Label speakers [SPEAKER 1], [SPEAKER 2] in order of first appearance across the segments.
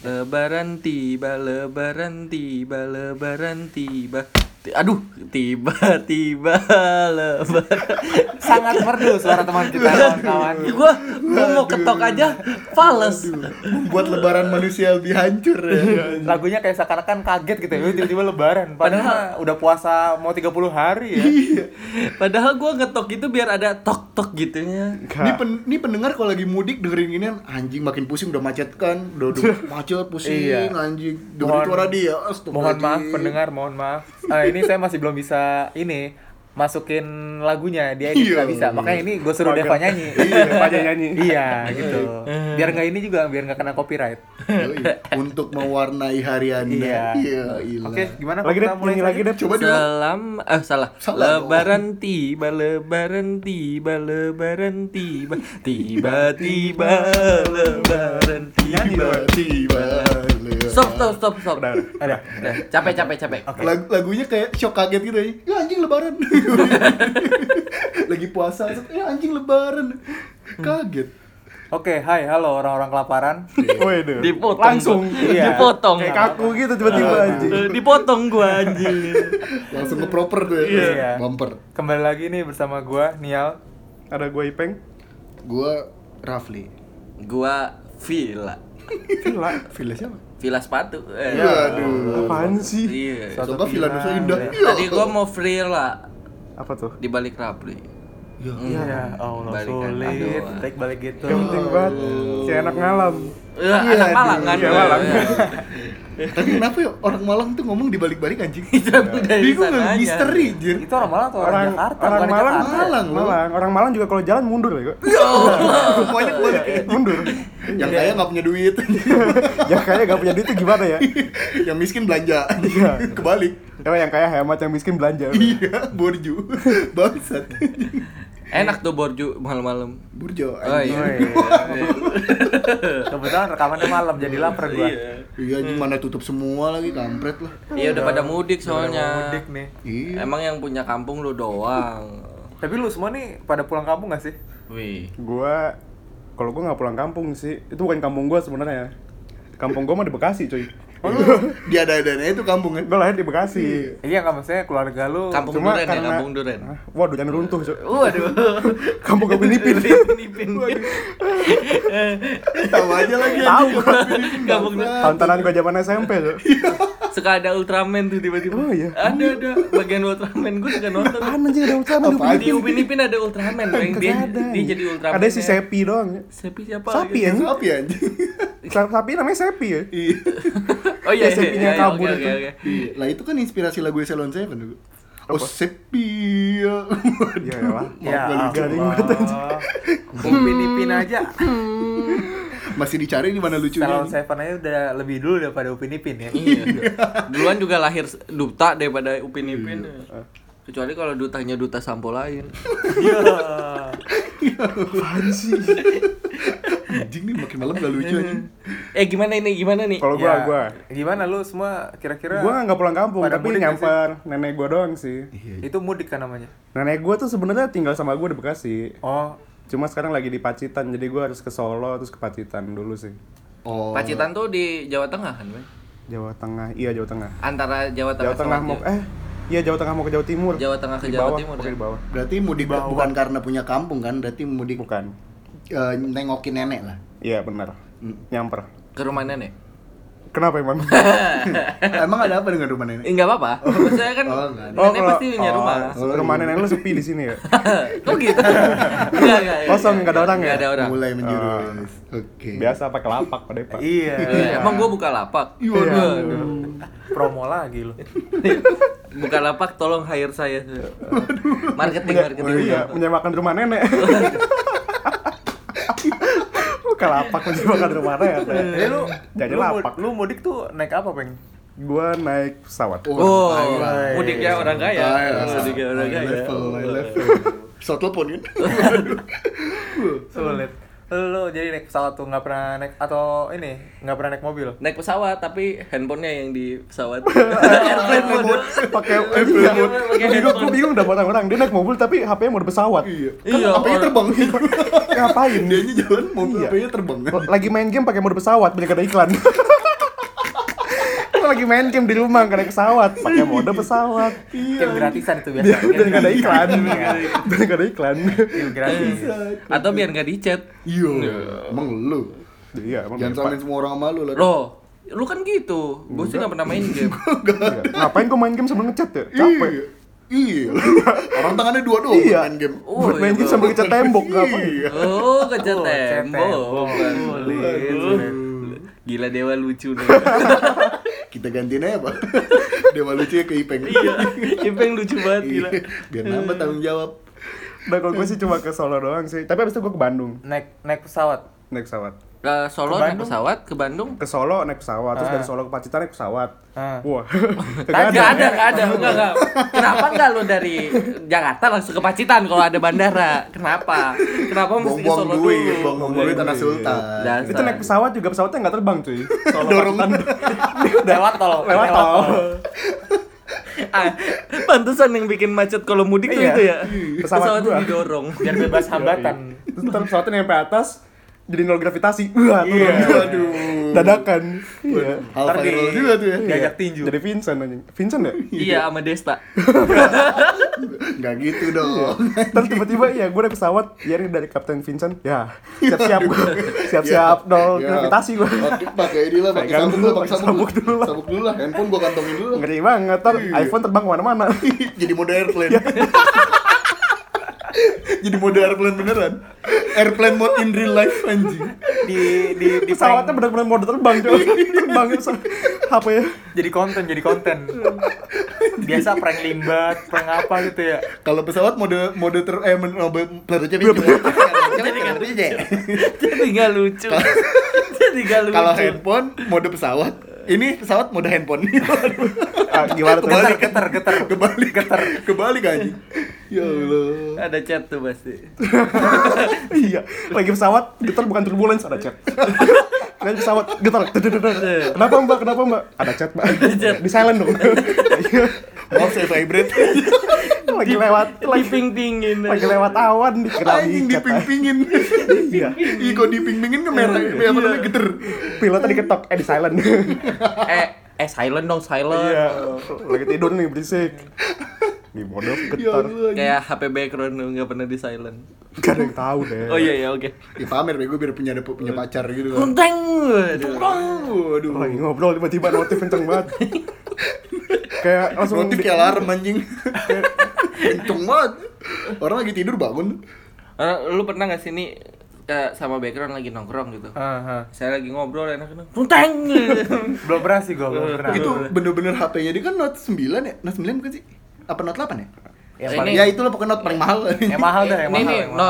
[SPEAKER 1] lebaran tiba, lebaran tiba, lebaran tiba. Ti- Aduh, tiba-tiba lebaran.
[SPEAKER 2] sangat merdu suara teman kita
[SPEAKER 3] Iya.
[SPEAKER 2] kawan-kawan
[SPEAKER 1] gua gua mau ketok aja fals.
[SPEAKER 4] Membuat lebaran manusia lebih hancur ya.
[SPEAKER 2] Iya, lagunya kayak seakan-akan kaget gitu ya tiba-tiba lebaran padahal mah udah puasa mau 30 hari ya
[SPEAKER 1] Padahal gua ngetok itu biar ada tok-tok gitunya.
[SPEAKER 4] Ini, pen- ini pendengar kalau lagi mudik dengerin ini anjing makin pusing udah macet kan, udah, udah macet pusing
[SPEAKER 2] Iya.
[SPEAKER 4] anjing. Dengerin
[SPEAKER 2] Mohon-
[SPEAKER 4] suara dia,
[SPEAKER 2] mohon maaf
[SPEAKER 4] astagfirullahaladzim.
[SPEAKER 2] pendengar mohon maaf Eh, ini saya masih belum bisa ini masukin lagunya dia edit
[SPEAKER 4] Iya.
[SPEAKER 2] nggak bisa makanya ini gue suruh
[SPEAKER 3] Pagar.
[SPEAKER 2] Deva nyanyi
[SPEAKER 3] Iya, Deva aja nyanyi.
[SPEAKER 2] iya gitu biar nggak ini juga biar nggak kena copyright
[SPEAKER 4] Yoi, Untuk mewarnai hari
[SPEAKER 2] Iya.
[SPEAKER 4] Anda. Iya, ilah.
[SPEAKER 2] oke gimana
[SPEAKER 3] Lagi
[SPEAKER 2] kalau
[SPEAKER 3] deh,
[SPEAKER 2] kita mulai
[SPEAKER 3] nyanyi lagi
[SPEAKER 2] saja?
[SPEAKER 3] deh.
[SPEAKER 4] Coba dong.
[SPEAKER 1] Selam eh salah.
[SPEAKER 4] Salah dong.
[SPEAKER 1] lebaran tiba, lebaran tiba, lebaran tiba. Tiba-tiba lebaran tiba.
[SPEAKER 4] Tiba-tiba.
[SPEAKER 1] Stop, stop, stop, stop.
[SPEAKER 3] Udah, udah.
[SPEAKER 2] ada
[SPEAKER 1] Udah, capek, capek, capek.
[SPEAKER 2] oke
[SPEAKER 4] Lag- lagunya kayak shock kaget gitu ya. Ya anjing lebaran. Lagi puasa, ya anjing lebaran. Kaget.
[SPEAKER 2] oke hai halo orang-orang kelaparan
[SPEAKER 3] Waduh.
[SPEAKER 1] Dipotong
[SPEAKER 3] Langsung.
[SPEAKER 1] gua.
[SPEAKER 2] Iya.
[SPEAKER 1] Dipotong.
[SPEAKER 3] Kayak kaku gitu tiba-tiba anjing.
[SPEAKER 1] Eh, Dipotong gua anjing.
[SPEAKER 4] Langsung ke proper tuh ya.
[SPEAKER 2] Iya.
[SPEAKER 4] Bumper.
[SPEAKER 2] kembali lagi nih bersama gua Nial
[SPEAKER 3] Ada gue Ipeng.
[SPEAKER 4] Gua Rafli.
[SPEAKER 1] Gua villa.
[SPEAKER 3] Gila.
[SPEAKER 4] Villa siapa?
[SPEAKER 1] Villa sepatu. Eh.
[SPEAKER 3] Iya.
[SPEAKER 4] Ya, aduh.
[SPEAKER 3] Apaan sih?
[SPEAKER 1] Iya.
[SPEAKER 2] Suatu
[SPEAKER 4] Suatu Villa
[SPEAKER 2] villa.
[SPEAKER 4] Nusa Indah. Iya.
[SPEAKER 1] Tadi gua mau villa
[SPEAKER 3] Apa tuh?
[SPEAKER 1] di balik Rapli. Hmm. kan,
[SPEAKER 4] Ya.
[SPEAKER 2] Ya Allah
[SPEAKER 1] Balikan
[SPEAKER 2] sulit,
[SPEAKER 1] doang.
[SPEAKER 2] baik balik gitu.
[SPEAKER 3] Yang penting banget. Si anak ngalam.
[SPEAKER 1] Eh, anak Malang kan.
[SPEAKER 3] Iya, Malang.
[SPEAKER 1] Iya.
[SPEAKER 4] Tapi kenapa ya orang Malang tuh ngomong dibalik-balik anjing?
[SPEAKER 1] Itu dari
[SPEAKER 4] Bingung
[SPEAKER 1] sananya.
[SPEAKER 4] nggak? misteri jir.
[SPEAKER 2] Itu orang Malang atau orang,
[SPEAKER 3] Orang
[SPEAKER 2] Jakarta?
[SPEAKER 3] orang
[SPEAKER 2] Bukan
[SPEAKER 3] Malang,
[SPEAKER 2] Jakarta.
[SPEAKER 4] Malang, lu.
[SPEAKER 3] Malang. Orang Malang juga kalau jalan mundur ya, kok.
[SPEAKER 4] Semuanya
[SPEAKER 1] Iya,
[SPEAKER 2] Iya,
[SPEAKER 4] kebalik.
[SPEAKER 3] Mundur.
[SPEAKER 4] Yang kaya nggak punya duit.
[SPEAKER 3] Yang kaya gak punya duit itu gimana ya?
[SPEAKER 4] yang miskin belanja.
[SPEAKER 3] Iya.
[SPEAKER 4] Kebalik.
[SPEAKER 3] Kalau yang kaya hemat, yang miskin belanja.
[SPEAKER 4] Iya, borju. Bangsat.
[SPEAKER 1] Enak tuh borju malam-malam. Oh
[SPEAKER 4] Burjo. anjing.
[SPEAKER 1] iya.
[SPEAKER 2] Oh, iya. Kebetulan rekamannya malam jadi lapar gua.
[SPEAKER 4] Iya, anjing mana tutup semua lagi kampret lah.
[SPEAKER 1] Iya udah pada mudik
[SPEAKER 2] Mau
[SPEAKER 1] soalnya.
[SPEAKER 2] Mudik nih.
[SPEAKER 4] Iya.
[SPEAKER 1] Emang yang punya kampung lu doang.
[SPEAKER 2] Tapi lu semua nih pada pulang kampung gak sih?
[SPEAKER 1] Wih.
[SPEAKER 3] Gua kalau gua nggak pulang kampung sih. Itu bukan kampung gua sebenarnya. Kampung gua mah di Bekasi, cuy.
[SPEAKER 2] Oh.
[SPEAKER 4] Dia ada adanya itu kampung kan.
[SPEAKER 3] Gua lahir di Bekasi.
[SPEAKER 2] Iya nggak maksudnya keluarga lu.
[SPEAKER 1] Kampung
[SPEAKER 3] Cuma
[SPEAKER 1] Duren ya,
[SPEAKER 3] karena-
[SPEAKER 1] Kampung Duren.
[SPEAKER 3] Hah? Waduh, jangan runtuh, cuy.
[SPEAKER 1] Waduh.
[SPEAKER 3] Kampung gua nipin.
[SPEAKER 1] Filipin.
[SPEAKER 4] Tahu aja lagi.
[SPEAKER 3] Tahu gua.
[SPEAKER 1] Kampung Duren.
[SPEAKER 3] Tantanan gua zaman SMP, cuy.
[SPEAKER 1] Suka ada Ultraman tuh tiba-tiba.
[SPEAKER 3] Oh, iya.
[SPEAKER 1] Ada ada bagian Ultraman gua suka nonton.
[SPEAKER 3] Apaan anjing ada ultraman di
[SPEAKER 4] Apaan?
[SPEAKER 1] Di Upin Ipin ada Ultraman, Bang.
[SPEAKER 3] Kagak
[SPEAKER 1] Dia,
[SPEAKER 3] ada.
[SPEAKER 1] dia jadi Ultraman. ya.
[SPEAKER 3] Ada si Sepi doang.
[SPEAKER 1] Sepi siapa?
[SPEAKER 3] Sapi ya?
[SPEAKER 4] Yang sapi anjing.
[SPEAKER 3] Sa- Sapi namanya Sepi ya?
[SPEAKER 4] Iya.
[SPEAKER 1] Oh iya,
[SPEAKER 3] Ya,
[SPEAKER 1] iya,
[SPEAKER 3] Sepinya
[SPEAKER 1] iya, iya,
[SPEAKER 3] kabur
[SPEAKER 1] oke,
[SPEAKER 3] itu.
[SPEAKER 1] oke, oke.
[SPEAKER 4] Iya, Lah itu kan inspirasi lagu Salon Seven tuh. Oh sepi.
[SPEAKER 3] Iya lah.
[SPEAKER 2] Ya,
[SPEAKER 4] Maaf, gua
[SPEAKER 3] garing
[SPEAKER 2] Allah.
[SPEAKER 3] banget
[SPEAKER 2] Upin Ipin aja.
[SPEAKER 4] Masih dicari di mana lucunya.
[SPEAKER 2] Salon
[SPEAKER 4] anjing.
[SPEAKER 2] Seven aja udah lebih dulu daripada Upin Ipin ya.
[SPEAKER 1] Iya. Duluan juga lahir duta daripada Upin Ipin.
[SPEAKER 3] Iya.
[SPEAKER 1] Kecuali kalau dutanya duta sampo lain.
[SPEAKER 2] Iya.
[SPEAKER 3] Apaan sih?
[SPEAKER 4] Anjing nih makin malam gak lucu anjing.
[SPEAKER 1] Eh gimana ini? Gimana nih?
[SPEAKER 3] Kalau gua,
[SPEAKER 2] Ya,
[SPEAKER 3] gua.
[SPEAKER 2] Gimana lu semua kira-kira?
[SPEAKER 3] Gua nggak pulang kampung,
[SPEAKER 2] Pada
[SPEAKER 3] tapi
[SPEAKER 2] mudik nggak
[SPEAKER 3] nyampar nenek gua doang sih.
[SPEAKER 4] Iya,
[SPEAKER 2] Itu mudik kan namanya.
[SPEAKER 3] Nenek gua tuh sebenarnya tinggal sama gua di Bekasi.
[SPEAKER 2] Oh,
[SPEAKER 3] Cuma sekarang lagi di Pacitan, jadi gua harus ke Solo terus ke Pacitan dulu sih.
[SPEAKER 4] Oh.
[SPEAKER 1] Pacitan tuh di Jawa Tengah kan, Bang?
[SPEAKER 3] Jawa Tengah, iya Jawa Tengah.
[SPEAKER 1] Antara Jawa Tengah
[SPEAKER 3] Jawa Tengah mau eh iya Jawa Tengah mau ke Jawa Timur.
[SPEAKER 1] Jawa Tengah ke
[SPEAKER 3] Di
[SPEAKER 1] Jawa
[SPEAKER 3] bawah,
[SPEAKER 1] Timur,
[SPEAKER 3] pokoknya
[SPEAKER 1] ya?
[SPEAKER 3] di bawah.
[SPEAKER 4] Berarti mudik bukan karena punya kampung kan, berarti mudik
[SPEAKER 3] Bukan.
[SPEAKER 4] eh, nengokin nenek lah.
[SPEAKER 3] Iya benar.
[SPEAKER 1] Mm.
[SPEAKER 3] Nyamper.
[SPEAKER 1] ke rumah nenek.
[SPEAKER 3] Kenapa emang?
[SPEAKER 4] Emang ada apa dengan rumah nenek?
[SPEAKER 1] Eh, enggak apa-apa. Maksudnya kan
[SPEAKER 4] Oh, nggak ada.
[SPEAKER 1] nenek pasti punya
[SPEAKER 3] oh,
[SPEAKER 1] rumah.
[SPEAKER 3] Rumah nenek lu sepi di sini ya.
[SPEAKER 1] Kok gitu? Enggak, enggak.
[SPEAKER 3] Kosong, nggak ada orang ya?
[SPEAKER 1] Enggak ada orang.
[SPEAKER 4] Mulai menjurus. Oke.
[SPEAKER 3] Ah. Biasa pakai lapak pada Pak.
[SPEAKER 2] iya.
[SPEAKER 1] Eh, Emang gua buka lapak.
[SPEAKER 4] Iya.
[SPEAKER 1] Waduh.
[SPEAKER 2] Promo lagi lu.
[SPEAKER 1] Buka lapak tolong hire saya. Marketing, marketing.
[SPEAKER 3] Iya, menyewakan rumah nenek. Bukan lapak menyewakan rumah nenek.
[SPEAKER 1] Iya.
[SPEAKER 2] Eh lu,
[SPEAKER 3] Jadi
[SPEAKER 2] lu, mud-
[SPEAKER 3] lapak.
[SPEAKER 2] lu mudik tuh naik apa, Peng?
[SPEAKER 3] Gua naik pesawat.
[SPEAKER 1] Oh,
[SPEAKER 4] Wah,
[SPEAKER 1] mudiknya orang kaya. Mudiknya orang
[SPEAKER 4] ya, High
[SPEAKER 1] kaya.
[SPEAKER 4] level, high level. Bisa telepon kan?
[SPEAKER 2] Sulit. Lu jadi naik pesawat tuh nggak pernah naik atau ini nggak pernah naik mobil?
[SPEAKER 1] Naik pesawat tapi handphonenya yang di pesawat.
[SPEAKER 3] Naik mobil, pakai iya.
[SPEAKER 1] Pakai
[SPEAKER 3] Gua bingung- Gua
[SPEAKER 1] handphone.
[SPEAKER 3] bingung udah orang-orang dia naik mobil tapi HP-nya mau di pesawat.
[SPEAKER 4] Iya.
[SPEAKER 1] Iya,
[SPEAKER 4] Kan apanya
[SPEAKER 1] orang-
[SPEAKER 4] terbang.
[SPEAKER 3] Ngapain?
[SPEAKER 4] Dianya jalan mobil
[SPEAKER 3] Iya.
[SPEAKER 4] apanya terbang.
[SPEAKER 3] Lagi main game pakai mode pesawat, banyak ada iklan. lagi main game di rumah gak ada pesawat pakai mode pesawat
[SPEAKER 1] Iya.
[SPEAKER 2] Game gratisan itu biasa.
[SPEAKER 3] Dia udah gak ada iklan udah gak ada iklan
[SPEAKER 2] Game gratis.
[SPEAKER 1] Atau biar nggak dicet.
[SPEAKER 4] Iya. Emang lu.
[SPEAKER 3] iya emang
[SPEAKER 4] Jangan
[SPEAKER 3] mirip,
[SPEAKER 4] samain semua orang sama lu lah.
[SPEAKER 1] Loh, lu kan gitu. Gue sih nggak pernah main game.
[SPEAKER 3] Pak. Iya. ngapain kok main game sebelum ngechat ya capek
[SPEAKER 4] Iya. Iya. Orang tangannya dua doang
[SPEAKER 3] Iya.
[SPEAKER 4] main game.
[SPEAKER 1] Oh,
[SPEAKER 3] buat main
[SPEAKER 1] iya.
[SPEAKER 3] game sambil ngecat tembok ngapain
[SPEAKER 4] Iya.
[SPEAKER 1] Oh, kecat
[SPEAKER 2] Oh, kecat
[SPEAKER 1] tembok.
[SPEAKER 2] tembok.
[SPEAKER 1] Aduh. Gila dewa lucu nih.
[SPEAKER 4] Kita gantiin aja, Pak. Dewa lucu ke Ipeng.
[SPEAKER 1] Iya, Ipeng lucu banget gila.
[SPEAKER 4] Iya. Biar nambah tanggung jawab.
[SPEAKER 3] Nah kalau gue sih cuma ke Solo doang sih Tapi abis itu gue ke Bandung
[SPEAKER 2] Naik naik pesawat.
[SPEAKER 3] Naik pesawat
[SPEAKER 1] Ke Solo
[SPEAKER 2] Ke
[SPEAKER 1] naik
[SPEAKER 2] Bandung.
[SPEAKER 1] pesawat ke Bandung.
[SPEAKER 3] Ke Solo naik pesawat Terus
[SPEAKER 2] Ah.
[SPEAKER 3] dari Solo ke Pacitan naik pesawat
[SPEAKER 2] Ah.
[SPEAKER 3] Wah
[SPEAKER 1] Gak ada, gak ada, enggak, enggak. Kenapa enggak lu dari Jakarta langsung ke Pacitan kalau ada bandara? Kenapa? Kenapa mesti ke
[SPEAKER 4] Buang-buang
[SPEAKER 1] Solo
[SPEAKER 4] duit,
[SPEAKER 1] dulu?
[SPEAKER 4] buang-buang duit anak sultan.
[SPEAKER 1] Dan-
[SPEAKER 3] Itu naik pesawat juga pesawatnya nggak terbang cuy Solo Pacitan
[SPEAKER 2] Lewat tol.
[SPEAKER 3] Iya. lewat tol
[SPEAKER 1] Ah, pantesan yang bikin macet kalau mudik tuh
[SPEAKER 2] Iya.
[SPEAKER 1] itu ya.
[SPEAKER 3] Pesawat
[SPEAKER 1] Pesawat tuh
[SPEAKER 3] gua.
[SPEAKER 1] didorong.
[SPEAKER 2] Biar bebas hambatan.
[SPEAKER 3] Terus ntar pesawatnya nyampe atas Jadi nol gravitasi Wah turun
[SPEAKER 4] Iya, Waduh.
[SPEAKER 3] Dadakan Iya
[SPEAKER 4] Hal
[SPEAKER 2] Ntar di-
[SPEAKER 4] viral juga tuh ya.
[SPEAKER 2] diajak tinju.
[SPEAKER 3] Jadi Vincent anjing Vincent ya?
[SPEAKER 1] Iya, sama Desta.
[SPEAKER 4] Enggak gitu dong.
[SPEAKER 3] Ntar tiba-tiba ya gue naik pesawat Ya ini dari Kapten Vincent Ya siap-siap gue Siap-siap nol
[SPEAKER 4] Ya.
[SPEAKER 3] gravitasi gue
[SPEAKER 4] Pakai pakai ini lah, pakai
[SPEAKER 3] Pegang
[SPEAKER 4] sabuk
[SPEAKER 3] dulu,
[SPEAKER 4] dulu, pakai
[SPEAKER 3] pakai
[SPEAKER 4] sabuk
[SPEAKER 3] sabuk dulu lah.
[SPEAKER 4] Sabuk dulu lah. Handphone gua kantongin dulu. lah.
[SPEAKER 3] Ngeri banget, ntar iPhone terbang kemana-mana
[SPEAKER 4] Jadi mode airplane.
[SPEAKER 3] Iya.
[SPEAKER 4] Jadi mode airplane beneran. Airplane mode in real life anjing.
[SPEAKER 2] Di di di
[SPEAKER 3] Pesawatnya
[SPEAKER 2] prank.
[SPEAKER 3] bener-bener mode terbang coy Terbang pesawat. Apa ya?
[SPEAKER 2] jadi konten, jadi konten. Biasa prank limbat, prank apa gitu ya.
[SPEAKER 4] Kalau pesawat mode mode ter eh men- mode pelajaran juga.
[SPEAKER 1] Jadi nggak lucu. Jadi nggak lucu.
[SPEAKER 4] Kalau handphone mode pesawat. Ini pesawat mode handphone.
[SPEAKER 3] Ah, gimana tuh?
[SPEAKER 2] Getar,
[SPEAKER 4] kan?
[SPEAKER 2] getar, getar.
[SPEAKER 4] Kebalik getar. Kebalik anjing. Ya Allah.
[SPEAKER 1] ada chat tuh pasti.
[SPEAKER 3] Iya, lagi pesawat, getar bukan turbulence, ada chat Lagi pesawat, getar, dedededer. kenapa mbak, kenapa mbak? Ada chat mbak, di silent dong Iya.
[SPEAKER 4] Maaf saya vibrate.
[SPEAKER 3] Lagi lewat, lagi,
[SPEAKER 1] Diping-pingin.
[SPEAKER 3] lagi lewat awan, dikira
[SPEAKER 4] Anjing
[SPEAKER 3] diikat, ah.
[SPEAKER 4] diping-pingin.
[SPEAKER 3] Iya,
[SPEAKER 4] Ih kok diping-pingin ke merah. Apa namanya geter.
[SPEAKER 3] pilotnya diketok, eh di silent
[SPEAKER 4] Iya.
[SPEAKER 1] Eh, eh silent dong, silent.
[SPEAKER 3] Iya, lagi tidur nih berisik Di bodoh,
[SPEAKER 4] Ya
[SPEAKER 3] getar,
[SPEAKER 4] Allah.
[SPEAKER 1] Kayak HP background lu nggak pernah di silent.
[SPEAKER 3] gak ada yang tau deh
[SPEAKER 1] Oh iya iya oke.
[SPEAKER 4] Ya pamer bego biar punya ada punya pacar gitu kan.
[SPEAKER 1] Kunteng.
[SPEAKER 4] Waduh.
[SPEAKER 3] lagi ngobrol tiba-tiba notif kenceng banget kayak langsung
[SPEAKER 4] Notif
[SPEAKER 3] di-
[SPEAKER 4] kayak alarm anjing. Kenceng banget. Orang lagi tidur bangun.
[SPEAKER 1] Eh, Lu pernah nggak sih nih kayak sama background lagi nongkrong gitu?
[SPEAKER 2] Heeh.
[SPEAKER 1] Saya lagi ngobrol enak-enak. Kunteng.
[SPEAKER 2] Belum pernah sih gue, belum pernah.
[SPEAKER 4] Itu bener-bener HP-nya dia kan Note 9 ya? Note 9 bukan sih? Apa Note 8 ya?
[SPEAKER 2] Yang
[SPEAKER 1] Ini-
[SPEAKER 2] paling
[SPEAKER 4] Ya itulah pokoknya Note paling mahal.
[SPEAKER 2] yang mahal dah, yang
[SPEAKER 1] Ini
[SPEAKER 2] mahal.
[SPEAKER 1] nih
[SPEAKER 2] yang mahal.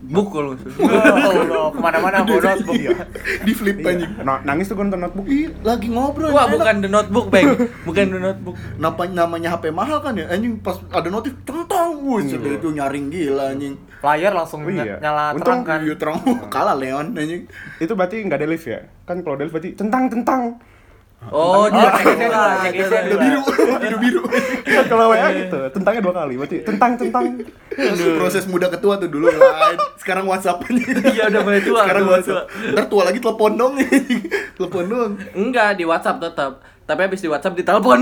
[SPEAKER 1] notebook kalau maksudnya.
[SPEAKER 2] Wow, lo Oh, kemana-mana bawa notebook.
[SPEAKER 4] ya? Di flip
[SPEAKER 3] Iya.
[SPEAKER 4] anjing.
[SPEAKER 3] Na- nangis tuh gue nonton notebook
[SPEAKER 4] Ih, lagi ngobrol.
[SPEAKER 1] Wah,
[SPEAKER 4] enak.
[SPEAKER 1] bukan the notebook, Bang. Bukan the notebook.
[SPEAKER 4] Namanya, namanya HP mahal kan ya anjing pas ada notif centang wuh sudah itu nyaring gila anjing
[SPEAKER 2] Layar langsung
[SPEAKER 3] Oh, iya.
[SPEAKER 2] ny- nyala terang
[SPEAKER 3] Untung
[SPEAKER 2] kan.
[SPEAKER 4] Iya, terang kalah Leon anjing
[SPEAKER 3] itu berarti nggak ada lift ya kan kalau ada lift berarti tentang tentang
[SPEAKER 1] Oh, dia
[SPEAKER 2] Oh,
[SPEAKER 1] cek
[SPEAKER 2] iya,
[SPEAKER 1] lah,
[SPEAKER 2] iya,
[SPEAKER 1] cek
[SPEAKER 2] iya,
[SPEAKER 1] lah.
[SPEAKER 4] udah biru udah biru
[SPEAKER 3] Kan kalau
[SPEAKER 4] Iya.
[SPEAKER 3] wa gitu tentangnya dua kali berarti tentang tentang
[SPEAKER 4] proses muda ketua tuh dulu lain sekarang WhatsApp
[SPEAKER 1] Iya, udah mulai tua,
[SPEAKER 4] sekarang
[SPEAKER 1] udah mulai
[SPEAKER 4] WhatsApp ntar tua lagi telepon dong telepon dong
[SPEAKER 1] Enggak, di WhatsApp tetap. Tapi habis di WhatsApp ditelepon.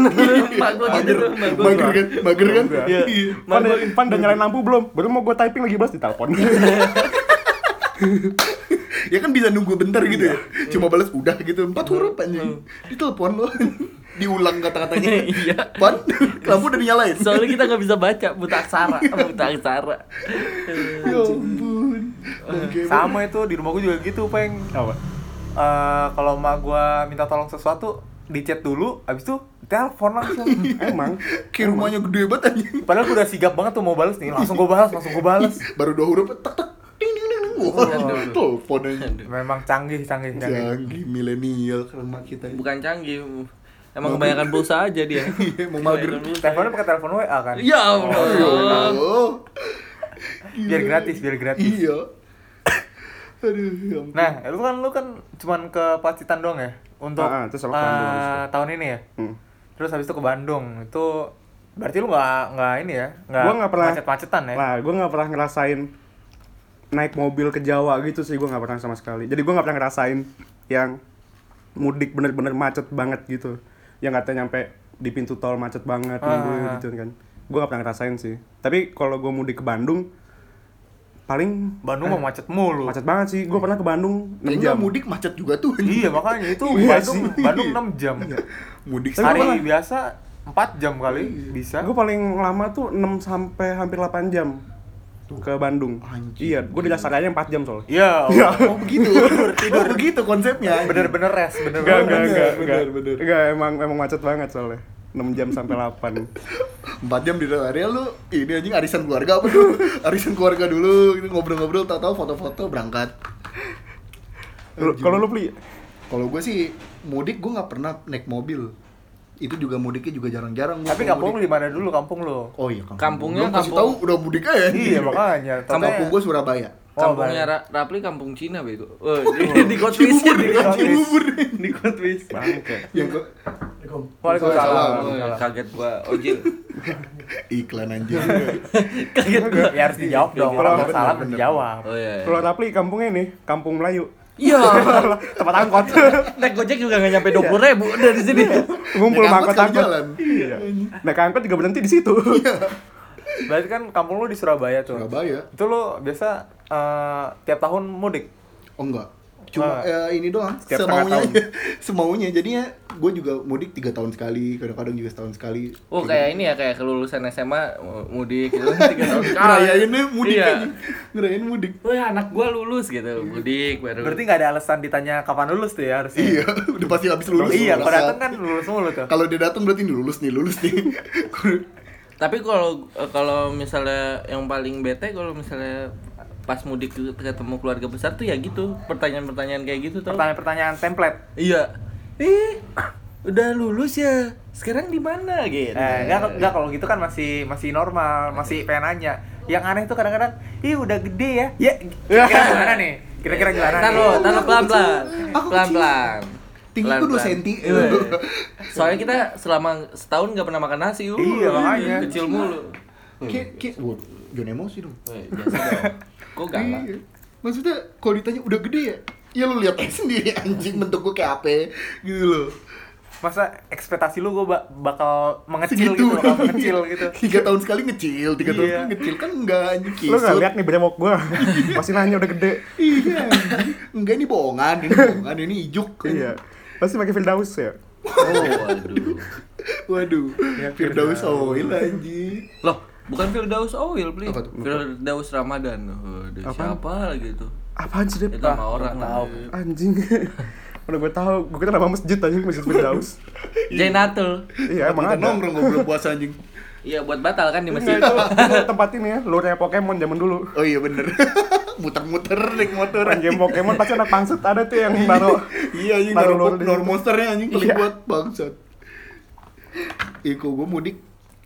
[SPEAKER 1] Mak gua gitu
[SPEAKER 4] mager
[SPEAKER 1] tuh, mak gua.
[SPEAKER 4] mager kan mager kan
[SPEAKER 3] Iya.
[SPEAKER 4] Iya.
[SPEAKER 3] pan pan udah nyalain lampu belum baru mau gue typing lagi balas ditelepon
[SPEAKER 4] ya kan bisa nunggu bentar gitu ya
[SPEAKER 1] Iya.
[SPEAKER 4] cuma balas udah gitu empat huruf anjing ditelepon lo diulang kata-katanya
[SPEAKER 1] Iya.
[SPEAKER 4] pan lampu udah dinyalain
[SPEAKER 1] Soalnya gitu. kita nggak bisa baca buta aksara, buta aksara.
[SPEAKER 4] ya ampun Oke,
[SPEAKER 2] Sama itu di rumah gue juga gitu, Peng.
[SPEAKER 3] apa
[SPEAKER 2] Eh, kalau emak gua minta tolong sesuatu, di chat dulu, abis itu telepon langsung.
[SPEAKER 3] emang
[SPEAKER 4] kayak rumahnya gede banget anjing
[SPEAKER 2] Padahal gua udah sigap banget tuh mau balas nih, langsung gua balas, langsung gua balas.
[SPEAKER 4] baru dua huruf tek tek ding ding ding wah telepon aja
[SPEAKER 2] Memang canggih, canggih, canggih.
[SPEAKER 4] canggih milenial keren banget kita
[SPEAKER 1] Bukan canggih. Emang kebanyakan pulsa aja dia.
[SPEAKER 4] Iya, emang mager
[SPEAKER 1] Kebanyakan pulsa.
[SPEAKER 2] Teleponnya pakai telepon WA kan.
[SPEAKER 3] Iya.
[SPEAKER 1] Ya Allah.
[SPEAKER 4] oh
[SPEAKER 2] Iya. Biar gratis, biar gratis.
[SPEAKER 4] iya aduh ya ampun.
[SPEAKER 2] Nah, lu kan lu kan cuman ke Pacitan doang ya untuk
[SPEAKER 3] Ah, ah, terus aku ke Bandung
[SPEAKER 2] eh,
[SPEAKER 3] habis
[SPEAKER 2] tahun ini ya.
[SPEAKER 3] Hmm.
[SPEAKER 2] Terus habis itu ke Bandung. Itu berarti lu nggak nggak ini ya?
[SPEAKER 3] gue nggak pernah
[SPEAKER 2] macet-macetan ya?
[SPEAKER 3] lah gue nggak pernah ngerasain naik mobil ke Jawa gitu sih gue nggak pernah sama sekali jadi gue nggak pernah ngerasain yang mudik bener-bener macet banget gitu yang katanya nyampe di pintu tol macet banget nungguin
[SPEAKER 2] Ah.
[SPEAKER 3] gitu kan gue gak pernah ngerasain sih tapi kalau gue mudik ke Bandung paling
[SPEAKER 2] Bandung mah macet mulu.
[SPEAKER 3] macet banget sih gue pernah ke Bandung 6
[SPEAKER 4] Kayaknya
[SPEAKER 3] jam
[SPEAKER 4] mudik macet juga tuh. anjing.
[SPEAKER 2] Iya makanya itu
[SPEAKER 3] Iya
[SPEAKER 2] Bandung
[SPEAKER 3] sih. Iya.
[SPEAKER 2] Bandung 6 jam.
[SPEAKER 4] Mudik
[SPEAKER 2] Hari
[SPEAKER 4] sama.
[SPEAKER 2] biasa 4 jam kali bisa.
[SPEAKER 3] gue paling lama tuh 6 sampai hampir 8 jam ke Bandung
[SPEAKER 4] Anjing.
[SPEAKER 3] iya gue di Lasaranya 4 jam soalnya
[SPEAKER 2] Iya.
[SPEAKER 4] Oh begitu. Tidur Oh, begitu konsepnya.
[SPEAKER 2] Bener-bener res, bener-bener.
[SPEAKER 3] Enggak, enggak, enggak,
[SPEAKER 4] bener,
[SPEAKER 3] enggak,
[SPEAKER 4] bener.
[SPEAKER 3] enggak, emang, emang macet banget soalnya 6 jam sampai 8
[SPEAKER 4] Empat jam di dalam area lu ini anjing arisan keluarga apa dulu? arisan keluarga dulu gitu ngobrol-ngobrol tahu-tahu foto-foto berangkat.
[SPEAKER 3] Lu- Kalau lu beli
[SPEAKER 4] Kalau gue sih mudik gue nggak pernah naik mobil. Itu juga mudiknya juga jarang-jarang. gua
[SPEAKER 2] Tapi
[SPEAKER 4] kalau
[SPEAKER 2] kampung lu
[SPEAKER 4] mudik.
[SPEAKER 2] di mana dulu kampung lu?
[SPEAKER 4] Oh iya kampung.
[SPEAKER 1] Kampungnya
[SPEAKER 4] Belum kasih tahu
[SPEAKER 1] kampung-
[SPEAKER 4] udah mudik aja. anjing.
[SPEAKER 2] Iya makanya.
[SPEAKER 4] Kampung
[SPEAKER 2] Katanya-
[SPEAKER 4] gue Surabaya.
[SPEAKER 2] Oh,
[SPEAKER 1] Kampungnya
[SPEAKER 2] baik.
[SPEAKER 1] Ra- Rapli kampung Cina bego. Eh, di di kotwisin, di
[SPEAKER 4] Cibubur, Cibubur.
[SPEAKER 1] di kotwisin.
[SPEAKER 3] bangke
[SPEAKER 4] Yang ke-
[SPEAKER 2] Waalaikumsalam.
[SPEAKER 1] Eh, Kaget gua ojil.
[SPEAKER 4] Iklan anjing.
[SPEAKER 1] Kaget gua.
[SPEAKER 2] Ya harus dijawab dong. Kalau
[SPEAKER 3] Bener,
[SPEAKER 2] nggak salah
[SPEAKER 4] bener.
[SPEAKER 2] dijawab.
[SPEAKER 1] Oh iya.
[SPEAKER 3] Kalau Rapli kampungnya ini, kampung Melayu
[SPEAKER 1] Iya.
[SPEAKER 3] Tempat angkot
[SPEAKER 1] Naik Gojek juga nggak nyampe 20 ribu dari sini.
[SPEAKER 3] Ngumpul
[SPEAKER 4] Naik
[SPEAKER 3] sama
[SPEAKER 4] angkot sekali
[SPEAKER 3] angkot-angkot
[SPEAKER 4] jalan. Iya.
[SPEAKER 3] Iya Nah angkot juga berhenti di situ
[SPEAKER 2] Berarti kan kampung lu di Surabaya tuh.
[SPEAKER 4] Surabaya.
[SPEAKER 2] Itu lu biasa eh, tiap tahun mudik.
[SPEAKER 4] Oh enggak. Cuma eh, ini doang,
[SPEAKER 3] Setiap
[SPEAKER 4] semaunya
[SPEAKER 3] setengah
[SPEAKER 4] aja. semaunya. Jadinya gue juga mudik tiga tahun sekali, kadang-kadang juga setahun sekali.
[SPEAKER 1] Oh kayak ini ya kayak kelulusan SMA mudik gitu tiga tahun sekali.
[SPEAKER 4] Ngerayainnya mudik
[SPEAKER 1] Iya.
[SPEAKER 4] aja. Ngerayain mudik.
[SPEAKER 1] Wah anak gua lulus gitu mudik baru.
[SPEAKER 2] Berarti nggak ada alasan ditanya kapan lulus tuh ya harusnya.
[SPEAKER 4] Iya, udah pasti habis lulus.
[SPEAKER 2] iya,
[SPEAKER 4] Merasa-
[SPEAKER 2] kalau datang kan lulus mulu tuh.
[SPEAKER 4] Kalau dia datang berarti ini lulus nih, lulus nih.
[SPEAKER 1] Tapi kalau eh, kalau misalnya yang paling bete kalau misalnya pas mudik ketemu keluarga besar tuh ya gitu pertanyaan-pertanyaan kayak gitu tau
[SPEAKER 2] Pertanyaan-pertanyaan template.
[SPEAKER 1] Iya. Eh, udah lulus ya. Sekarang di mana gitu?
[SPEAKER 2] Eh, enggak, enggak kalau gitu kan masih masih normal, masih pengen nanya. Yang aneh tuh kadang-kadang, ih udah gede ya. Ya, kira-kira gimana nih? Kira-kira gimana nih?
[SPEAKER 1] Taruh, taruh pelan-pelan.
[SPEAKER 4] Aku
[SPEAKER 1] Pelan-pelan.
[SPEAKER 4] Tinggi aku dua
[SPEAKER 1] Pelan-pelan.
[SPEAKER 4] senti.
[SPEAKER 1] Iya. Soalnya kita selama setahun nggak pernah makan nasi. Uh,
[SPEAKER 2] Iya, makanya.
[SPEAKER 1] Kecil mulu.
[SPEAKER 4] Kayak, kayak, waduh, jangan emosi dong.
[SPEAKER 1] Eh, biasa dong. Kok Oh, galak?
[SPEAKER 4] Iya. Maksudnya kalau ditanya udah gede ya? Ya lu lihat aja sendiri anjing bentuk gue kayak apa gitu loh.
[SPEAKER 2] Masa ekspektasi lu gue bakal mengecil
[SPEAKER 4] Segitu.
[SPEAKER 2] gitu, bakal mengecil gitu.
[SPEAKER 4] Tiga tahun sekali ngecil, tiga tahun
[SPEAKER 2] Iya.
[SPEAKER 4] sekali ngecil kan enggak anjing
[SPEAKER 3] Lu
[SPEAKER 4] kisut.
[SPEAKER 3] gak lihat nih brewok gua Pasti nanya udah gede
[SPEAKER 4] Iya. anjing. Enggak ini bohongan, ini bohongan, ini ijuk.
[SPEAKER 3] Iya Pasti pakai Firdaus ya
[SPEAKER 1] Oh, waduh.
[SPEAKER 4] Waduh.
[SPEAKER 3] Iya,
[SPEAKER 4] Firdaus oil anjing.
[SPEAKER 1] Loh, bukan Firdaus Oil, beli.
[SPEAKER 4] Apa tuh?
[SPEAKER 1] Firdaus Ramadan. Waduh,
[SPEAKER 3] Apaan?
[SPEAKER 1] siapa gitu? lagi tuh?
[SPEAKER 3] Apaan sih
[SPEAKER 1] Itu
[SPEAKER 3] Dep?
[SPEAKER 1] sama orang.
[SPEAKER 2] tahu.
[SPEAKER 3] Anjing Udah gue tau, gue kira nama masjid aja, masjid Firdaus
[SPEAKER 1] Jainatul.
[SPEAKER 3] Iya emang
[SPEAKER 4] Kita
[SPEAKER 3] ada
[SPEAKER 4] nongkrong ngobrol puasa anjing.
[SPEAKER 1] Iya, buat batal kan di
[SPEAKER 3] Iya,
[SPEAKER 1] masjid.
[SPEAKER 3] itu, itu tempat ini ya, lure Pokemon zaman dulu
[SPEAKER 4] Oh iya bener. Muter-muter naik motor.
[SPEAKER 3] Orang game Pokemon pasti anak pangsit ada tuh yang baru
[SPEAKER 4] Iya anjing
[SPEAKER 3] Taruh
[SPEAKER 4] naruh
[SPEAKER 3] luar
[SPEAKER 4] pop-
[SPEAKER 3] di
[SPEAKER 4] luar
[SPEAKER 3] situ.
[SPEAKER 4] monsternya anjing paling
[SPEAKER 3] Iya.
[SPEAKER 4] buat bangsat. Iko gue mudik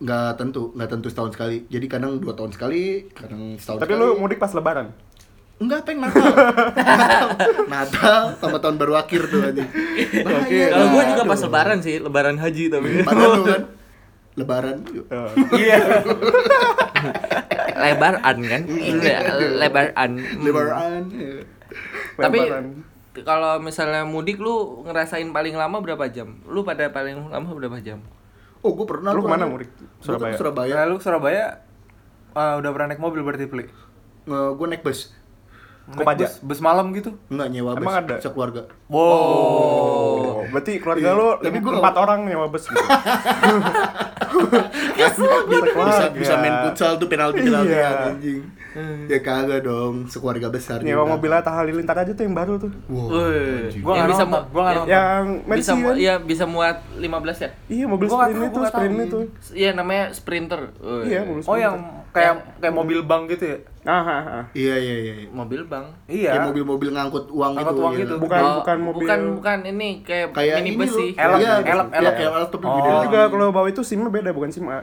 [SPEAKER 4] nggak tentu nggak tentu setahun sekali. Jadi kadang dua tahun sekali, kadang setahun
[SPEAKER 3] Tapi
[SPEAKER 4] sekali.
[SPEAKER 3] lu mudik pas lebaran?
[SPEAKER 4] Enggak, pengen Natal. Natal. Natal sama tahun baru akhir tuh anjing. Bahaya. kan?
[SPEAKER 1] Kalau gua juga
[SPEAKER 4] Aduh.
[SPEAKER 1] pas lebaran sih, lebaran haji tapi.
[SPEAKER 4] Padahal lu Iya. kan lebaran.
[SPEAKER 3] Eh,
[SPEAKER 2] Iya.
[SPEAKER 1] lebaran kan Le- lebaran Hmm.
[SPEAKER 4] Lebaran. ya.
[SPEAKER 1] tapi
[SPEAKER 3] lebaran.
[SPEAKER 1] kalau misalnya mudik lu ngerasain paling lama berapa jam lu pada paling lama berapa jam
[SPEAKER 4] Oh, gue pernah tuh,
[SPEAKER 3] Lu kemana
[SPEAKER 4] anjing.
[SPEAKER 3] mudik?
[SPEAKER 4] Gua ke
[SPEAKER 3] Surabaya?
[SPEAKER 4] Surabaya.
[SPEAKER 2] Ya lu ke Surabaya eh, udah pernah naik mobil berarti beli.
[SPEAKER 4] gue naik bus.
[SPEAKER 2] Naik
[SPEAKER 3] Kopaja?
[SPEAKER 2] Bus, bus malam gitu.
[SPEAKER 4] Enggak nyewa bus.
[SPEAKER 3] Emang ada?
[SPEAKER 4] Sekeluarga.
[SPEAKER 2] Wow.
[SPEAKER 3] Oh, berarti keluarga lu
[SPEAKER 4] Iya, tapi gua-
[SPEAKER 3] empat orang nyawa bus gitu. Bisa Iya.
[SPEAKER 4] bisa,
[SPEAKER 3] keluarga.
[SPEAKER 4] bisa main futsal tuh penalti penalti
[SPEAKER 3] Iya. Hmm.
[SPEAKER 4] anjing ya kagak dong sekeluarga besar
[SPEAKER 3] Nyewa
[SPEAKER 4] juga.
[SPEAKER 3] mobil Atta Halilintar aja tuh yang baru tuh.
[SPEAKER 4] wow.
[SPEAKER 1] Wih, yang
[SPEAKER 2] Gua nggak
[SPEAKER 1] bisa
[SPEAKER 2] nonton,
[SPEAKER 1] mu-
[SPEAKER 2] gua nggak
[SPEAKER 1] yang-
[SPEAKER 2] nonton.
[SPEAKER 3] Yang
[SPEAKER 1] bisa
[SPEAKER 3] Mercy
[SPEAKER 1] mu-
[SPEAKER 3] kan?
[SPEAKER 1] iya bisa muat 15 ya
[SPEAKER 3] Iya, mobil
[SPEAKER 2] Gua nggak
[SPEAKER 3] sprint
[SPEAKER 2] tahu,
[SPEAKER 3] itu,
[SPEAKER 2] gua nggak
[SPEAKER 3] sprint
[SPEAKER 2] tahu.
[SPEAKER 3] itu.
[SPEAKER 1] iya namanya sprinter Wih.
[SPEAKER 3] Iya, mobil
[SPEAKER 2] Oh
[SPEAKER 3] sprint.
[SPEAKER 2] yang kayak kayak mobil bank gitu ya?
[SPEAKER 3] Ah, ah, ah.
[SPEAKER 4] iya iya iya iya.
[SPEAKER 1] mobil bang
[SPEAKER 2] Iya.
[SPEAKER 4] kayak mobil-mobil ngangkut uang
[SPEAKER 2] Ngangkut
[SPEAKER 4] gitu
[SPEAKER 2] uang
[SPEAKER 4] iya.
[SPEAKER 2] gitu.
[SPEAKER 3] Bukan bukan mobil.
[SPEAKER 1] Oh, bukan bukan ini kayak,
[SPEAKER 4] kayak
[SPEAKER 1] mini
[SPEAKER 4] ini
[SPEAKER 1] bus
[SPEAKER 4] loh.
[SPEAKER 1] sih
[SPEAKER 2] Elok,
[SPEAKER 4] Iya,
[SPEAKER 2] elok,
[SPEAKER 4] iya,
[SPEAKER 2] elok.
[SPEAKER 4] kayak elok tapi
[SPEAKER 2] Oh.
[SPEAKER 4] gede
[SPEAKER 3] Itu
[SPEAKER 4] lagi.
[SPEAKER 3] juga kalau bawa itu SIM-nya beda bukan SIM A.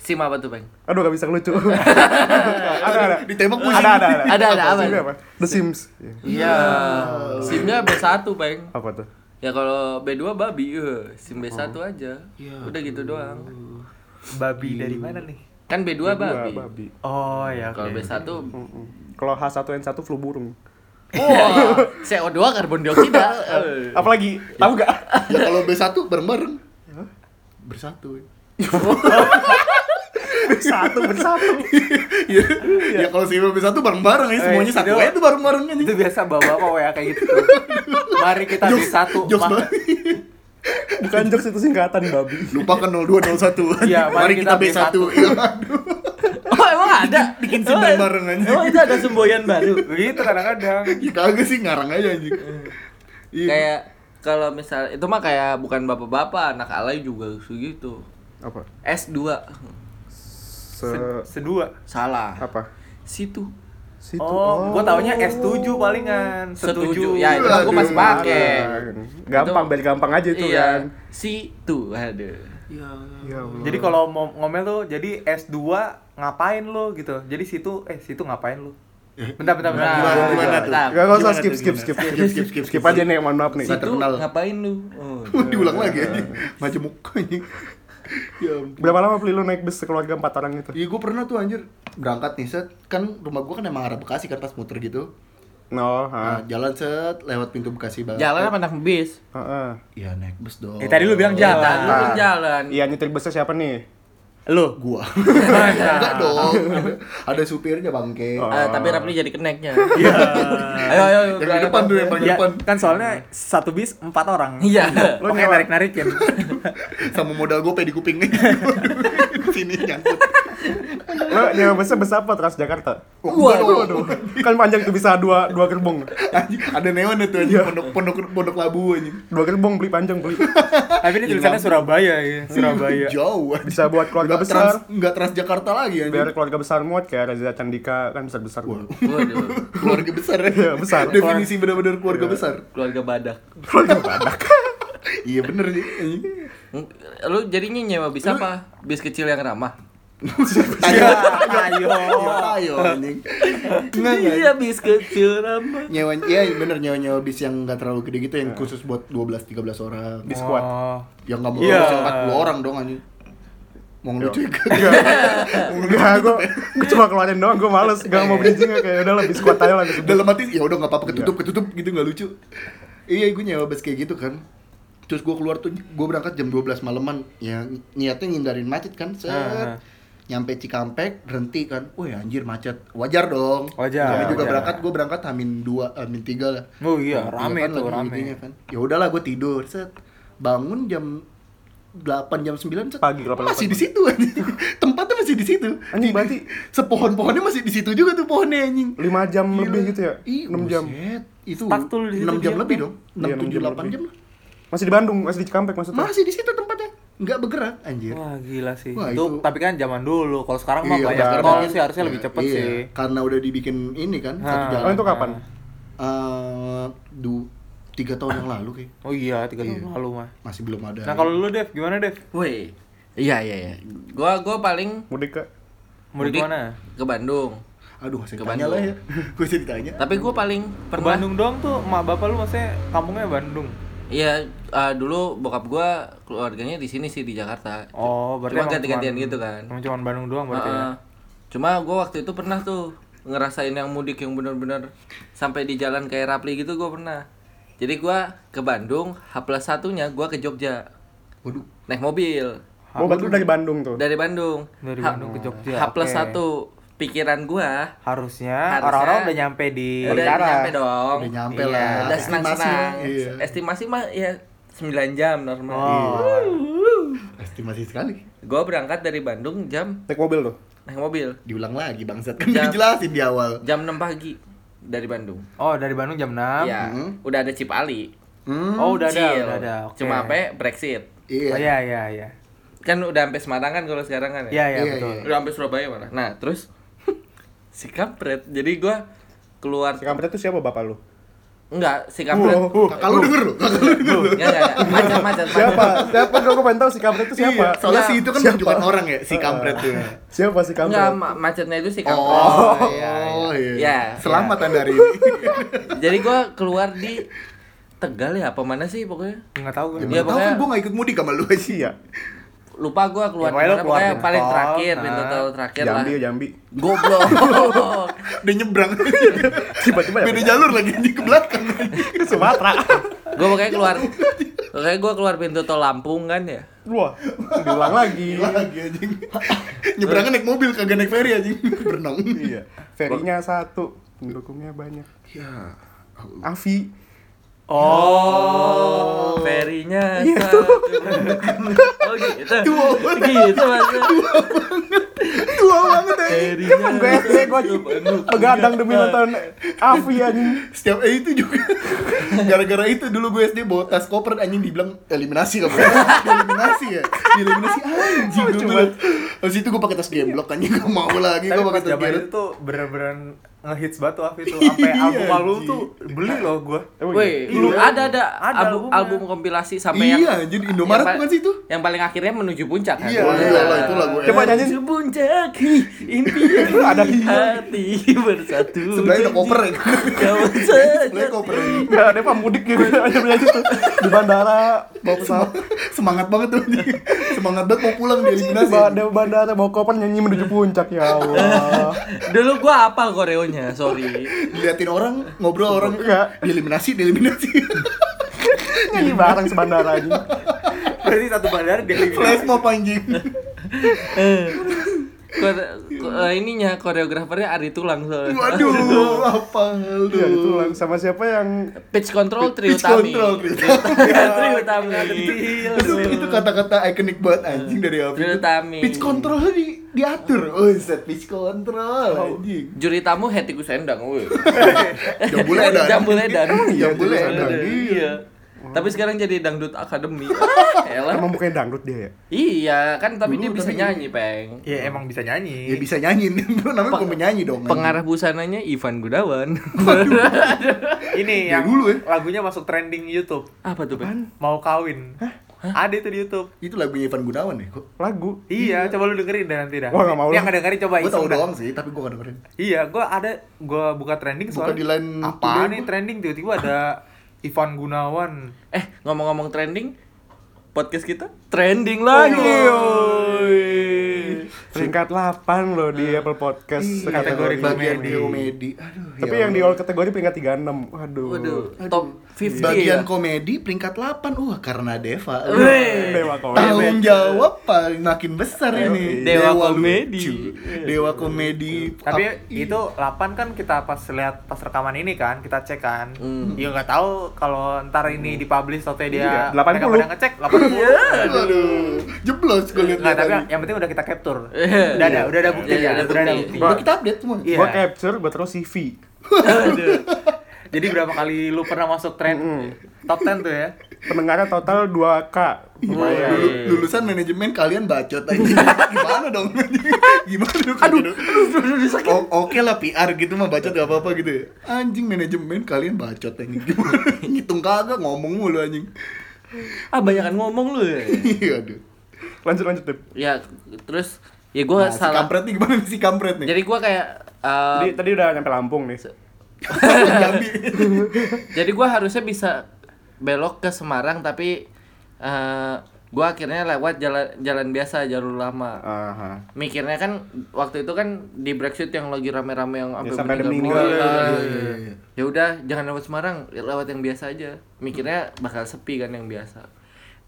[SPEAKER 1] sim apa tuh bang
[SPEAKER 3] Aduh, gak bisa ngelucu. ada ada.
[SPEAKER 4] ditembak pusing
[SPEAKER 3] Ada ada ada.
[SPEAKER 1] Ada, ada, apa?
[SPEAKER 3] SIM-nya apa? The Sims. Iya.
[SPEAKER 1] iya simnya B1 bang
[SPEAKER 3] Apa tuh?
[SPEAKER 1] ya kalau B2 babi eh, sim B1 aja udah gitu doang
[SPEAKER 2] Babi dari mana nih?
[SPEAKER 1] kan B2
[SPEAKER 3] Gua,
[SPEAKER 1] babi
[SPEAKER 3] babi.
[SPEAKER 2] Oh ya.
[SPEAKER 1] Kalau
[SPEAKER 2] oke.
[SPEAKER 1] B1
[SPEAKER 3] Mm-mm. Kalau H1N1 flu burung.
[SPEAKER 1] Wah, CO2 karbon dioksida. Eh,
[SPEAKER 3] Apalagi tahu gak?
[SPEAKER 4] ya kalau B1 bareng-bareng
[SPEAKER 3] Iya.
[SPEAKER 4] bersatu.
[SPEAKER 3] Satu bersatu.
[SPEAKER 4] Iya. ya kalau seimbang bersatu bareng-bareng ya semuanya
[SPEAKER 2] Eh,
[SPEAKER 4] satu
[SPEAKER 2] itu-
[SPEAKER 4] aja tuh bareng-bareng kan.
[SPEAKER 2] itu biasa bawa apa ya kayak gitu tuh. mari kita di
[SPEAKER 4] Jokes-
[SPEAKER 2] satu
[SPEAKER 4] jokes
[SPEAKER 2] ma-
[SPEAKER 4] banget.
[SPEAKER 3] Bukan jokes itu singkatan babi.
[SPEAKER 4] Lupakan 0201.
[SPEAKER 2] Iya,
[SPEAKER 4] mari kita B1. Iya, aduh.
[SPEAKER 1] Oh emang ada?
[SPEAKER 4] Bikin semboyan
[SPEAKER 1] Emang-
[SPEAKER 4] bareng aja.
[SPEAKER 1] Emang itu ada semboyan baru?
[SPEAKER 2] begitu Gitu, kadang-kadang
[SPEAKER 4] Ya kagak sih ngarang aja anjing. Iya.
[SPEAKER 1] kayak kalau misal itu mah kayak bukan bapak-bapak, anak alay juga gitu. segitu.
[SPEAKER 3] Apa?
[SPEAKER 1] S2
[SPEAKER 3] Se
[SPEAKER 2] sedua
[SPEAKER 1] salah.
[SPEAKER 3] apa?
[SPEAKER 1] Situ.
[SPEAKER 3] Situ.
[SPEAKER 2] oh, gua taunya S7 palingan
[SPEAKER 1] Setuju. Ya itu
[SPEAKER 4] Aduh,
[SPEAKER 1] aku masih pakai.
[SPEAKER 3] Ah,
[SPEAKER 1] Itu-
[SPEAKER 3] Gampang, biar gampang aja itu
[SPEAKER 1] iya.
[SPEAKER 3] kan.
[SPEAKER 1] Situ. Aduh.
[SPEAKER 3] Ya Allah.
[SPEAKER 2] Jadi kalau mau ngomel tuh jadi S2 ngapain lu gitu. Jadi situ eh situ ngapain lu? Bentar bentar bentar.
[SPEAKER 1] Nah,
[SPEAKER 4] Gimana, gimana tuh?
[SPEAKER 1] nah,
[SPEAKER 3] Gak usah
[SPEAKER 1] gimana
[SPEAKER 3] skip
[SPEAKER 1] tuh,
[SPEAKER 3] skip
[SPEAKER 1] gimana?
[SPEAKER 3] skip
[SPEAKER 4] Skip,
[SPEAKER 3] skip
[SPEAKER 4] skip, skip, skip.
[SPEAKER 3] skip aja nih, mohon maaf nih.
[SPEAKER 1] Situ
[SPEAKER 4] Satu. terkenal.
[SPEAKER 1] ngapain lu? Oh.
[SPEAKER 4] Diulang lagi anjing. Macam muka anjing. Ya ampun.
[SPEAKER 3] Berapa lama beli lu naik bus keluarga empat orang itu?
[SPEAKER 4] Iya gue pernah tuh anjir berangkat nih set kan rumah gue kan emang arah Bekasi kan pas muter gitu
[SPEAKER 3] No,
[SPEAKER 4] nah,
[SPEAKER 3] ha.
[SPEAKER 4] jalan set lewat pintu Bekasi banget
[SPEAKER 1] Jalan apa anak bis?
[SPEAKER 3] Heeh.
[SPEAKER 4] Iya naik bus dong
[SPEAKER 2] Eh, tadi lu bilang
[SPEAKER 1] Ya,
[SPEAKER 2] Jalan.
[SPEAKER 1] tadi lu kan jalan.
[SPEAKER 3] Iya nyetir busnya siapa nih?
[SPEAKER 2] Lu.
[SPEAKER 4] gua
[SPEAKER 2] Enggak
[SPEAKER 4] enggak dong ada, ada supirnya bangke
[SPEAKER 3] Oh.
[SPEAKER 1] Eh, tapi Rapli jadi keneknya. Ayo ayo.
[SPEAKER 4] yang di depan tuh yang paling
[SPEAKER 2] Ya,
[SPEAKER 4] depan
[SPEAKER 2] kan soalnya satu bis empat orang.
[SPEAKER 1] Iya.
[SPEAKER 2] Lu kayak narik-narikin.
[SPEAKER 4] sama modal gue pedi kupingnya sini nyangkut
[SPEAKER 3] Lo nyewa busnya bus apa? Transjakarta?
[SPEAKER 4] Waduh.
[SPEAKER 3] Waduh. Kan panjang tuh bisa dua dua gerbong.
[SPEAKER 4] Anjing, ada neon itu anjing pondok pondok pondok labu anjing
[SPEAKER 3] Dua gerbong beli panjang beli.
[SPEAKER 2] Tapi ini tulisannya Surabaya ya, Surabaya.
[SPEAKER 4] jauh anjing.
[SPEAKER 3] Bisa buat keluarga
[SPEAKER 4] Nggak
[SPEAKER 3] besar.
[SPEAKER 4] trans, nggak Transjakarta lagi anjing
[SPEAKER 3] Biar keluarga besar muat kayak Reza Candika kan besar besar.
[SPEAKER 4] Wah.
[SPEAKER 1] Waduh.
[SPEAKER 4] keluarga besar ya.
[SPEAKER 3] Iya, besar. Iya.
[SPEAKER 4] definisi benar-benar keluarga besar
[SPEAKER 1] Keluarga badak.
[SPEAKER 3] Keluarga badak.
[SPEAKER 4] iya bener sih anjing
[SPEAKER 1] Hmm, Lu jadinya nyewa bis apa? Bis kecil yang ramah.
[SPEAKER 2] Ayo, ayo.
[SPEAKER 4] Iya,
[SPEAKER 3] Oh.
[SPEAKER 4] ayo anjing Nggak, nggak.
[SPEAKER 1] Iya, bis kecil ramah.
[SPEAKER 4] nyewa iya bener nyewa nyewa bis yang nggak terlalu gede gitu yang khusus buat 12-13 orang
[SPEAKER 3] Iya. Di squad.
[SPEAKER 2] Oh.
[SPEAKER 4] yang nggak mau
[SPEAKER 2] Iya.
[SPEAKER 4] yeah. 40 orang dong anjing mau
[SPEAKER 3] Iya.
[SPEAKER 4] ngelucu ya
[SPEAKER 3] Enggak, gue cuma keluarin doang, gue males, gak mau bridging kayak udah lebih squat aja lah gitu.
[SPEAKER 4] dalam hati ya udah nggak apa-apa ketutup ketutup gitu nggak lucu iya gue nyewa bus kayak gitu kan terus gue keluar tuh gue berangkat jam 12 malaman ya niatnya ngindarin macet kan set
[SPEAKER 2] Ah.
[SPEAKER 4] nyampe Cikampek berhenti kan wih anjir macet wajar dong
[SPEAKER 2] Wajar,
[SPEAKER 4] Namanya juga
[SPEAKER 2] wajar.
[SPEAKER 4] berangkat gue berangkat hamin dua hamin tiga lah
[SPEAKER 2] Oh iya,
[SPEAKER 4] Hamin tiga
[SPEAKER 2] rame
[SPEAKER 4] kan
[SPEAKER 2] tuh,
[SPEAKER 4] lagi
[SPEAKER 2] rame.
[SPEAKER 4] meetingnya kan ya udahlah gue tidur set bangun jam 8 jam 9 set
[SPEAKER 3] Pagi, 8,
[SPEAKER 4] masih di situ anjing. tempatnya masih di situ
[SPEAKER 3] Anjing, berarti
[SPEAKER 4] sepohon-pohonnya masih di situ juga tuh pohonnya anjing
[SPEAKER 3] 5 jam
[SPEAKER 4] Gila.
[SPEAKER 3] lebih gitu ya?
[SPEAKER 4] Iya, Ih,
[SPEAKER 3] 6 jam.
[SPEAKER 4] buset. Itu
[SPEAKER 2] Stuck tuh di situ
[SPEAKER 4] 6 jam
[SPEAKER 2] dia, kan?
[SPEAKER 4] lebih
[SPEAKER 2] Bang.
[SPEAKER 4] dong. 6
[SPEAKER 3] Iya, enam
[SPEAKER 4] 7
[SPEAKER 3] jam
[SPEAKER 4] 8
[SPEAKER 3] lebih.
[SPEAKER 4] jam lah.
[SPEAKER 3] Masih di Bandung, masih di Cikampek maksudnya.
[SPEAKER 4] Masih di situ tempatnya. Enggak bergerak anjir.
[SPEAKER 2] Wah gila sih.
[SPEAKER 4] Wah,
[SPEAKER 2] itu,
[SPEAKER 4] itu-
[SPEAKER 2] tapi kan zaman dulu. Kalau
[SPEAKER 3] Iya,
[SPEAKER 2] sekarang mah banyak
[SPEAKER 4] sekarang
[SPEAKER 2] tol
[SPEAKER 4] mungkin-
[SPEAKER 2] sih harusnya
[SPEAKER 4] iya,
[SPEAKER 2] lebih cepet
[SPEAKER 4] iya.
[SPEAKER 2] sih. Ah.
[SPEAKER 4] Karena udah dibikin ini kan satu
[SPEAKER 2] Ha.
[SPEAKER 4] jalan.
[SPEAKER 3] Oh itu kapan?
[SPEAKER 4] Eh, du- tiga tahun yang lalu kayak
[SPEAKER 2] Oh iya, tiga tahun lalu mah.
[SPEAKER 4] masih belum ada.
[SPEAKER 2] Nah kalau lu Dev, gimana Dev?
[SPEAKER 1] Woi. Iya, iya, iya. Gua gua paling
[SPEAKER 3] Mudik ke?
[SPEAKER 2] Mudik mana?
[SPEAKER 1] Ke Bandung.
[SPEAKER 4] Aduh, saya
[SPEAKER 1] Ke
[SPEAKER 4] ditanya
[SPEAKER 1] Bandung.
[SPEAKER 4] lah ya. Gue jadi ditanya.
[SPEAKER 1] Tapi gua paling
[SPEAKER 2] Ke
[SPEAKER 1] pernah
[SPEAKER 2] Bandung doang tuh, emak bapak lu maksudnya kampungnya Bandung.
[SPEAKER 1] Iya, eh, dulu bokap gua keluarganya di sini sih di Jakarta.
[SPEAKER 2] Oh, berarti
[SPEAKER 1] Cuma
[SPEAKER 2] emang
[SPEAKER 1] ganti-gantian
[SPEAKER 2] cuman-
[SPEAKER 1] gitu kan.
[SPEAKER 2] Emang cuman Bandung doang berarti ya.
[SPEAKER 1] Heeh. Cuma gua waktu itu pernah tuh ngerasain yang mudik yang bener-bener sampai di jalan kayak Rapli gitu gua pernah. Jadi gua ke Bandung, H plus satunya gua ke Jogja
[SPEAKER 4] Waduh,
[SPEAKER 1] naik mobil
[SPEAKER 3] Oh berarti lu dari Bandung tuh?
[SPEAKER 1] dari Bandung.
[SPEAKER 2] Dari
[SPEAKER 1] H-
[SPEAKER 2] Bandung ke Jogja,
[SPEAKER 1] H plus
[SPEAKER 2] oke.
[SPEAKER 1] satu pikiran gua
[SPEAKER 2] Harusnya
[SPEAKER 1] Harusnya-
[SPEAKER 2] orang-orang udah nyampe di
[SPEAKER 1] udah
[SPEAKER 3] Bandara.
[SPEAKER 1] nyampe dong.
[SPEAKER 4] udah nyampe
[SPEAKER 2] Iya,
[SPEAKER 4] lah.
[SPEAKER 1] Udah senang-senang.
[SPEAKER 4] Estimasi, Iya.
[SPEAKER 1] Estimasi mah ya 9 jam normal.
[SPEAKER 2] Oh.
[SPEAKER 4] Estimasi sekali.
[SPEAKER 1] Gua berangkat dari Bandung jam
[SPEAKER 3] Naik mobil tuh?
[SPEAKER 1] naik mobil.
[SPEAKER 4] Diulang lagi bangsat. Kan
[SPEAKER 1] Jam-
[SPEAKER 4] dijelasin di awal.
[SPEAKER 1] jam 6 pagi dari Bandung.
[SPEAKER 2] Oh, dari Bandung jam 6.
[SPEAKER 1] Iya,
[SPEAKER 4] Hmm.
[SPEAKER 1] udah ada Cipali.
[SPEAKER 4] Hmm.
[SPEAKER 2] Oh, udah ada,
[SPEAKER 1] Cil.
[SPEAKER 2] udah ada. oke.
[SPEAKER 1] Cuma apa? ya? Brexit.
[SPEAKER 2] Oh
[SPEAKER 4] Iya.
[SPEAKER 2] iya iya iya.
[SPEAKER 1] Kan udah sampai Semarang kan kalau sekarang kan ya.
[SPEAKER 2] Iya iya
[SPEAKER 4] Iya,
[SPEAKER 2] betul.
[SPEAKER 4] iya.
[SPEAKER 1] Udah sampai Surabaya malah. Nah, terus si kampret. Jadi gua keluar
[SPEAKER 3] Si kampret tuh siapa bapak lu? Oh,
[SPEAKER 1] enggak si kampret.
[SPEAKER 2] Oh,
[SPEAKER 4] Kakak lu denger lu. Kakak lu denger lu.
[SPEAKER 1] Enggak, enggak, enggak. Macet, macet, macet.
[SPEAKER 3] Siapa? Siapa? Gue pengen tau si kampret tuh
[SPEAKER 4] Iya,
[SPEAKER 3] siapa?
[SPEAKER 4] soalnya
[SPEAKER 1] Enggak.
[SPEAKER 4] si itu kan
[SPEAKER 3] Siapa?
[SPEAKER 4] menunjukkan orang ya, si kampret tuh.
[SPEAKER 3] Siapa si
[SPEAKER 1] Enggak,
[SPEAKER 3] kampret?
[SPEAKER 1] ma- macetnya itu si kampret.
[SPEAKER 4] Oh,
[SPEAKER 2] iya,
[SPEAKER 4] iya,
[SPEAKER 2] iya.
[SPEAKER 4] iya.
[SPEAKER 1] Iya,
[SPEAKER 4] Selamat
[SPEAKER 2] ya.
[SPEAKER 4] Anda hari ini.
[SPEAKER 1] Jadi gua keluar di Tegal ya apa mana sih pokoknya?
[SPEAKER 2] Enggak tahu
[SPEAKER 1] Iya,
[SPEAKER 2] kan.
[SPEAKER 4] Ya, tahu kan
[SPEAKER 1] pokoknya-
[SPEAKER 4] gue gak ikut mudik sama lu aja.
[SPEAKER 3] Iya.
[SPEAKER 1] Lupa gua keluar
[SPEAKER 2] Ya, pokoknya lu
[SPEAKER 1] di mana,
[SPEAKER 2] keluar
[SPEAKER 1] pokoknya
[SPEAKER 2] dari
[SPEAKER 1] paling
[SPEAKER 2] tol,
[SPEAKER 1] terakhir,
[SPEAKER 2] nah.
[SPEAKER 1] bintang terakhir lah.
[SPEAKER 3] Jambi, ya, Jambi.
[SPEAKER 1] Goblok.
[SPEAKER 4] Udah nyebrang.
[SPEAKER 2] Iya,
[SPEAKER 3] Tiba-tiba ya.
[SPEAKER 4] Beda jalur lagi anjing ke belakang.
[SPEAKER 3] Sumatera.
[SPEAKER 1] gue pokoknya keluar Oke, gua keluar pintu tol Lampung kan ya.
[SPEAKER 3] Wah, diulang lagi.
[SPEAKER 4] Gila lagi anjing. Nyebrangnya naik mobil kagak naik ferry anjing. Berenang.
[SPEAKER 3] iya. Ferinya satu, pendukungnya banyak.
[SPEAKER 4] Ya. Allah.
[SPEAKER 3] Avi.
[SPEAKER 1] Oh, ferinya
[SPEAKER 4] Iya.
[SPEAKER 1] satu. Oh gitu.
[SPEAKER 4] Dua banget.
[SPEAKER 1] Gitu maksudnya.
[SPEAKER 3] Dua banget
[SPEAKER 1] Ferinya
[SPEAKER 3] ya. Kan gue SD gue
[SPEAKER 1] satu, pendukungnya
[SPEAKER 3] begadang demi
[SPEAKER 1] satu.
[SPEAKER 3] nonton Avi anjing.
[SPEAKER 4] Setiap eh itu juga gara-gara itu dulu gue SD bawa tas koper anjing dibilang eliminasi kamu. eliminasi ya. Eliminasi anjing gue.
[SPEAKER 3] Cuma-
[SPEAKER 4] bilang. Habis itu gue pakai tas gemblok anjing gue mau lagi
[SPEAKER 2] Tapi
[SPEAKER 4] gue
[SPEAKER 2] pas
[SPEAKER 4] pakai tas
[SPEAKER 2] zaman
[SPEAKER 4] Garrett.
[SPEAKER 2] itu tuh bener-bener ngehits banget tuh Afi tuh Sampai
[SPEAKER 4] Iya,
[SPEAKER 2] album album
[SPEAKER 4] anjing.
[SPEAKER 2] tuh beli loh gua
[SPEAKER 3] Emang
[SPEAKER 1] Woi,
[SPEAKER 3] iya?
[SPEAKER 2] Iya.
[SPEAKER 1] lu ada ada,
[SPEAKER 2] Ada
[SPEAKER 1] album,
[SPEAKER 2] albumnya.
[SPEAKER 1] album kompilasi sampai yang
[SPEAKER 4] Iya, anjing Indomaret
[SPEAKER 1] yang pa-
[SPEAKER 4] bukan sih itu?
[SPEAKER 1] Yang paling akhirnya menuju puncak kan.
[SPEAKER 4] Iya,
[SPEAKER 1] Wah.
[SPEAKER 4] iya lah itu lagu.
[SPEAKER 3] Coba nyanyi.
[SPEAKER 1] Menuju puncak impian
[SPEAKER 3] Ada
[SPEAKER 1] di
[SPEAKER 3] iya.
[SPEAKER 1] hati bersatu.
[SPEAKER 4] Sebelahnya ada koper ya.
[SPEAKER 1] Kamu
[SPEAKER 2] Iya,
[SPEAKER 1] saja.
[SPEAKER 4] Sebelahnya koper. anjing.
[SPEAKER 3] Gak ada pemudik gitu aja belajar tuh di bandara bawa pesawat
[SPEAKER 4] Semangat banget tuh anjing. Semangat banget mau pulang di
[SPEAKER 3] di
[SPEAKER 4] eliminasi.
[SPEAKER 3] ba- di bandara bawa koper nyanyi menuju puncak ya Allah
[SPEAKER 1] Dulu gua apal koreonya, sorry.
[SPEAKER 4] Diliatin orang, ngobrol orang.
[SPEAKER 3] Enggak.
[SPEAKER 4] Dieliminasi, dieliminasi.
[SPEAKER 3] nyanyi bareng sebandara aja
[SPEAKER 2] Berarti satu bandar dia
[SPEAKER 4] Flash mob anjing.
[SPEAKER 1] Kore, ko- eh, ininya koreografernya Ari Tulang soalnya.
[SPEAKER 4] Waduh, apa lu?
[SPEAKER 3] iya itu lang- sama siapa yang
[SPEAKER 1] Pitch control Tri
[SPEAKER 4] Pitch
[SPEAKER 1] Utami.
[SPEAKER 4] control, Tri
[SPEAKER 1] Tri Utami.
[SPEAKER 4] Itu, itu kata-kata ikonik banget
[SPEAKER 1] Iya.
[SPEAKER 4] anjing dari Afi.
[SPEAKER 1] Drill timing.
[SPEAKER 4] Pitch control di diatur. Oh, set pitch control anjing.
[SPEAKER 1] Juri tamu Hetikus Endang, woi.
[SPEAKER 4] Jambule dan.
[SPEAKER 1] Jambul Edan.
[SPEAKER 4] Jambule
[SPEAKER 1] Jambul
[SPEAKER 4] dan.
[SPEAKER 1] Edan, Iya. Tapi sekarang jadi dangdut akademi. Elah.
[SPEAKER 3] emang bukannya dangdut dia ya
[SPEAKER 1] Iya, kan tapi
[SPEAKER 4] Dulu
[SPEAKER 1] dia bisa
[SPEAKER 4] tapi- Iya.
[SPEAKER 1] nyanyi, Peng.
[SPEAKER 2] Ya emang bisa nyanyi
[SPEAKER 4] Ya bisa nyanyi, lu namanya
[SPEAKER 1] Peng-
[SPEAKER 4] penyanyi dong. anjing.
[SPEAKER 1] Pengarah busananya Ivan Gunawan.
[SPEAKER 2] Ini
[SPEAKER 4] Ya
[SPEAKER 2] yang
[SPEAKER 4] dulu ya.
[SPEAKER 2] lagunya masuk trending Youtube
[SPEAKER 1] Apa tuh, Peng?
[SPEAKER 2] Mau kawin Ada itu di Youtube
[SPEAKER 4] Itu lagunya Ivan Gunawan ya kok.
[SPEAKER 3] lagu
[SPEAKER 2] Iya, coba lu dengerin deh nanti dah.
[SPEAKER 3] Wah, nggak mau
[SPEAKER 2] Yang
[SPEAKER 3] lah.
[SPEAKER 2] nggak dengerin coba
[SPEAKER 4] Gue
[SPEAKER 2] iseng
[SPEAKER 4] tau
[SPEAKER 2] dah.
[SPEAKER 4] doang sih, tapi gue gak dengerin.
[SPEAKER 2] Iya, gua ada gua buka trending
[SPEAKER 4] Buka
[SPEAKER 2] soalnya.
[SPEAKER 4] di line today
[SPEAKER 2] apa nih
[SPEAKER 4] gua.
[SPEAKER 2] trending tiba-tiba ada Ivan Gunawan.
[SPEAKER 1] Eh, ngomong-ngomong trending, podcast kita trending
[SPEAKER 4] Oh,
[SPEAKER 1] lagi.
[SPEAKER 4] iya.
[SPEAKER 1] woi.
[SPEAKER 3] peringkat 8 loh di Apple Podcast
[SPEAKER 2] kategori
[SPEAKER 3] kategori
[SPEAKER 4] Bagian
[SPEAKER 2] komedi.
[SPEAKER 4] komedi. Aduh.
[SPEAKER 3] tapi
[SPEAKER 4] ya
[SPEAKER 3] yang di
[SPEAKER 4] Allah.
[SPEAKER 3] all kategori peringkat 36 waduh,
[SPEAKER 1] Waduh, top 50
[SPEAKER 4] bagian
[SPEAKER 1] ya.
[SPEAKER 4] komedi peringkat 8. Wah, karena Deva.
[SPEAKER 1] Wih.
[SPEAKER 3] Dewa kau
[SPEAKER 4] tanggung jawab paling makin besar ini
[SPEAKER 1] Dewa komedi.
[SPEAKER 4] lucu. dewa komedi
[SPEAKER 2] iya. Tapi
[SPEAKER 4] Ap-
[SPEAKER 2] itu 8 kan kita pas lihat pas rekaman ini kan, kita cek kan.
[SPEAKER 1] Hmm.
[SPEAKER 2] Ya nggak tahu kalau ntar ini
[SPEAKER 4] Hmm.
[SPEAKER 2] dipublish atau
[SPEAKER 3] Iya,
[SPEAKER 2] dia
[SPEAKER 3] 80.
[SPEAKER 2] mereka pada ngecek
[SPEAKER 4] Iya.
[SPEAKER 2] 80.
[SPEAKER 4] aduh jeblos gue liat
[SPEAKER 2] Nggak, tapi
[SPEAKER 4] tadi.
[SPEAKER 2] yang penting udah kita capture.
[SPEAKER 1] Iya.
[SPEAKER 2] Udah ada, udah ada buktinya.
[SPEAKER 1] Iya, iya,
[SPEAKER 2] udah ada
[SPEAKER 1] bukti.
[SPEAKER 2] bukti.
[SPEAKER 4] Udah kita update semua
[SPEAKER 2] Iya.
[SPEAKER 3] gue capture gue terus CV
[SPEAKER 1] Aduh.
[SPEAKER 2] Jadi berapa kali lu pernah masuk tren top 10 tuh
[SPEAKER 1] Iya.
[SPEAKER 2] ya?
[SPEAKER 3] pendengarnya total 2K lumayan
[SPEAKER 4] Lulu- lulusan manajemen kalian bacot aja gimana dong gimana dong aduh, O- oke lah PR gitu mah bacot gak apa-apa gitu ya anjing manajemen kalian bacot aja gimana ngitung kagak ngomong mulu anjing
[SPEAKER 1] Ah, banyakan ngomong lu. ya.
[SPEAKER 4] iya aduh
[SPEAKER 3] lanjut lanjut Dep.
[SPEAKER 1] Ya, terus ya gua
[SPEAKER 4] nah, si
[SPEAKER 1] salah.
[SPEAKER 4] kampret nih gimana nih si kampret nih
[SPEAKER 1] Jadi gua kayak eh,
[SPEAKER 3] Jadi, tadi udah nyampe Lampung nih
[SPEAKER 4] Jambi.
[SPEAKER 1] jadi gua harusnya bisa belok ke Semarang tapi eh gua akhirnya lewat jalan jalan biasa jalur lama.
[SPEAKER 3] Aha.
[SPEAKER 1] mikirnya kan waktu itu kan di Brexit yang lagi rame-rame yang
[SPEAKER 3] Ya, sampai ada
[SPEAKER 1] meninggal-meninggal
[SPEAKER 3] meninggal.
[SPEAKER 1] kan.
[SPEAKER 4] Iya, iya, iya.
[SPEAKER 1] Ya udah jangan lewat Semarang, lewat yang biasa aja. Mikirnya bakal sepi kan yang biasa.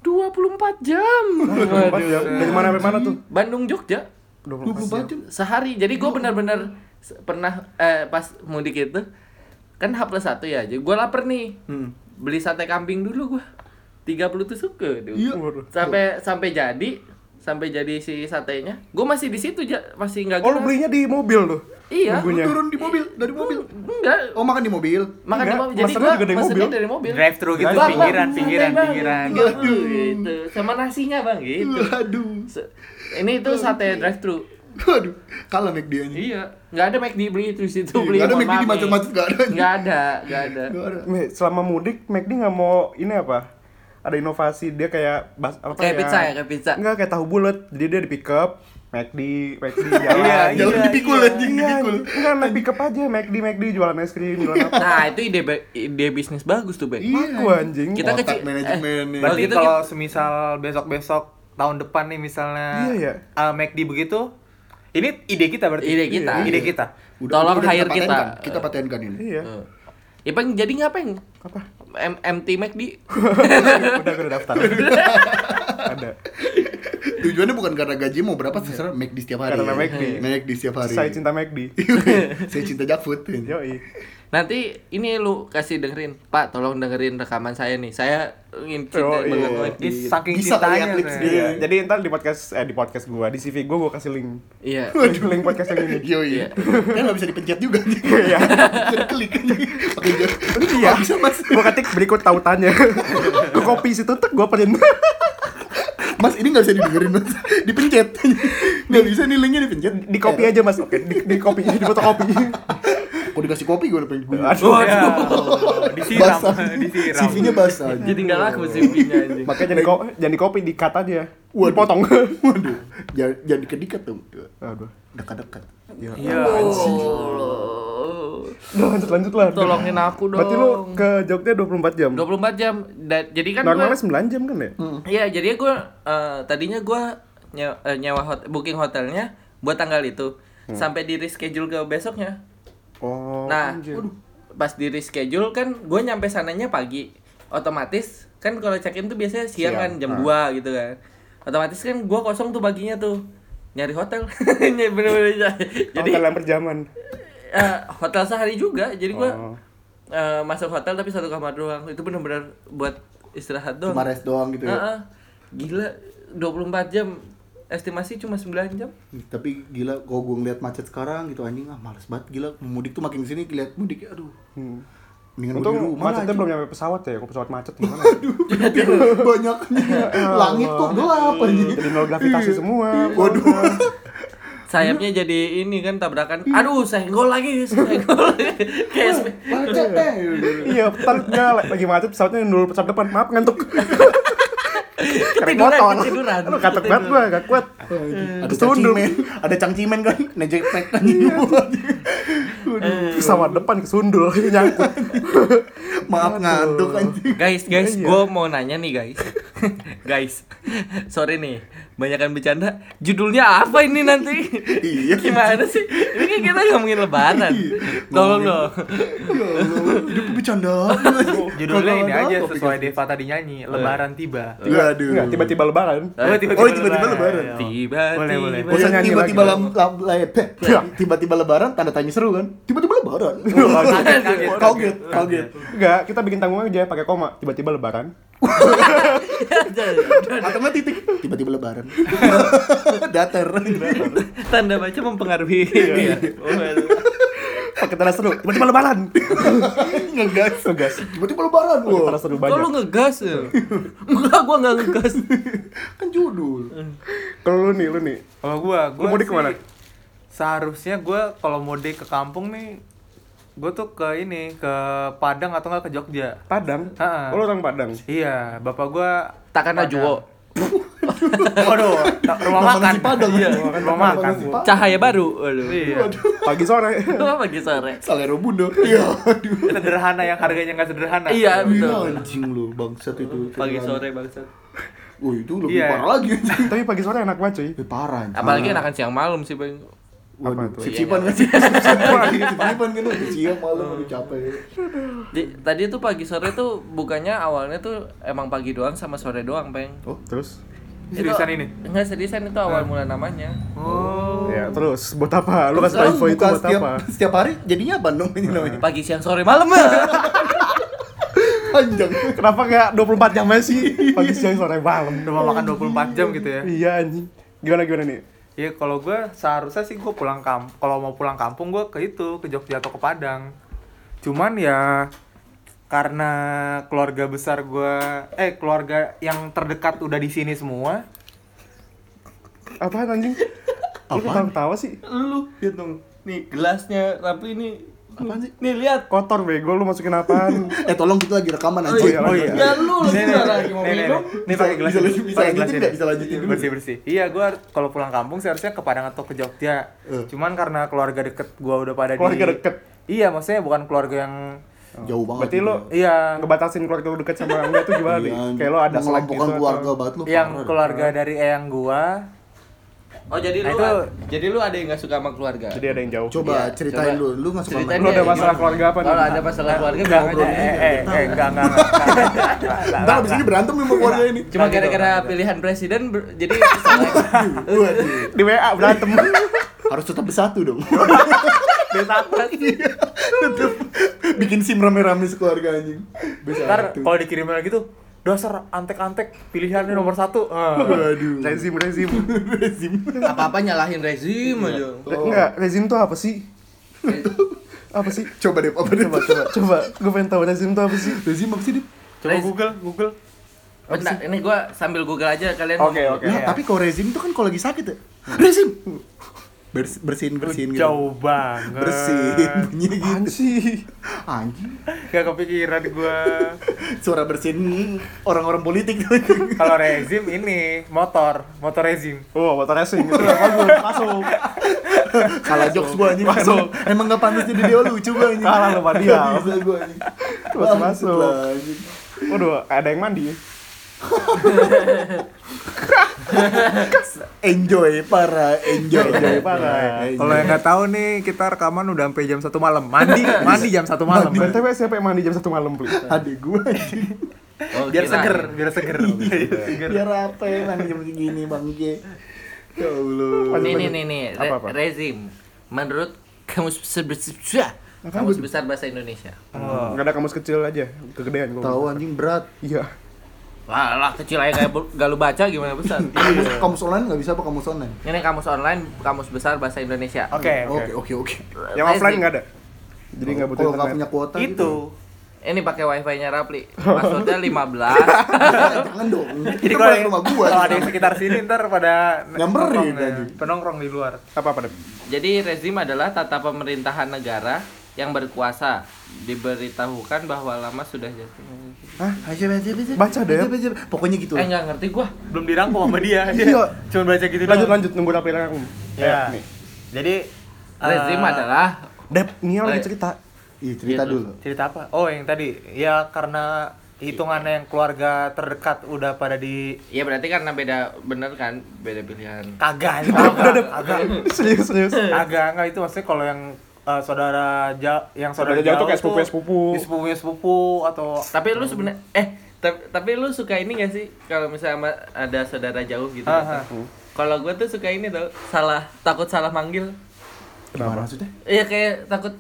[SPEAKER 1] 24 jam.
[SPEAKER 3] Tempat ya, dari mana sampai mana tuh?
[SPEAKER 1] Bandung Jogja
[SPEAKER 4] 24
[SPEAKER 1] ya.
[SPEAKER 4] jam
[SPEAKER 1] sehari. Jadi
[SPEAKER 3] Oh.
[SPEAKER 1] gue benar-benar se- pernah eh, pas mudik itu kan H plus satu ya. Jadi gue lapar nih.
[SPEAKER 3] Hmm.
[SPEAKER 1] Beli sate kambing dulu gue. 30 tusuk ke
[SPEAKER 4] Iya.
[SPEAKER 3] Waduh.
[SPEAKER 1] sampai sampai jadi sampai jadi si satenya gue masih di situ Ja. masih nggak
[SPEAKER 3] Oh lu
[SPEAKER 1] gerak.
[SPEAKER 3] belinya di mobil tuh?
[SPEAKER 1] iya
[SPEAKER 3] Nunggunya.
[SPEAKER 4] Lu turun di mobil dari mobil
[SPEAKER 1] enggak
[SPEAKER 4] Oh makan di mobil.
[SPEAKER 1] makanya
[SPEAKER 3] Enggak,
[SPEAKER 1] mobil jadi
[SPEAKER 3] maksudnya
[SPEAKER 1] gua
[SPEAKER 3] juga dari
[SPEAKER 1] maksudnya
[SPEAKER 3] mobil.
[SPEAKER 1] dari mobil
[SPEAKER 2] Drive thru gitu,
[SPEAKER 1] Bang, bang,
[SPEAKER 2] pinggiran,
[SPEAKER 1] santai,
[SPEAKER 2] pinggiran,
[SPEAKER 1] Bang.
[SPEAKER 2] pinggiran.
[SPEAKER 1] Gitu,
[SPEAKER 4] Aduh.
[SPEAKER 1] gitu sama nasinya bang gitu
[SPEAKER 3] Iya.
[SPEAKER 4] Aduh.
[SPEAKER 1] Se- ini itu sate drive thru
[SPEAKER 4] Aduh, kalah McD anjing.
[SPEAKER 1] iya nggak ada McD beli itu di situ
[SPEAKER 4] Iya,
[SPEAKER 1] beli
[SPEAKER 4] nggak ada
[SPEAKER 1] mohon
[SPEAKER 4] McD
[SPEAKER 1] maaf,
[SPEAKER 4] di macet-macet,
[SPEAKER 1] nih.
[SPEAKER 4] nggak ada.
[SPEAKER 1] nggak ada nggak ada
[SPEAKER 4] Gak ada.
[SPEAKER 3] Me, Selama mudik, McD nggak mau ini apa? Ada inovasi, dia kayak bas, apa
[SPEAKER 1] Kayak pizza ya, kayak pizza.
[SPEAKER 3] Enggak, kayak tahu bulet Jadi dia di pick up, McD, McD jalan
[SPEAKER 2] Iya, iya.
[SPEAKER 4] Jalan dipikul anjing,
[SPEAKER 3] Iya,
[SPEAKER 4] dipikul.
[SPEAKER 3] enggak, naik pick up aja, McD, McD, jualan es krim, jualan apa
[SPEAKER 1] nah itu ide ba- ide bisnis bagus tuh bang
[SPEAKER 3] Aku anjing
[SPEAKER 1] Iya, Kita
[SPEAKER 4] Otak
[SPEAKER 1] kecil-
[SPEAKER 4] manajemen
[SPEAKER 1] eh,
[SPEAKER 4] nih.
[SPEAKER 1] Berarti
[SPEAKER 2] Berarti
[SPEAKER 1] itu
[SPEAKER 2] kalau semisal besok-besok tahun depan nih misalnya
[SPEAKER 3] Iya, iya.
[SPEAKER 2] uh, McD begitu, ini ide kita berarti. iya,
[SPEAKER 1] Ide kita.
[SPEAKER 2] Ide kita.
[SPEAKER 1] tolong hire
[SPEAKER 4] kita.
[SPEAKER 1] kita.
[SPEAKER 4] patenkan, Kita patenkan ini.
[SPEAKER 3] Iya,
[SPEAKER 1] Eh. Ipeng jadi ngapain?
[SPEAKER 3] Apa?
[SPEAKER 1] M MT McD.
[SPEAKER 3] udah gue udah daftar. Ada.
[SPEAKER 4] Tujuannya bukan karena gaji mau berapa terserah make di setiap hari.
[SPEAKER 3] Iya. Karena
[SPEAKER 4] ya.
[SPEAKER 3] McD.
[SPEAKER 4] Make di setiap hari. Iya,
[SPEAKER 3] Saya cinta Iya. McD.
[SPEAKER 4] Saya cinta Jakfut.
[SPEAKER 3] Yoi.
[SPEAKER 1] Nanti ini lu kasih dengerin, Pak, tolong dengerin rekaman saya nih. Saya ingin cinta
[SPEAKER 3] Oh, iya.
[SPEAKER 1] banget McD.
[SPEAKER 2] Ini saking
[SPEAKER 4] Bisa gitu. kali
[SPEAKER 2] cintanya.
[SPEAKER 4] atlet
[SPEAKER 2] Nen.
[SPEAKER 4] dia.
[SPEAKER 3] Iya. Jadi ntar di podcast eh di podcast gua di CV gua gua kasih link.
[SPEAKER 1] Iya.
[SPEAKER 3] link podcast yang ini.
[SPEAKER 4] Yo iya. Kan nggak bisa dipencet juga.
[SPEAKER 3] Iya.
[SPEAKER 4] Jadi klik aja. Pakai jari.
[SPEAKER 3] Iya.
[SPEAKER 4] Nggak Bisa mas.
[SPEAKER 3] Gua ketik berikut tautannya. Gua copy situ tek gua print.
[SPEAKER 4] Mas ini nggak bisa didengerin mas. Dipencet. Nggak bisa nih linknya dipencet. Eh,
[SPEAKER 3] Di copy aja Mas. Oke, di, di copy di fotokopi.
[SPEAKER 4] Kok dikasih kopi gue udah pengen. Oh,
[SPEAKER 3] Aduh.
[SPEAKER 2] Ya, disiram,
[SPEAKER 4] Basah.
[SPEAKER 2] disiram.
[SPEAKER 4] CV-nya basah.
[SPEAKER 1] Jadi nggak laku CV-nya anjing.
[SPEAKER 3] Makanya jangan di ko- jangan di copy, di cut aja.
[SPEAKER 4] Waduh.
[SPEAKER 3] Dipotong.
[SPEAKER 4] Waduh. Jangan jangan dikedikat dong.
[SPEAKER 3] Aduh.
[SPEAKER 4] Dekat-dekat.
[SPEAKER 2] Iya.
[SPEAKER 3] Ya,
[SPEAKER 1] Oh.
[SPEAKER 3] Udah lanjut lanjut lah.
[SPEAKER 1] Tolongin aku dong.
[SPEAKER 3] Berarti lu ke Jogja 24 jam.
[SPEAKER 1] 24 jam. Da- jadi kan
[SPEAKER 3] Normalnya
[SPEAKER 1] gua
[SPEAKER 3] 9 jam kan ya?
[SPEAKER 1] Iya, jadi gue tadinya gua nye- eh, nyewa hot- booking hotelnya buat tanggal itu. Sampai di reschedule ke besoknya.
[SPEAKER 3] Hmm. Oh.
[SPEAKER 1] Nah,
[SPEAKER 3] anjir.
[SPEAKER 1] pas di reschedule kan gue nyampe sananya pagi. Otomatis kan kalau check-in tuh biasanya siang,
[SPEAKER 3] Siang,
[SPEAKER 1] kan jam
[SPEAKER 3] ah.
[SPEAKER 1] 2 gitu kan. Otomatis kan gue kosong tuh paginya tuh nyari hotel. Nyari Bener-bener. iya.
[SPEAKER 3] jadi
[SPEAKER 1] jadi
[SPEAKER 3] dalam perjaman.
[SPEAKER 1] eh, hotel sehari juga. Jadi gue
[SPEAKER 3] Oh.
[SPEAKER 1] eh, masuk hotel tapi satu kamar doang. Itu bener-bener buat istirahat doang.
[SPEAKER 4] Cuma rest doang gitu ya.
[SPEAKER 1] Heeh. Gila 24 jam estimasi cuma 9 jam.
[SPEAKER 4] Tapi gila, kalau gue ngeliat macet sekarang gitu anjing ah males banget gila. Mudik tuh makin kesini ngeliat mudik, aduh.
[SPEAKER 3] Hmm.
[SPEAKER 4] Mendingan gua
[SPEAKER 3] Untung
[SPEAKER 4] di rumah
[SPEAKER 3] macetnya
[SPEAKER 4] lah,
[SPEAKER 3] belum nyampe pesawat ya, kok pesawat macet gimana?
[SPEAKER 4] anjing. banyak
[SPEAKER 3] Ya
[SPEAKER 4] langit kok gelap anjing.
[SPEAKER 3] Jadi nol gravitasi semua.
[SPEAKER 4] Iya. Waduh.
[SPEAKER 1] Sayapnya jadi ini kan tabrakan.
[SPEAKER 4] Iya.
[SPEAKER 1] Aduh, senggol lagi, senggol. Kayak sp-
[SPEAKER 4] Macet eh. deh.
[SPEAKER 3] iya, tariknya lagi macet pesawatnya nol pesawat depan. Maaf ngantuk.
[SPEAKER 1] Ketiduran,
[SPEAKER 3] Kerepotan.
[SPEAKER 1] ketiduran.
[SPEAKER 3] Aduh, katek banget gua, gak kuat. Eh,
[SPEAKER 4] Ada
[SPEAKER 3] Kesundung.
[SPEAKER 4] cangcimen, ada cangcimen kan, nejek pek anjing.
[SPEAKER 3] Iya. Pesawat depan kesundul nyangkut.
[SPEAKER 4] Maaf ngantuk anjing.
[SPEAKER 1] Guys, guys,
[SPEAKER 3] Iya.
[SPEAKER 1] gue mau nanya nih guys, guys, sorry nih, banyakkan bercanda. Judulnya apa ini nanti?
[SPEAKER 4] Iya.
[SPEAKER 1] Gimana sih? Ini kan kita ngomongin Lebaran. Tolong dong.
[SPEAKER 4] Ya Allah, hidup bercanda.
[SPEAKER 2] Judulnya ini aja sesuai Deva tadi nyanyi, Lebaran tiba.
[SPEAKER 1] Eh.
[SPEAKER 4] Waduh.
[SPEAKER 3] Enggak, tiba-tiba lebaran.
[SPEAKER 2] Oh,
[SPEAKER 4] Oh,
[SPEAKER 2] Iya. Boleh,
[SPEAKER 4] tiba-tiba Lebaran.
[SPEAKER 2] boleh.
[SPEAKER 1] Tiba-tiba.
[SPEAKER 3] Boleh
[SPEAKER 4] Bosan
[SPEAKER 3] nyanyi
[SPEAKER 4] tiba-tiba
[SPEAKER 3] lagi. Iya.
[SPEAKER 4] lam, lam- layar- tiba-tiba lebaran tanda tanya seru kan? Tiba-tiba lebaran.
[SPEAKER 2] Kaget, kaget,
[SPEAKER 4] Kaget, kaget.
[SPEAKER 3] Enggak, kita bikin tanggung aja pakai koma. Tiba-tiba lebaran.
[SPEAKER 4] Atau nggak titik? Tiba-tiba lebaran. Datar.
[SPEAKER 1] Tanda baca mempengaruhi.
[SPEAKER 3] Pakai tanda seru. Tiba-tiba lebaran.
[SPEAKER 4] Ngegas.
[SPEAKER 3] Ngegas.
[SPEAKER 4] Tiba-tiba lebaran.
[SPEAKER 3] Pakai
[SPEAKER 4] Wah,
[SPEAKER 3] tanda seru
[SPEAKER 1] Kok lu
[SPEAKER 3] banyak.
[SPEAKER 1] ngegas ya? Enggak, gue nggak ngegas.
[SPEAKER 4] kan judul.
[SPEAKER 3] Kalau lu nih, lu nih.
[SPEAKER 2] Kalau gua, gua
[SPEAKER 3] Lu mudik
[SPEAKER 2] sih
[SPEAKER 3] kemana?
[SPEAKER 2] Seharusnya gua kalau mudik ke kampung nih, gua tuh ke ini, ke Padang atau nggak ke Jogja.
[SPEAKER 3] Padang.
[SPEAKER 2] Ha-ha.
[SPEAKER 3] Oh, lu orang Padang.
[SPEAKER 2] Iya, bapak gua
[SPEAKER 1] Takkan
[SPEAKER 2] Padang.
[SPEAKER 1] Ajuwo.
[SPEAKER 2] Waduh, ta- rumah
[SPEAKER 4] Nama
[SPEAKER 2] makan.
[SPEAKER 4] nasi Padang.
[SPEAKER 2] Iya,
[SPEAKER 4] Nama
[SPEAKER 2] rumah
[SPEAKER 4] nasi
[SPEAKER 2] makan.
[SPEAKER 4] Padang.
[SPEAKER 1] Cahaya baru. Waduh.
[SPEAKER 2] Iya.
[SPEAKER 3] Pagi sore.
[SPEAKER 1] Apa pagi sore?
[SPEAKER 4] Salero bundo. Iya, aduh.
[SPEAKER 2] Sederhana yang harganya nggak sederhana.
[SPEAKER 1] Iya,
[SPEAKER 4] Gila
[SPEAKER 1] betul.
[SPEAKER 4] anjing lu, bangsat itu.
[SPEAKER 1] Pagi sore bangsat.
[SPEAKER 4] Wah, itu lebih
[SPEAKER 2] Iya.
[SPEAKER 4] parah lagi anjing.
[SPEAKER 3] Tapi pagi sore enak banget cuy.
[SPEAKER 4] Lebih parah anjing.
[SPEAKER 3] Iya,
[SPEAKER 1] Apalagi enakan siang malam sih, Bang.
[SPEAKER 4] Waduh,
[SPEAKER 3] Apa tuh?
[SPEAKER 4] sip-sipan kan sih. Sip-sipan kan udah siang malam
[SPEAKER 3] Hmm.
[SPEAKER 4] udah capek.
[SPEAKER 1] Di- tadi tuh pagi sore tuh bukannya awalnya tuh emang pagi doang sama sore doang, Peng.
[SPEAKER 3] Oh, terus?
[SPEAKER 2] Seriusan ini?
[SPEAKER 1] Enggak seriusan itu awal mula namanya.
[SPEAKER 2] Oh.
[SPEAKER 3] Ya, terus buat apa? Lu kasih tau
[SPEAKER 4] Sekarang
[SPEAKER 3] info itu
[SPEAKER 4] Iya. buka
[SPEAKER 3] buat
[SPEAKER 4] setiap,
[SPEAKER 3] apa?
[SPEAKER 4] setiap hari jadinya apa dong ini namanya?
[SPEAKER 1] Pagi siang sore malam. ya.
[SPEAKER 4] Panjang.
[SPEAKER 3] Kenapa kayak 24 jam aja sih? Pagi siang sore malam.
[SPEAKER 2] Rumah makan 24 jam gitu ya.
[SPEAKER 3] Iya anjing. Gimana gimana nih?
[SPEAKER 2] Iya, kalau gua seharusnya sih gua pulang kamp kalau mau pulang kampung gua ke itu, ke Jogja atau ke Padang. Cuman ya karena keluarga besar gua eh keluarga yang terdekat udah di sini semua.
[SPEAKER 3] Apaan anjing? Lu ketawa ketawa sih?
[SPEAKER 1] Lu lihat dong. Nih gelasnya Rapli ini.
[SPEAKER 4] Apaan sih?
[SPEAKER 1] Nih lihat.
[SPEAKER 3] Kotor bego lu masukin apaan?
[SPEAKER 4] Eh tolong kita lagi rekaman aja.
[SPEAKER 3] iya, oh iya.
[SPEAKER 1] Ya lu
[SPEAKER 2] Nih, nih, nih, nih, nih. Nih pakai gelas.
[SPEAKER 4] Bisa
[SPEAKER 2] dulu,
[SPEAKER 4] lanjut- bisa
[SPEAKER 2] pakai
[SPEAKER 4] lanjutin
[SPEAKER 2] gelas
[SPEAKER 4] nggak?
[SPEAKER 2] ini.
[SPEAKER 4] Bisa lanjutin dulu.
[SPEAKER 2] Bersih-bersih. Iya, gua kalau pulang kampung seharusnya ke Padang atau ke Jogja.
[SPEAKER 4] Eh.
[SPEAKER 2] Cuman karena keluarga deket gua udah pada di
[SPEAKER 3] Keluarga deket?
[SPEAKER 2] Iya, maksudnya bukan keluarga yang
[SPEAKER 4] Jauh banget.
[SPEAKER 3] Berarti
[SPEAKER 4] gitu.
[SPEAKER 3] lu
[SPEAKER 2] iya,
[SPEAKER 3] ngebatasin keluarga lu dekat sama enggak tuh gimana nih?
[SPEAKER 4] Iya,
[SPEAKER 3] Kayak lu ada selek
[SPEAKER 4] mengelompokkan
[SPEAKER 3] gitu
[SPEAKER 4] keluarga
[SPEAKER 3] atau
[SPEAKER 4] banget lu.
[SPEAKER 2] yang
[SPEAKER 4] parah.
[SPEAKER 2] keluarga dari eyang gua
[SPEAKER 1] Oh jadi
[SPEAKER 2] Nah,
[SPEAKER 1] lu
[SPEAKER 2] itu-
[SPEAKER 1] jadi lu ada yang nggak suka sama keluarga?
[SPEAKER 3] Jadi ada yang jauh.
[SPEAKER 4] Coba
[SPEAKER 1] Iya,
[SPEAKER 4] ceritain
[SPEAKER 1] coba.
[SPEAKER 4] dulu, lu masuk
[SPEAKER 1] Ceritain
[SPEAKER 2] Lu
[SPEAKER 1] deh,
[SPEAKER 2] ada
[SPEAKER 1] gimana?
[SPEAKER 2] masalah keluarga apa nih?
[SPEAKER 1] Kalau ada masalah keluarga
[SPEAKER 2] Enggak,
[SPEAKER 1] bilang
[SPEAKER 2] enggak, eh, eh, eh, eh, enggak, enggak, enggak, enggak, enggak, enggak,
[SPEAKER 4] Ntar abis ini berantem sama keluarga ini.
[SPEAKER 1] Cuma
[SPEAKER 2] Enggak gitu,
[SPEAKER 1] gara-gara
[SPEAKER 2] enggak.
[SPEAKER 1] pilihan presiden ber- jadi kesalahan.
[SPEAKER 4] Waduh,
[SPEAKER 3] Di WA berantem.
[SPEAKER 4] harus tetap bersatu dong.
[SPEAKER 2] Desa apa sih?
[SPEAKER 4] Tetep bikin sim rame-rame sekeluarga anjing.
[SPEAKER 2] Ntar
[SPEAKER 4] Bersatu.
[SPEAKER 2] kalau dikirimin lagi tuh dasar antek-antek pilihannya nomor satu. Ah.
[SPEAKER 4] Waduh.
[SPEAKER 3] rezim, rezim.
[SPEAKER 1] Apa-apa nyalahin rezim aja.
[SPEAKER 2] Iya.
[SPEAKER 4] Oh.
[SPEAKER 3] Enggak, rezim tuh apa sih? Apa sih?
[SPEAKER 4] Coba deh, apa deh?
[SPEAKER 3] Coba, coba, coba. Gue pengen tahu rezim tuh apa sih?
[SPEAKER 4] Rezim apa sih, Dip?
[SPEAKER 2] Coba
[SPEAKER 1] Rez-
[SPEAKER 2] Google, Google.
[SPEAKER 1] Bentar, ini gua sambil Google aja kalian.
[SPEAKER 2] Oke, oke. ya.
[SPEAKER 4] Lah, tapi kalau rezim itu kan kalau lagi sakit ya. Rezim. Bers- bersihin bersihin gitu.
[SPEAKER 2] Jauh banget.
[SPEAKER 4] Bersihin bunyi
[SPEAKER 3] Apaan
[SPEAKER 4] gitu.
[SPEAKER 3] sih?
[SPEAKER 4] Anjing.
[SPEAKER 2] Gak kepikiran gua.
[SPEAKER 4] Suara bersihin orang-orang politik.
[SPEAKER 2] Kalau rezim ini motor, motor rezim.
[SPEAKER 3] Oh, motor racing. Itu
[SPEAKER 4] Iya,
[SPEAKER 3] apa gue? Masuk.
[SPEAKER 4] Kalah jokes gua anjing. Emang,
[SPEAKER 3] Masuk.
[SPEAKER 4] emang gak pantas jadi dia lucu gua anjing.
[SPEAKER 3] Kalah lu sama dia.
[SPEAKER 4] Gak Bisa gua anjing.
[SPEAKER 3] Masuk,
[SPEAKER 4] Bangsat
[SPEAKER 3] masuk.
[SPEAKER 4] lah, anjing.
[SPEAKER 3] Waduh, ada yang mandi.
[SPEAKER 4] Enjoy parah, enjoy.
[SPEAKER 3] Enjoy parah.
[SPEAKER 4] Enjoy.
[SPEAKER 2] Kalau yang nggak tahu nih, kita rekaman udah sampai jam satu malam. Mandi, mandi jam satu malam.
[SPEAKER 4] ya?
[SPEAKER 3] BTW siapa yang mandi jam 1 malam, please?
[SPEAKER 4] adik gua anjing.
[SPEAKER 1] Oh, kirain.
[SPEAKER 2] Biar seger, biar seger. Seger.
[SPEAKER 4] Biar apa ya mandi jam segini bangke. Ya Allah.
[SPEAKER 1] Nih nih nih nih, re-
[SPEAKER 3] Apa-apa?
[SPEAKER 1] rezim. Menurut kamus besar besar
[SPEAKER 3] Nah,
[SPEAKER 1] kamus besar bahasa Indonesia.
[SPEAKER 2] Oh,
[SPEAKER 3] Enggak ada kamus kecil aja, kegedean gua.
[SPEAKER 4] Tahu anjing berat.
[SPEAKER 3] Iya.
[SPEAKER 1] Lah lah kecil aja kayak bu- gak lu baca gimana besar.
[SPEAKER 4] Kamus,
[SPEAKER 3] Iya.
[SPEAKER 4] kamus online nggak bisa apa kamus online?
[SPEAKER 1] Ini kamus online, kamus besar bahasa Indonesia.
[SPEAKER 2] Oke, oke.
[SPEAKER 4] Oke oke oke.
[SPEAKER 3] Yang
[SPEAKER 1] Rezim.
[SPEAKER 3] offline enggak ada. Eh, Jadi enggak butuh
[SPEAKER 4] Kalau nggak
[SPEAKER 3] internet.
[SPEAKER 4] punya kuota gitu.
[SPEAKER 2] Itu.
[SPEAKER 1] Ini pakai wifi-nya Rapli.
[SPEAKER 3] Oh.
[SPEAKER 1] Passwordnya 15.
[SPEAKER 4] Jangan dong.
[SPEAKER 2] Jadi
[SPEAKER 4] Itu
[SPEAKER 2] kalau
[SPEAKER 4] bukan
[SPEAKER 2] yang-
[SPEAKER 4] rumah gua.
[SPEAKER 2] kalau ada yang sekitar sini ntar pada
[SPEAKER 4] Nyamperin
[SPEAKER 2] nongkrong, ya.
[SPEAKER 4] anjing.
[SPEAKER 2] penongkrong di luar.
[SPEAKER 3] Apa apa deh?
[SPEAKER 1] Jadi rezim adalah tata pemerintahan negara yang berkuasa diberitahukan bahwa lama sudah jatuh.
[SPEAKER 4] Hah? Aja baca baca.
[SPEAKER 3] Baca, Dep.
[SPEAKER 4] Pokoknya gitu.
[SPEAKER 1] Eh nggak ngerti gua.
[SPEAKER 2] Belum dirangkum sama dia.
[SPEAKER 3] Iya.
[SPEAKER 2] Dia cuma baca gitu
[SPEAKER 3] Lanjut
[SPEAKER 2] doang.
[SPEAKER 3] lanjut nunggu apa yang aku. Eh,
[SPEAKER 2] Ya.
[SPEAKER 3] nih.
[SPEAKER 2] Jadi
[SPEAKER 1] Rezim
[SPEAKER 2] eh,
[SPEAKER 1] adalah
[SPEAKER 3] Dep, ini yang lagi
[SPEAKER 1] Baik.
[SPEAKER 3] cerita.
[SPEAKER 4] Iya cerita
[SPEAKER 1] Iya,
[SPEAKER 4] dulu.
[SPEAKER 2] cerita apa? Oh, yang tadi. Ya karena hitungannya yang keluarga terdekat udah pada di
[SPEAKER 1] ya berarti karena beda bener kan beda pilihan.
[SPEAKER 2] kagak anjing. kagak kagak
[SPEAKER 3] serius serius.
[SPEAKER 2] kagak enggak itu maksudnya kalau yang eh, saudara ja yang saudara,
[SPEAKER 3] Saudara jauh tuh kayak
[SPEAKER 2] tuh
[SPEAKER 3] sepupu-sepupu.
[SPEAKER 2] di sepupunya sepupu atau
[SPEAKER 1] Tapi lu sebenarnya eh ta- tapi lu suka ini gak sih kalau misalnya ama- ada saudara jauh gitu.
[SPEAKER 2] Aha.
[SPEAKER 4] Ah,
[SPEAKER 1] Kalau gua tuh suka ini tau salah takut salah manggil.
[SPEAKER 4] Gimana maksudnya?
[SPEAKER 1] Iya kayak takut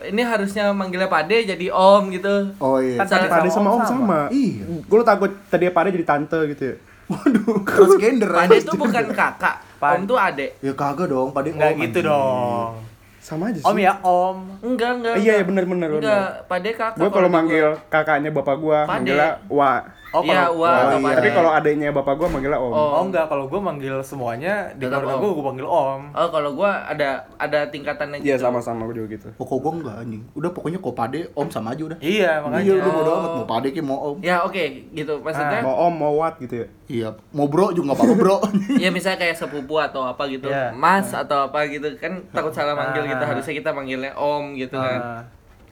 [SPEAKER 1] ini harusnya manggilnya Pade jadi Om gitu.
[SPEAKER 4] Oh
[SPEAKER 1] Kan
[SPEAKER 4] iya.
[SPEAKER 1] salah-
[SPEAKER 3] Pade sama Om sama.
[SPEAKER 4] Iya.
[SPEAKER 3] Gue lu takut tadi Pade jadi tante gitu ya.
[SPEAKER 4] Waduh. Transgender.
[SPEAKER 1] Pade
[SPEAKER 4] anjing.
[SPEAKER 3] gitu.
[SPEAKER 1] tuh bukan kakak,
[SPEAKER 2] Pade.
[SPEAKER 1] Om tuh adek.
[SPEAKER 4] Ya kagak dong. Pade
[SPEAKER 3] Oh,
[SPEAKER 2] enggak
[SPEAKER 4] ngomong,
[SPEAKER 2] gitu
[SPEAKER 4] anjing.
[SPEAKER 2] dong.
[SPEAKER 3] Sama aja sih.
[SPEAKER 2] Om ya, Om.
[SPEAKER 1] Enggak, enggak.
[SPEAKER 3] Eh, iya, iya,
[SPEAKER 1] enggak.
[SPEAKER 3] bener, bener,
[SPEAKER 1] Enggak, Pade kakak.
[SPEAKER 3] Gue kalau
[SPEAKER 1] di
[SPEAKER 3] manggil kakaknya bapak gue
[SPEAKER 1] Pade.
[SPEAKER 3] manggilnya Wa.
[SPEAKER 1] gua. Iya,
[SPEAKER 2] kalau-
[SPEAKER 1] wah,
[SPEAKER 4] Oh,
[SPEAKER 1] atau
[SPEAKER 4] iya.
[SPEAKER 1] Pade.
[SPEAKER 3] Tapi kalau adiknya bapak gue manggilnya Om.
[SPEAKER 1] Oh.
[SPEAKER 2] Oh, enggak, kalau gue manggil semuanya di
[SPEAKER 1] Tetap Om.
[SPEAKER 2] keluarga gue, gue panggil Om.
[SPEAKER 1] Oh, kalau gua ada ada tingkatannya
[SPEAKER 3] Iya sama-sama gue juga gitu.
[SPEAKER 4] Pokok Oh, gua enggak anjing. Udah pokoknya kok Pade om sama aja udah.
[SPEAKER 2] Iya,
[SPEAKER 4] Iya,
[SPEAKER 2] makanya.
[SPEAKER 4] lu bodo amat mau Pade ke mau om.
[SPEAKER 1] Ya, oke, gitu.
[SPEAKER 4] Ah.
[SPEAKER 1] Maksudnya
[SPEAKER 3] Mau Om, mau Wat gitu ya.
[SPEAKER 4] Iya, mau bro juga enggak apa-apa, bro.
[SPEAKER 1] ya misalnya kayak sepupu atau apa gitu,
[SPEAKER 2] Iya.
[SPEAKER 1] Mas atau apa gitu kan takut salah manggil gitu.
[SPEAKER 2] Ah.
[SPEAKER 1] Harusnya kita manggilnya Om gitu kan.
[SPEAKER 2] Ah.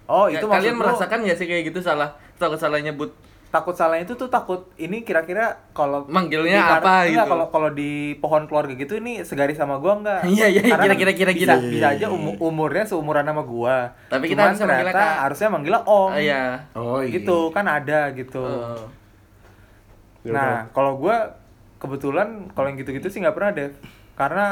[SPEAKER 2] Oh, itu
[SPEAKER 1] Ka-
[SPEAKER 2] maksud
[SPEAKER 1] Kalian
[SPEAKER 2] lu
[SPEAKER 1] merasakan gak sih kayak gitu salah takut salah nyebut
[SPEAKER 2] takut salah itu tuh takut ini kira-kira kalau
[SPEAKER 1] Manggilnya
[SPEAKER 2] di kar-
[SPEAKER 1] apa
[SPEAKER 2] enggak,
[SPEAKER 1] gitu?
[SPEAKER 2] Kalau kalau di pohon keluarga gitu ini segaris sama gua enggak?
[SPEAKER 1] Iya, iya,
[SPEAKER 2] Karena kan
[SPEAKER 1] kira-kira- kira-kira.
[SPEAKER 2] bisa, bisa aja umu- umurnya seumuran sama gua.
[SPEAKER 1] Tapi kita
[SPEAKER 2] Cuman
[SPEAKER 1] harusnya manggilnya
[SPEAKER 2] ternyata
[SPEAKER 1] Kak.
[SPEAKER 2] harusnya manggilnya Om.
[SPEAKER 1] Ah, iya.
[SPEAKER 4] Oh
[SPEAKER 2] Gitu kan ada gitu.
[SPEAKER 1] Oh.
[SPEAKER 3] Ya udah.
[SPEAKER 2] Nah, kalau gua kebetulan kalau yang gitu-gitu sih nggak pernah deh. Karena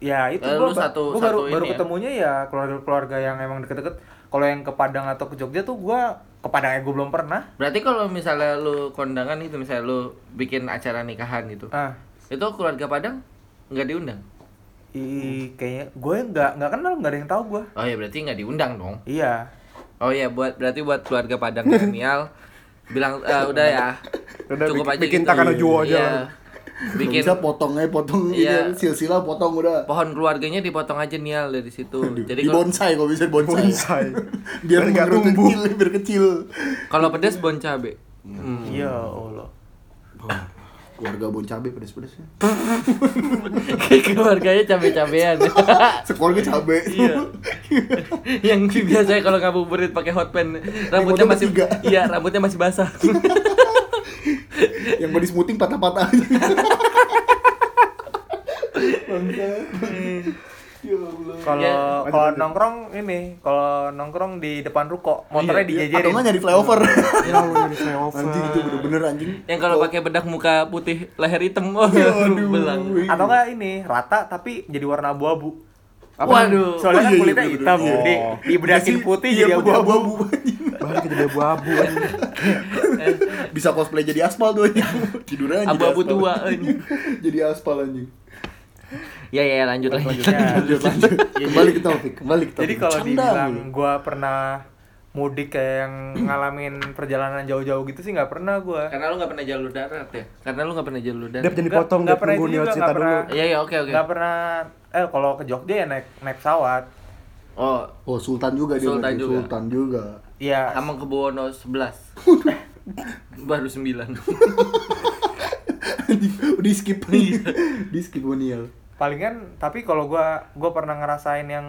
[SPEAKER 2] ya itu
[SPEAKER 1] Eh,
[SPEAKER 2] gua,
[SPEAKER 1] lu
[SPEAKER 2] ba-
[SPEAKER 1] satu-
[SPEAKER 2] gua
[SPEAKER 1] satu
[SPEAKER 2] baru
[SPEAKER 1] ini
[SPEAKER 2] baru
[SPEAKER 1] ya?
[SPEAKER 2] ketemunya ya keluarga-keluarga yang emang deket-deket. Kalau yang ke Padang atau ke Jogja tuh gua ke Padang ya gua belum pernah.
[SPEAKER 1] Berarti kalau misalnya lu kondangan gitu, misalnya lu bikin acara nikahan gitu.
[SPEAKER 2] Ah,
[SPEAKER 1] Itu keluarga Padang nggak diundang.
[SPEAKER 2] i kayaknya gue nggak nggak kenal nggak ada yang tahu gua.
[SPEAKER 1] Oh ya berarti nggak diundang dong.
[SPEAKER 2] Iya.
[SPEAKER 1] Oh ya buat berarti buat keluarga Padang milenial bilang "Eh, udah ya.
[SPEAKER 3] Udah,
[SPEAKER 1] cukup
[SPEAKER 3] bikin-
[SPEAKER 1] aja
[SPEAKER 3] bikin
[SPEAKER 1] gitu.
[SPEAKER 3] Takano Juwo aja
[SPEAKER 1] Iya.
[SPEAKER 3] lah.
[SPEAKER 1] Bikin
[SPEAKER 4] bisa potong aja potong
[SPEAKER 1] Iya.
[SPEAKER 4] ini silsilah potong udah.
[SPEAKER 1] pohon keluarganya dipotong aja nial dari situ. Jadi
[SPEAKER 4] di
[SPEAKER 1] kalau-
[SPEAKER 4] bonsai kok bisa di bonsai.
[SPEAKER 3] Bonsai.
[SPEAKER 4] biar
[SPEAKER 3] nggak
[SPEAKER 4] menurut
[SPEAKER 3] tumbuh.
[SPEAKER 4] kecil, biar kecil.
[SPEAKER 1] kalau pedes bon cabe. Hmm.
[SPEAKER 2] Iya Allah.
[SPEAKER 4] Keluarga bon cabe pedes-pedesnya.
[SPEAKER 1] keluarganya cabe-cabean.
[SPEAKER 4] Sekeluarga cabe. Iya.
[SPEAKER 1] Yang biasanya kalau ngabuburit pakai hot pan, rambutnya
[SPEAKER 4] Rambutnya
[SPEAKER 1] masih
[SPEAKER 4] bertiga.
[SPEAKER 1] iya, rambutnya masih basah.
[SPEAKER 4] Yang body smoothing patah-patah. Ya Allah.
[SPEAKER 1] Ya,
[SPEAKER 2] Kalau
[SPEAKER 3] lanjut,
[SPEAKER 2] kalau
[SPEAKER 3] lanjut.
[SPEAKER 2] nongkrong ini, kalau nongkrong di depan ruko, motornya
[SPEAKER 4] Oh iya, Atau
[SPEAKER 2] dijejerin.
[SPEAKER 4] nggak nyari flyover?
[SPEAKER 3] Ya Allah, ini flyover.
[SPEAKER 4] anjing itu bener-bener anjing.
[SPEAKER 1] yang kalau pakai bedak muka putih leher hitam oh aduh, belang
[SPEAKER 2] Atau nggak ini rata tapi jadi warna abu-abu.
[SPEAKER 1] waduh
[SPEAKER 2] Soalnya kan
[SPEAKER 4] Oh, iya, iya,
[SPEAKER 2] kulitnya
[SPEAKER 4] bener-bener.
[SPEAKER 2] hitam,
[SPEAKER 3] Oh.
[SPEAKER 2] jadi dibedakin
[SPEAKER 4] Iya,
[SPEAKER 2] putih
[SPEAKER 4] iya,
[SPEAKER 2] jadi
[SPEAKER 4] putih
[SPEAKER 2] abu-abu.
[SPEAKER 4] abu-abu, anjing.
[SPEAKER 3] Balik jadi abu-abu. anjing.
[SPEAKER 4] Bisa cosplay jadi aspal tuh anjing. Tiduran jadi
[SPEAKER 1] Abu-abu
[SPEAKER 4] aspal.
[SPEAKER 1] tua, anjing.
[SPEAKER 4] Jadi aspal anjing.
[SPEAKER 1] ya ya lanjut lagi
[SPEAKER 2] Ya.
[SPEAKER 4] Lanjut lanjut. Kembali ke topik, kembali ke topik.
[SPEAKER 2] Jadi kalau
[SPEAKER 4] Canda
[SPEAKER 2] dibilang
[SPEAKER 4] mulu.
[SPEAKER 2] gua pernah mudik kayak yang ngalamin perjalanan jauh-jauh gitu sih nggak pernah gua.
[SPEAKER 1] karena lu nggak pernah jalur darat ya karena lu nggak pernah jalur darat
[SPEAKER 3] Dap jangan
[SPEAKER 2] Nggak-
[SPEAKER 3] dipotong,
[SPEAKER 2] nggak
[SPEAKER 3] Dap
[SPEAKER 2] pernah
[SPEAKER 3] nunggu
[SPEAKER 2] itu
[SPEAKER 3] Neo
[SPEAKER 2] juga,
[SPEAKER 3] cerita
[SPEAKER 2] nggak
[SPEAKER 3] dulu.
[SPEAKER 2] pernah.
[SPEAKER 1] iya iya oke oke
[SPEAKER 2] Nggak pernah eh kalau ke Jogja ya naik naik pesawat.
[SPEAKER 1] oh
[SPEAKER 4] Oh, Sultan juga dia.
[SPEAKER 1] Sultan
[SPEAKER 4] berarti.
[SPEAKER 1] juga.
[SPEAKER 4] Sultan juga.
[SPEAKER 2] Iya,
[SPEAKER 1] Hamengkubuwono 11 baru 9
[SPEAKER 4] Anjing, Di skip nih. Di skip Monial.
[SPEAKER 2] palingan tapi kalau gua gua pernah ngerasain yang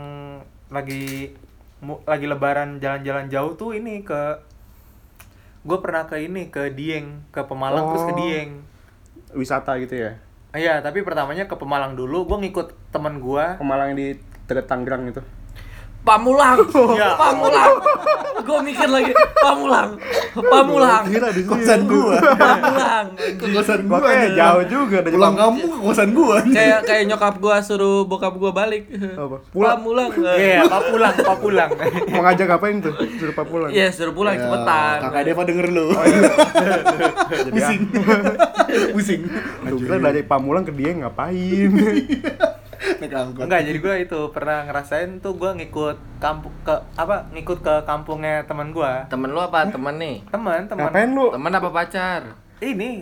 [SPEAKER 2] lagi mu- lagi lebaran jalan-jalan jauh tuh ini ke gua pernah ke ini ke Dieng ke Pemalang terus ke
[SPEAKER 3] Oh.
[SPEAKER 2] Dieng
[SPEAKER 3] Wisata gitu ya.
[SPEAKER 2] Ah, iya tapi pertamanya ke Pemalang dulu gua ngikut temen gua
[SPEAKER 3] Kemalang yang di dekat Tangerang itu.
[SPEAKER 1] Pamulang,
[SPEAKER 2] Ya.
[SPEAKER 1] Pamulang. Gue mikir lagi, Pamulang, Pamulang,
[SPEAKER 3] Kira di sini.
[SPEAKER 4] Kosan gua.
[SPEAKER 1] Pamulang.
[SPEAKER 4] Ke kosan gua.
[SPEAKER 3] Makanya jauh juga dari
[SPEAKER 4] Pulang
[SPEAKER 3] Pam-
[SPEAKER 4] kampung ke kosan gua. anjing.
[SPEAKER 1] Kayak kayak nyokap gua suruh bokap gua balik.
[SPEAKER 3] Apa? Pulang.
[SPEAKER 1] Pamulang. eh.
[SPEAKER 2] iya Papulang Papulang
[SPEAKER 3] Mau ngajak ngapain tuh? Suruh Pak pulang.
[SPEAKER 1] Iya, suruh pulang
[SPEAKER 4] Ya,
[SPEAKER 1] cepetan.
[SPEAKER 4] Kakak Deva denger lu. Pusing. Pusing.
[SPEAKER 3] Aduh, kita ah, dari Pamulang ke Dieng ngapain?
[SPEAKER 4] Naik angkot.
[SPEAKER 2] enggak jadi gua itu pernah ngerasain tuh gua ngikut kampung ke apa ngikut ke kampungnya temen gua
[SPEAKER 1] Temen lu apa? Temen nih.
[SPEAKER 2] temen temen
[SPEAKER 3] ngapain lu?
[SPEAKER 1] Temen apa pacar?
[SPEAKER 2] ini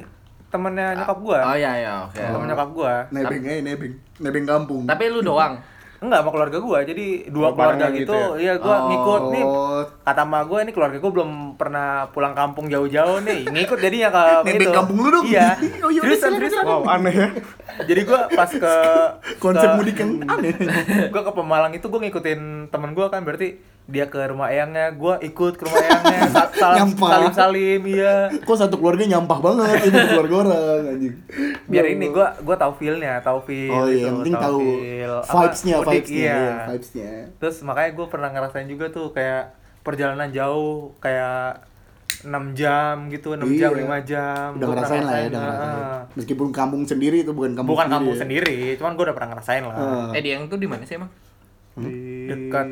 [SPEAKER 2] temennya nyokap gua
[SPEAKER 1] Oh iya iya, oke.
[SPEAKER 2] temen nyokap gua
[SPEAKER 4] Nebeng aja nebeng. Nebeng kampung.
[SPEAKER 1] Tapi lu doang.
[SPEAKER 2] Enggak sama keluarga gua. Jadi dua
[SPEAKER 3] Oh,
[SPEAKER 2] keluarga gitu.
[SPEAKER 3] barengan gitu
[SPEAKER 2] Iya, gua
[SPEAKER 1] Oh.
[SPEAKER 2] ngikut nih.
[SPEAKER 4] ya? Oh,
[SPEAKER 2] Kata ma gua ini keluarga gua belum pernah pulang kampung jauh-jauh nih. Ngikut jadinya ke
[SPEAKER 4] Nebeng kampung lu dong.
[SPEAKER 2] Iya.
[SPEAKER 4] Oh, yaudah,
[SPEAKER 2] Seriusan,
[SPEAKER 4] silakan,
[SPEAKER 2] seriusan.
[SPEAKER 3] Wow, aneh ya.
[SPEAKER 2] Jadi gua pas ke
[SPEAKER 4] konsep
[SPEAKER 2] ke-
[SPEAKER 4] mudik yang aneh.
[SPEAKER 2] gua ke Pemalang itu gua ngikutin temen gua kan berarti dia ke rumah eyangnya, gua ikut ke rumah eyangnya, sa- salam
[SPEAKER 4] Nyampah.
[SPEAKER 2] salim salim iya.
[SPEAKER 4] Kok satu keluarga nyampah banget ini keluarga orang anjing.
[SPEAKER 2] Biar
[SPEAKER 4] Ya
[SPEAKER 2] ini
[SPEAKER 4] Allah.
[SPEAKER 2] gua gua tahu feel-nya, tahu feel.
[SPEAKER 4] Oh iya,
[SPEAKER 2] gitu,
[SPEAKER 4] yang penting tahu
[SPEAKER 2] feel. Apa,
[SPEAKER 4] vibes-nya,
[SPEAKER 2] mudik,
[SPEAKER 4] vibes-nya,
[SPEAKER 2] iya.
[SPEAKER 4] iya, vibes-nya.
[SPEAKER 2] Terus makanya gue pernah ngerasain juga tuh kayak perjalanan jauh kayak 6 jam gitu, 6 jam,
[SPEAKER 4] Iya.
[SPEAKER 2] 5 jam.
[SPEAKER 4] Udah
[SPEAKER 2] Gua pernah
[SPEAKER 4] ngerasain lah ya, udah
[SPEAKER 2] ngerasain,
[SPEAKER 4] ngerasain.
[SPEAKER 2] ah.
[SPEAKER 4] Meskipun kampung sendiri itu bukan kampung
[SPEAKER 2] Bukan
[SPEAKER 4] sendiri.
[SPEAKER 2] kampung
[SPEAKER 4] ya.
[SPEAKER 2] sendiri, cuman gue udah pernah ngerasain lah.
[SPEAKER 4] Ah.
[SPEAKER 1] Eh, dia yang tuh di mana sih emang?
[SPEAKER 3] Di-
[SPEAKER 2] Dekat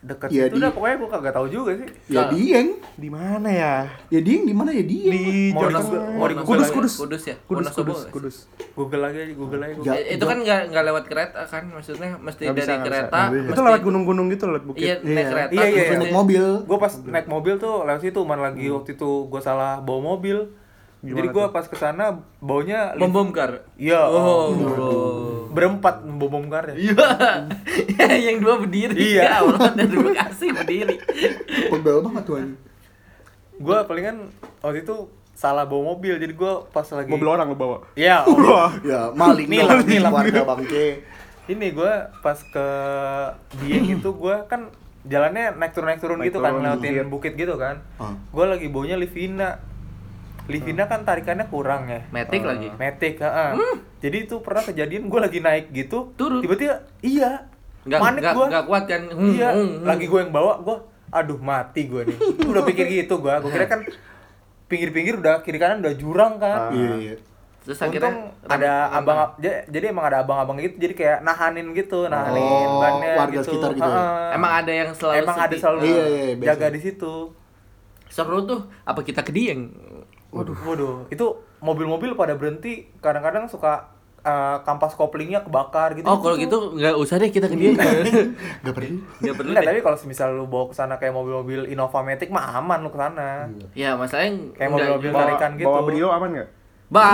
[SPEAKER 2] dekat
[SPEAKER 4] Iya,
[SPEAKER 2] situ
[SPEAKER 4] di-
[SPEAKER 2] dah pokoknya gue kagak tahu juga sih.
[SPEAKER 4] Ya Dieng.
[SPEAKER 3] Di mana ya?
[SPEAKER 4] Ya Dieng di mana ya Dieng?
[SPEAKER 3] Di
[SPEAKER 2] Mau
[SPEAKER 3] Jawa
[SPEAKER 2] di-
[SPEAKER 3] Tengah.
[SPEAKER 2] mau di
[SPEAKER 1] Google
[SPEAKER 3] Kudus, Kudus.
[SPEAKER 1] aja. Kudus ya?
[SPEAKER 3] Kudus,
[SPEAKER 1] Wonosobo
[SPEAKER 3] Kudus,
[SPEAKER 1] nggak
[SPEAKER 3] Kudus.
[SPEAKER 2] Google aja, Google aja. Google.
[SPEAKER 4] Ja-
[SPEAKER 1] Eh, itu kan nggak nggak lewat kereta kan maksudnya mesti
[SPEAKER 3] Nggak
[SPEAKER 1] dari
[SPEAKER 3] bisa, nggak bisa.
[SPEAKER 1] kereta
[SPEAKER 3] Nggak bisa. Itu
[SPEAKER 1] mesti-
[SPEAKER 3] lewat gunung-gunung gitu, lewat bukit.
[SPEAKER 1] iya naik kereta
[SPEAKER 2] Iya, iya,
[SPEAKER 1] terus
[SPEAKER 4] Terus
[SPEAKER 2] iya.
[SPEAKER 4] naik
[SPEAKER 1] mesti-
[SPEAKER 4] mobil.
[SPEAKER 2] Gue pas naik mobil tuh lewat situ, mana lagi
[SPEAKER 4] Hmm.
[SPEAKER 2] waktu itu gue salah bawa mobil. Jadi gue pas kesana baunya
[SPEAKER 1] bom bom kar
[SPEAKER 2] Iya.
[SPEAKER 1] oh,
[SPEAKER 2] berempat bom karya.
[SPEAKER 1] Iya. yang dua berdiri.
[SPEAKER 2] Iya.
[SPEAKER 1] Ya Allah, terima kasih berdiri.
[SPEAKER 4] Pegel banget tuh anjing.
[SPEAKER 2] gue palingan waktu itu salah bawa mobil jadi gue pas lagi
[SPEAKER 3] Mobil orang lu bawa.
[SPEAKER 2] ya Allah.
[SPEAKER 4] Ya maling
[SPEAKER 2] Nilap,
[SPEAKER 4] dong, anjing,
[SPEAKER 2] nilap.
[SPEAKER 4] warga bangke.
[SPEAKER 2] ini gue pas ke Dieng itu gue kan jalannya naik turun naik turun
[SPEAKER 3] Naik
[SPEAKER 2] gitu kan
[SPEAKER 3] turun,
[SPEAKER 2] lewatin
[SPEAKER 3] bukit.
[SPEAKER 2] bukit gitu kan
[SPEAKER 4] Ah.
[SPEAKER 2] gue lagi baunya Livina Livina kan tarikannya kurang ya
[SPEAKER 1] Metik lagi. Hmm.
[SPEAKER 2] metik heeh. jadi itu pernah kejadian gue lagi naik gitu
[SPEAKER 1] Turun.
[SPEAKER 2] tiba-tiba iya
[SPEAKER 1] Enggak
[SPEAKER 2] panik
[SPEAKER 1] enggak
[SPEAKER 2] gue
[SPEAKER 1] enggak kuat kan. Hmm,
[SPEAKER 2] iya
[SPEAKER 1] hmm, hmm.
[SPEAKER 2] lagi gue yang bawa gue aduh mati gue nih udah pikir gitu gue gue kira kan pinggir-pinggir udah kiri kanan udah jurang kan
[SPEAKER 3] Ah.
[SPEAKER 4] Iya iya.
[SPEAKER 1] Terus akhirnya
[SPEAKER 2] Untung ada abang jadi, jadi emang ada abang-abang gitu jadi kayak nahanin gitu nahanin
[SPEAKER 4] Oh,
[SPEAKER 2] bannya
[SPEAKER 4] warga
[SPEAKER 2] gitu.
[SPEAKER 4] sekitar gitu ya?
[SPEAKER 2] Heeh.
[SPEAKER 1] Emang ada yang selalu
[SPEAKER 2] emang ada
[SPEAKER 1] sedih.
[SPEAKER 2] selalu
[SPEAKER 4] Iya, iya, biasa.
[SPEAKER 2] jaga di situ.
[SPEAKER 1] seru tuh apa kita ke Dieng?
[SPEAKER 2] Waduh, waduh. Itu mobil-mobil pada berhenti kadang-kadang suka eh, kampas koplingnya kebakar gitu.
[SPEAKER 1] Oh, kalau gitu enggak usah deh kita ke Dieng.
[SPEAKER 2] Iya.
[SPEAKER 4] Gak perlu.
[SPEAKER 1] Enggak perlu.
[SPEAKER 2] Enggak,
[SPEAKER 1] deh.
[SPEAKER 2] tapi kalau misal lu bawa ke sana kayak mobil-mobil Innova Matic mah aman lu ke sana.
[SPEAKER 4] Iya.
[SPEAKER 1] Ya, masalahnya
[SPEAKER 2] Kayak
[SPEAKER 1] nggak-
[SPEAKER 2] mobil-mobil
[SPEAKER 1] bawa-
[SPEAKER 2] tarikan gitu.
[SPEAKER 3] Bawa Brio aman nggak?
[SPEAKER 1] Bah,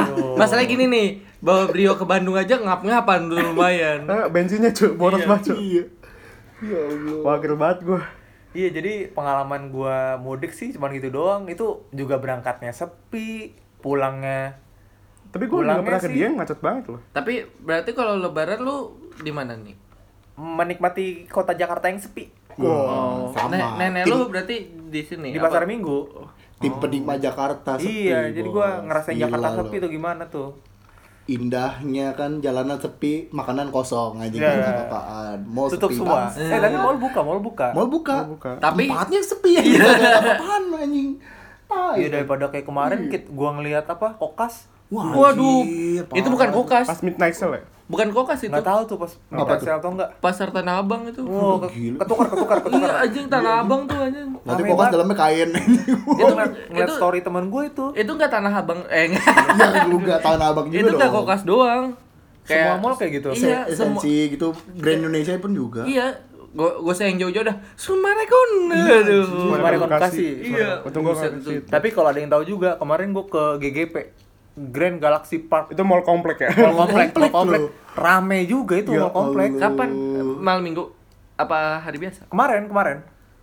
[SPEAKER 2] Aduh.
[SPEAKER 1] masalahnya gini nih, bawa Brio ke Bandung aja ngap-ngapan tuh lumayan.
[SPEAKER 3] Ah, bensinnya cuy, boros banget cuy.
[SPEAKER 4] Iya. Ya Allah.
[SPEAKER 3] Wakil banget gua.
[SPEAKER 2] Iya, jadi pengalaman gua mudik sih cuman gitu doang. Itu juga berangkatnya sepi, pulangnya
[SPEAKER 3] Tapi gua
[SPEAKER 2] Pulangnya
[SPEAKER 3] nggak pernah ke
[SPEAKER 2] sih-
[SPEAKER 3] Dieng macet banget loh.
[SPEAKER 1] Tapi berarti kalau lebaran lu di mana nih?
[SPEAKER 2] menikmati kota Jakarta yang sepi
[SPEAKER 4] Wah, Oh, sama.
[SPEAKER 1] Oh, Ne- nenek
[SPEAKER 4] Tim-
[SPEAKER 1] lu berarti di sini. ya?
[SPEAKER 2] di
[SPEAKER 1] apa?
[SPEAKER 2] pasar Minggu.
[SPEAKER 4] Tim penikmat Jakarta sepi,
[SPEAKER 2] Oh. iya, jadi gua
[SPEAKER 4] bos.
[SPEAKER 2] ngerasain
[SPEAKER 4] Gila
[SPEAKER 2] Jakarta
[SPEAKER 4] lo.
[SPEAKER 2] sepi tuh gimana tuh.
[SPEAKER 4] indahnya kan jalanan sepi makanan kosong aja
[SPEAKER 2] Iya.
[SPEAKER 4] kan apa-apaan mall
[SPEAKER 2] tutup
[SPEAKER 4] sepi
[SPEAKER 2] semua.
[SPEAKER 4] banget.
[SPEAKER 2] Eh, tapi mall buka, mall buka.
[SPEAKER 4] mall buka
[SPEAKER 3] Mall buka.
[SPEAKER 1] Tapi-
[SPEAKER 4] tempatnya sepi aja nggak ada apa-apaan anjing Tai.
[SPEAKER 2] Iya daripada kayak kemarin kit gua ngelihat apa kokas
[SPEAKER 4] Wah,
[SPEAKER 1] Waduh,
[SPEAKER 4] anjir,
[SPEAKER 1] itu bukan
[SPEAKER 4] parah.
[SPEAKER 1] kokas,
[SPEAKER 3] Pas midnight sale ya?
[SPEAKER 1] bukan kokas itu,
[SPEAKER 2] nggak tahu tuh pas
[SPEAKER 4] Apa
[SPEAKER 2] sale atau enggak.
[SPEAKER 1] pasar Tanah Abang itu.
[SPEAKER 2] Oh, ke-
[SPEAKER 4] Gila.
[SPEAKER 2] ketukar ketukar ketukar.
[SPEAKER 1] Iya anjing Tanah Abang tuh anjing.
[SPEAKER 4] Nanti
[SPEAKER 2] Rame
[SPEAKER 4] kokas
[SPEAKER 2] banget.
[SPEAKER 4] dalamnya kain
[SPEAKER 2] Gua
[SPEAKER 1] Itu-
[SPEAKER 2] ngeliat, ngeliat
[SPEAKER 1] itu-
[SPEAKER 2] story teman gue itu.
[SPEAKER 1] Itu enggak Tanah Abang, eh enggak.
[SPEAKER 4] Yang Iya, juga tanah abang juga
[SPEAKER 1] itu enggak
[SPEAKER 4] gitu dong.
[SPEAKER 1] kokas doang.
[SPEAKER 2] Semua mall kayak gitu.
[SPEAKER 1] Iya,
[SPEAKER 4] SNC
[SPEAKER 1] semua.
[SPEAKER 4] gitu Grand Indonesia pun juga
[SPEAKER 1] Iya, gua gua sayang jauh-jauh dah. Sumarekon. Aduh.
[SPEAKER 2] Sumarekon. Kemarin Bekasi.
[SPEAKER 1] Iya.
[SPEAKER 3] Untung gua
[SPEAKER 1] Buset,
[SPEAKER 3] nggak ke
[SPEAKER 1] tuh.
[SPEAKER 3] situ.
[SPEAKER 2] Tapi kalau ada yang tahu juga, kemarin gue ke GGP Grand Galaxy Park
[SPEAKER 3] Itu mall komplek ya?
[SPEAKER 2] Mall komplek, mall
[SPEAKER 4] Komplek
[SPEAKER 2] komplek.
[SPEAKER 4] loh.
[SPEAKER 2] Rame juga itu
[SPEAKER 4] Ya
[SPEAKER 2] mall komplek.
[SPEAKER 4] Allah.
[SPEAKER 1] Kapan? Malam Minggu apa hari biasa?
[SPEAKER 2] Kemarin, kemarin.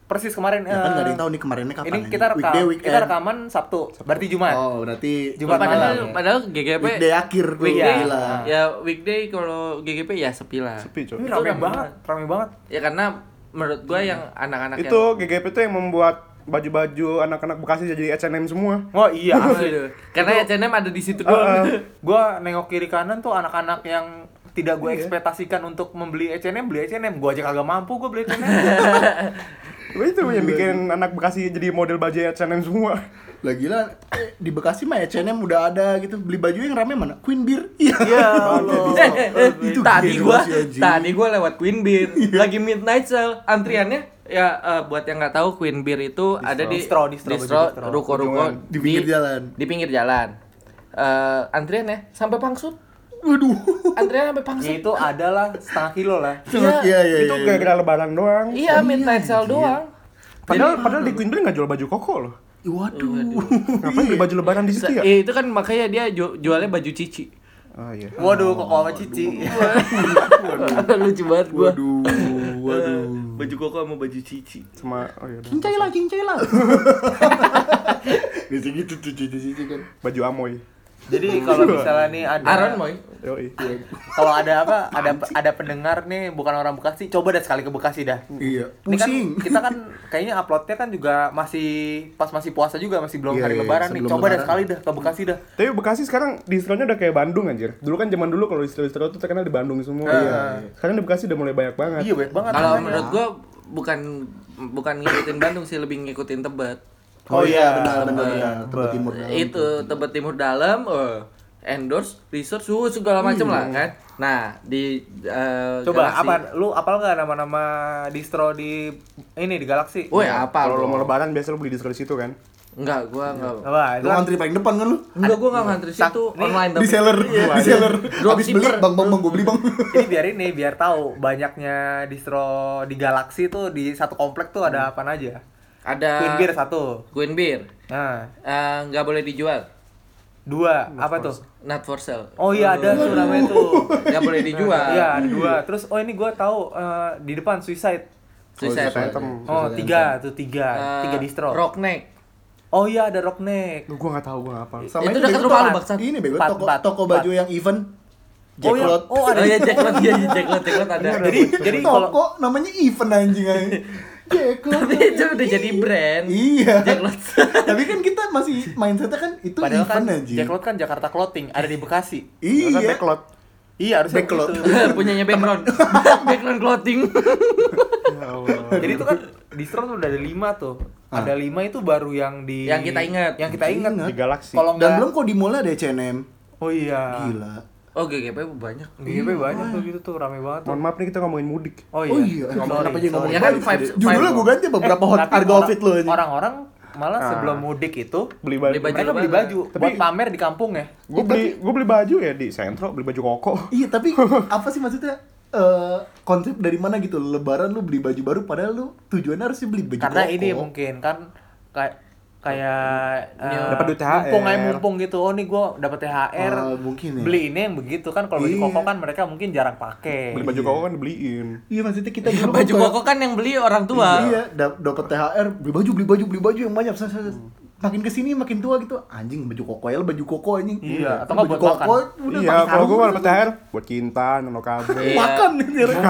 [SPEAKER 2] Persis kemarin.
[SPEAKER 4] Ya kan
[SPEAKER 2] eh,
[SPEAKER 4] nggak ada yang tahu nih kemarinnya kapan
[SPEAKER 2] Ini
[SPEAKER 4] nih.
[SPEAKER 2] kita rekam,
[SPEAKER 4] Weekday, weekend.
[SPEAKER 2] kita rekaman Sabtu, berarti Jumat.
[SPEAKER 4] Oh, berarti
[SPEAKER 2] Jumat
[SPEAKER 1] padahal,
[SPEAKER 2] malam.
[SPEAKER 1] padahal GGP
[SPEAKER 4] Weekday akhir tuh.
[SPEAKER 1] weekday
[SPEAKER 4] Gila.
[SPEAKER 1] ya weekday kalau GGP ya sepi lah.
[SPEAKER 3] Sepi coy.
[SPEAKER 2] Ini
[SPEAKER 1] Itu
[SPEAKER 2] rame
[SPEAKER 1] rame
[SPEAKER 2] banget, rame banget.
[SPEAKER 1] Ya karena menurut gua
[SPEAKER 2] Iya.
[SPEAKER 1] yang anak-anak
[SPEAKER 3] Itu GGP itu yang membuat baju-baju anak-anak Bekasi jadi H&M semua.
[SPEAKER 2] Oh iya,
[SPEAKER 1] yang
[SPEAKER 2] asli.
[SPEAKER 1] Aduh. karena H&M ada di
[SPEAKER 4] Oh,
[SPEAKER 1] situ
[SPEAKER 3] Ah, ah.
[SPEAKER 1] doang.
[SPEAKER 2] gua nengok kiri kanan tuh anak-anak yang tidak
[SPEAKER 4] Iya.
[SPEAKER 2] gue ekspektasikan untuk membeli H&M beli H&M gue aja kagak mampu gue beli H&M
[SPEAKER 4] iya.
[SPEAKER 3] Itu yang bikin anak Bekasi jadi model baju H&M semua.
[SPEAKER 4] Lah gila eh, di Bekasi mah H&M udah ada gitu. Beli baju yang rame mana? Queen Beer. Iya.
[SPEAKER 2] ya Allah
[SPEAKER 1] Eh, eh, eh,
[SPEAKER 4] oh, Itu
[SPEAKER 1] tadi
[SPEAKER 4] gila
[SPEAKER 1] gua
[SPEAKER 4] sih, anjing. Iya.
[SPEAKER 1] tadi gua lewat Queen Beer lagi midnight sale antriannya ya eh, buat yang nggak tahu Queen Beer itu ada di
[SPEAKER 2] Distro, distro,
[SPEAKER 1] distro,
[SPEAKER 2] baju distro.
[SPEAKER 1] ruko-ruko
[SPEAKER 4] Di pinggir jalan.
[SPEAKER 1] di pinggir jalan Eh, antriannya sampai pangsut
[SPEAKER 4] Waduh.
[SPEAKER 1] antrian sampai pangsut
[SPEAKER 2] ya itu adalah setengah kilo lah
[SPEAKER 4] Iya, iya,
[SPEAKER 3] Itu
[SPEAKER 4] iya.
[SPEAKER 3] gara-gara lebaran doang.
[SPEAKER 1] iya midnight sale doang
[SPEAKER 4] Iya.
[SPEAKER 3] Padahal padahal di Queen Bee nggak jual baju koko loh.
[SPEAKER 4] Waduh. Iya.
[SPEAKER 3] Ngapain beli baju lebaran
[SPEAKER 4] Gitu
[SPEAKER 3] di situ ya?
[SPEAKER 1] Eh, itu kan makanya dia ju- jualnya baju cici
[SPEAKER 3] Oh iya.
[SPEAKER 2] waduh kok sama cici
[SPEAKER 1] lucu banget gua
[SPEAKER 4] Waduh. Waduh.
[SPEAKER 1] baju koko sama baju cici
[SPEAKER 3] Sama oh iya. udah.
[SPEAKER 4] Cincai lah, cincai lah. Biasa gitu tuh cici-cici kan.
[SPEAKER 3] Baju amoy.
[SPEAKER 2] jadi kalau misalnya nih ada
[SPEAKER 1] Aron moy
[SPEAKER 3] Yoi.
[SPEAKER 4] Iya.
[SPEAKER 2] kalau ada apa ada ada pendengar nih bukan orang Bekasi coba dah sekali ke Bekasi dah
[SPEAKER 4] Iya.
[SPEAKER 2] Ini kan
[SPEAKER 4] Pusing.
[SPEAKER 2] kita kan kayaknya uploadnya kan juga masih pas masih puasa juga masih belum
[SPEAKER 4] Iya,
[SPEAKER 2] hari
[SPEAKER 4] iya,
[SPEAKER 2] lebaran nih
[SPEAKER 4] sebelum
[SPEAKER 2] coba dah
[SPEAKER 4] lebaran.
[SPEAKER 2] sekali dah ke Bekasi dah
[SPEAKER 3] Tapi Bekasi sekarang distronya udah kayak Bandung anjir. Dulu kan zaman dulu kalau distro-distro tuh terkenal di Bandung
[SPEAKER 4] Ah.
[SPEAKER 3] semua.
[SPEAKER 2] Iya.
[SPEAKER 3] Sekarang di Bekasi udah mulai banyak banget.
[SPEAKER 2] iya banyak banget
[SPEAKER 1] kalau
[SPEAKER 2] makanya.
[SPEAKER 1] menurut
[SPEAKER 4] ya.
[SPEAKER 1] gua bukan bukan ngikutin Bandung sih lebih ngikutin Tebet
[SPEAKER 2] oh iya
[SPEAKER 4] benar
[SPEAKER 2] benar
[SPEAKER 4] benar. Tempat timur dalam. gitu.
[SPEAKER 1] itu tebet timur dalam eh, endorse research uh, segala
[SPEAKER 4] Hmm.
[SPEAKER 1] macam lah kan nah di eh,
[SPEAKER 2] Coba
[SPEAKER 1] Galaxy-
[SPEAKER 2] apa lu apal nggak nama-nama distro di ini di Galaxy?
[SPEAKER 1] Woi, apa
[SPEAKER 3] Kalau
[SPEAKER 1] lu?
[SPEAKER 3] lo mau lebaran biasa lo beli distro di situ kan.
[SPEAKER 1] Enggak, gua enggak.
[SPEAKER 2] Apa? Itu
[SPEAKER 4] Iya. Lu
[SPEAKER 2] kan
[SPEAKER 4] antri paling depan kan lu?
[SPEAKER 1] Enggak, gua enggak ngantri situ online tapi.
[SPEAKER 4] Di seller, di seller. Habis beli,
[SPEAKER 1] Iya. Dropshipper.
[SPEAKER 4] bang bang bang gue beli bang.
[SPEAKER 2] ini biar ini biar tahu banyaknya distro di Galaxy tuh di satu komplek tuh
[SPEAKER 4] Hmm.
[SPEAKER 2] ada apa aja?
[SPEAKER 1] Ada
[SPEAKER 2] Queen Beer satu.
[SPEAKER 1] Queen Beer.
[SPEAKER 2] Nah,
[SPEAKER 1] Eh, enggak boleh dijual.
[SPEAKER 2] dua apa tuh?
[SPEAKER 1] Not for sale.
[SPEAKER 2] Oh iya ada tuh
[SPEAKER 4] Hmm.
[SPEAKER 2] namanya tuh.
[SPEAKER 1] Enggak boleh dijual.
[SPEAKER 2] Iya, ada dua. Terus oh ini gua tahu eh, di depan Suicide.
[SPEAKER 4] iya.
[SPEAKER 1] Suicide.
[SPEAKER 3] Suicide Item.
[SPEAKER 2] Oh, tiga tuh tiga,
[SPEAKER 1] Eh,
[SPEAKER 2] tiga distro.
[SPEAKER 1] Rockneck.
[SPEAKER 2] Oh iya ada Rockneck.
[SPEAKER 3] Lu gua enggak tahu gua apa.
[SPEAKER 1] Itu
[SPEAKER 4] itu
[SPEAKER 1] dekat
[SPEAKER 4] bego,
[SPEAKER 1] rumah
[SPEAKER 4] toko-
[SPEAKER 1] lu, bangsat.
[SPEAKER 4] Ini bego
[SPEAKER 2] Empat,
[SPEAKER 4] toko
[SPEAKER 2] empat,
[SPEAKER 4] toko
[SPEAKER 2] empat.
[SPEAKER 4] baju yang event.
[SPEAKER 2] Oh, iya.
[SPEAKER 4] Jacklot.
[SPEAKER 2] oh
[SPEAKER 1] Oh
[SPEAKER 2] ada
[SPEAKER 1] iya, Jacklot, iya, iya, Jacklot, Jacklot ada.
[SPEAKER 2] Jadi jadi kalau
[SPEAKER 4] toko namanya event anjing aja. Jacklot.
[SPEAKER 1] Tapi itu udah jadi brand.
[SPEAKER 4] Iya.
[SPEAKER 1] Jacklot.
[SPEAKER 4] Tapi kan kita masih mindsetnya kan itu
[SPEAKER 2] Padahal kan
[SPEAKER 4] event anjing.
[SPEAKER 2] Jacklot kan Jakarta Clothing, ada di Bekasi.
[SPEAKER 3] Iya.
[SPEAKER 4] Iya.
[SPEAKER 3] Backlot.
[SPEAKER 2] Iya, harusnya
[SPEAKER 4] Backlot.
[SPEAKER 2] begitu.
[SPEAKER 1] Punyanya background. background clothing.
[SPEAKER 3] Ya Allah.
[SPEAKER 2] Jadi itu kan distro tuh udah ada lima tuh.
[SPEAKER 4] Ah.
[SPEAKER 2] Ada lima itu baru yang di
[SPEAKER 1] Yang kita ingat.
[SPEAKER 2] Yang kita ingat.
[SPEAKER 3] Di Galaxy.
[SPEAKER 2] Kalau
[SPEAKER 4] Dan
[SPEAKER 2] enggak
[SPEAKER 4] belum kok di mall ada H&M.
[SPEAKER 2] Oh iya.
[SPEAKER 4] Gila. Iya.
[SPEAKER 1] Oh GGP banyak.
[SPEAKER 2] GGP banyak tuh gitu tuh rame banget tuh.
[SPEAKER 3] Mohon maaf nih kita ngomongin mudik.
[SPEAKER 2] Oh iya.
[SPEAKER 4] Oh iya, eh,
[SPEAKER 2] Sorry,
[SPEAKER 4] kenapa jadi
[SPEAKER 2] sorry.
[SPEAKER 4] ngomongin
[SPEAKER 1] Ya kan,
[SPEAKER 4] baju?
[SPEAKER 1] vibes-
[SPEAKER 4] Judulnya
[SPEAKER 1] vibes-
[SPEAKER 4] gue ganti apa? Berapa
[SPEAKER 2] Eh,
[SPEAKER 4] hot
[SPEAKER 2] tapi
[SPEAKER 4] harga
[SPEAKER 2] orang-
[SPEAKER 4] outfit lo anjing?
[SPEAKER 2] Orang-orang malah
[SPEAKER 3] Ah.
[SPEAKER 2] sebelum mudik itu
[SPEAKER 3] Beli baju.
[SPEAKER 1] Beli baju.
[SPEAKER 2] mereka beli
[SPEAKER 1] lebaran.
[SPEAKER 2] baju
[SPEAKER 3] Tapi-
[SPEAKER 2] buat pamer di kampung ya.
[SPEAKER 3] Gua beli gua beli baju ya di Sentro, beli baju koko.
[SPEAKER 4] Iya, tapi apa sih maksudnya? eh konsep dari mana gitu lebaran lu beli baju baru padahal lu tujuannya harusnya beli baju
[SPEAKER 2] Karena
[SPEAKER 4] koko.
[SPEAKER 2] ini mungkin kan kayak kayak eh,
[SPEAKER 3] Dapat duit THR.
[SPEAKER 2] mumpung aja mumpung gitu oh nih gue dapat THR
[SPEAKER 4] Ah, mungkin ya.
[SPEAKER 2] beli ini yang begitu kan kalau baju
[SPEAKER 4] Iya.
[SPEAKER 2] koko kan mereka mungkin jarang pakai
[SPEAKER 3] Beli baju koko kan dibeliin.
[SPEAKER 4] Iya maksudnya kita dulu kan
[SPEAKER 1] Baju
[SPEAKER 4] kayak-
[SPEAKER 1] koko kan yang beli orang tua.
[SPEAKER 4] Iya, da- dapat THR, beli baju, beli baju, beli baju yang banyak. Ses- ses-
[SPEAKER 1] Hmm.
[SPEAKER 4] ses. Makin kesini makin tua gitu, anjing baju koko ya, baju koko anjing.
[SPEAKER 2] Iya, atau
[SPEAKER 4] baju
[SPEAKER 2] nggak buat
[SPEAKER 4] koko.
[SPEAKER 2] makan.
[SPEAKER 4] udah
[SPEAKER 3] Iya,
[SPEAKER 4] pakai
[SPEAKER 3] kalau
[SPEAKER 4] sarung,
[SPEAKER 3] gua
[SPEAKER 4] udah.
[SPEAKER 3] dapat THR buat cinta, nono kabe.
[SPEAKER 1] Iya.
[SPEAKER 4] makan nih, dia
[SPEAKER 3] Makan.
[SPEAKER 4] mau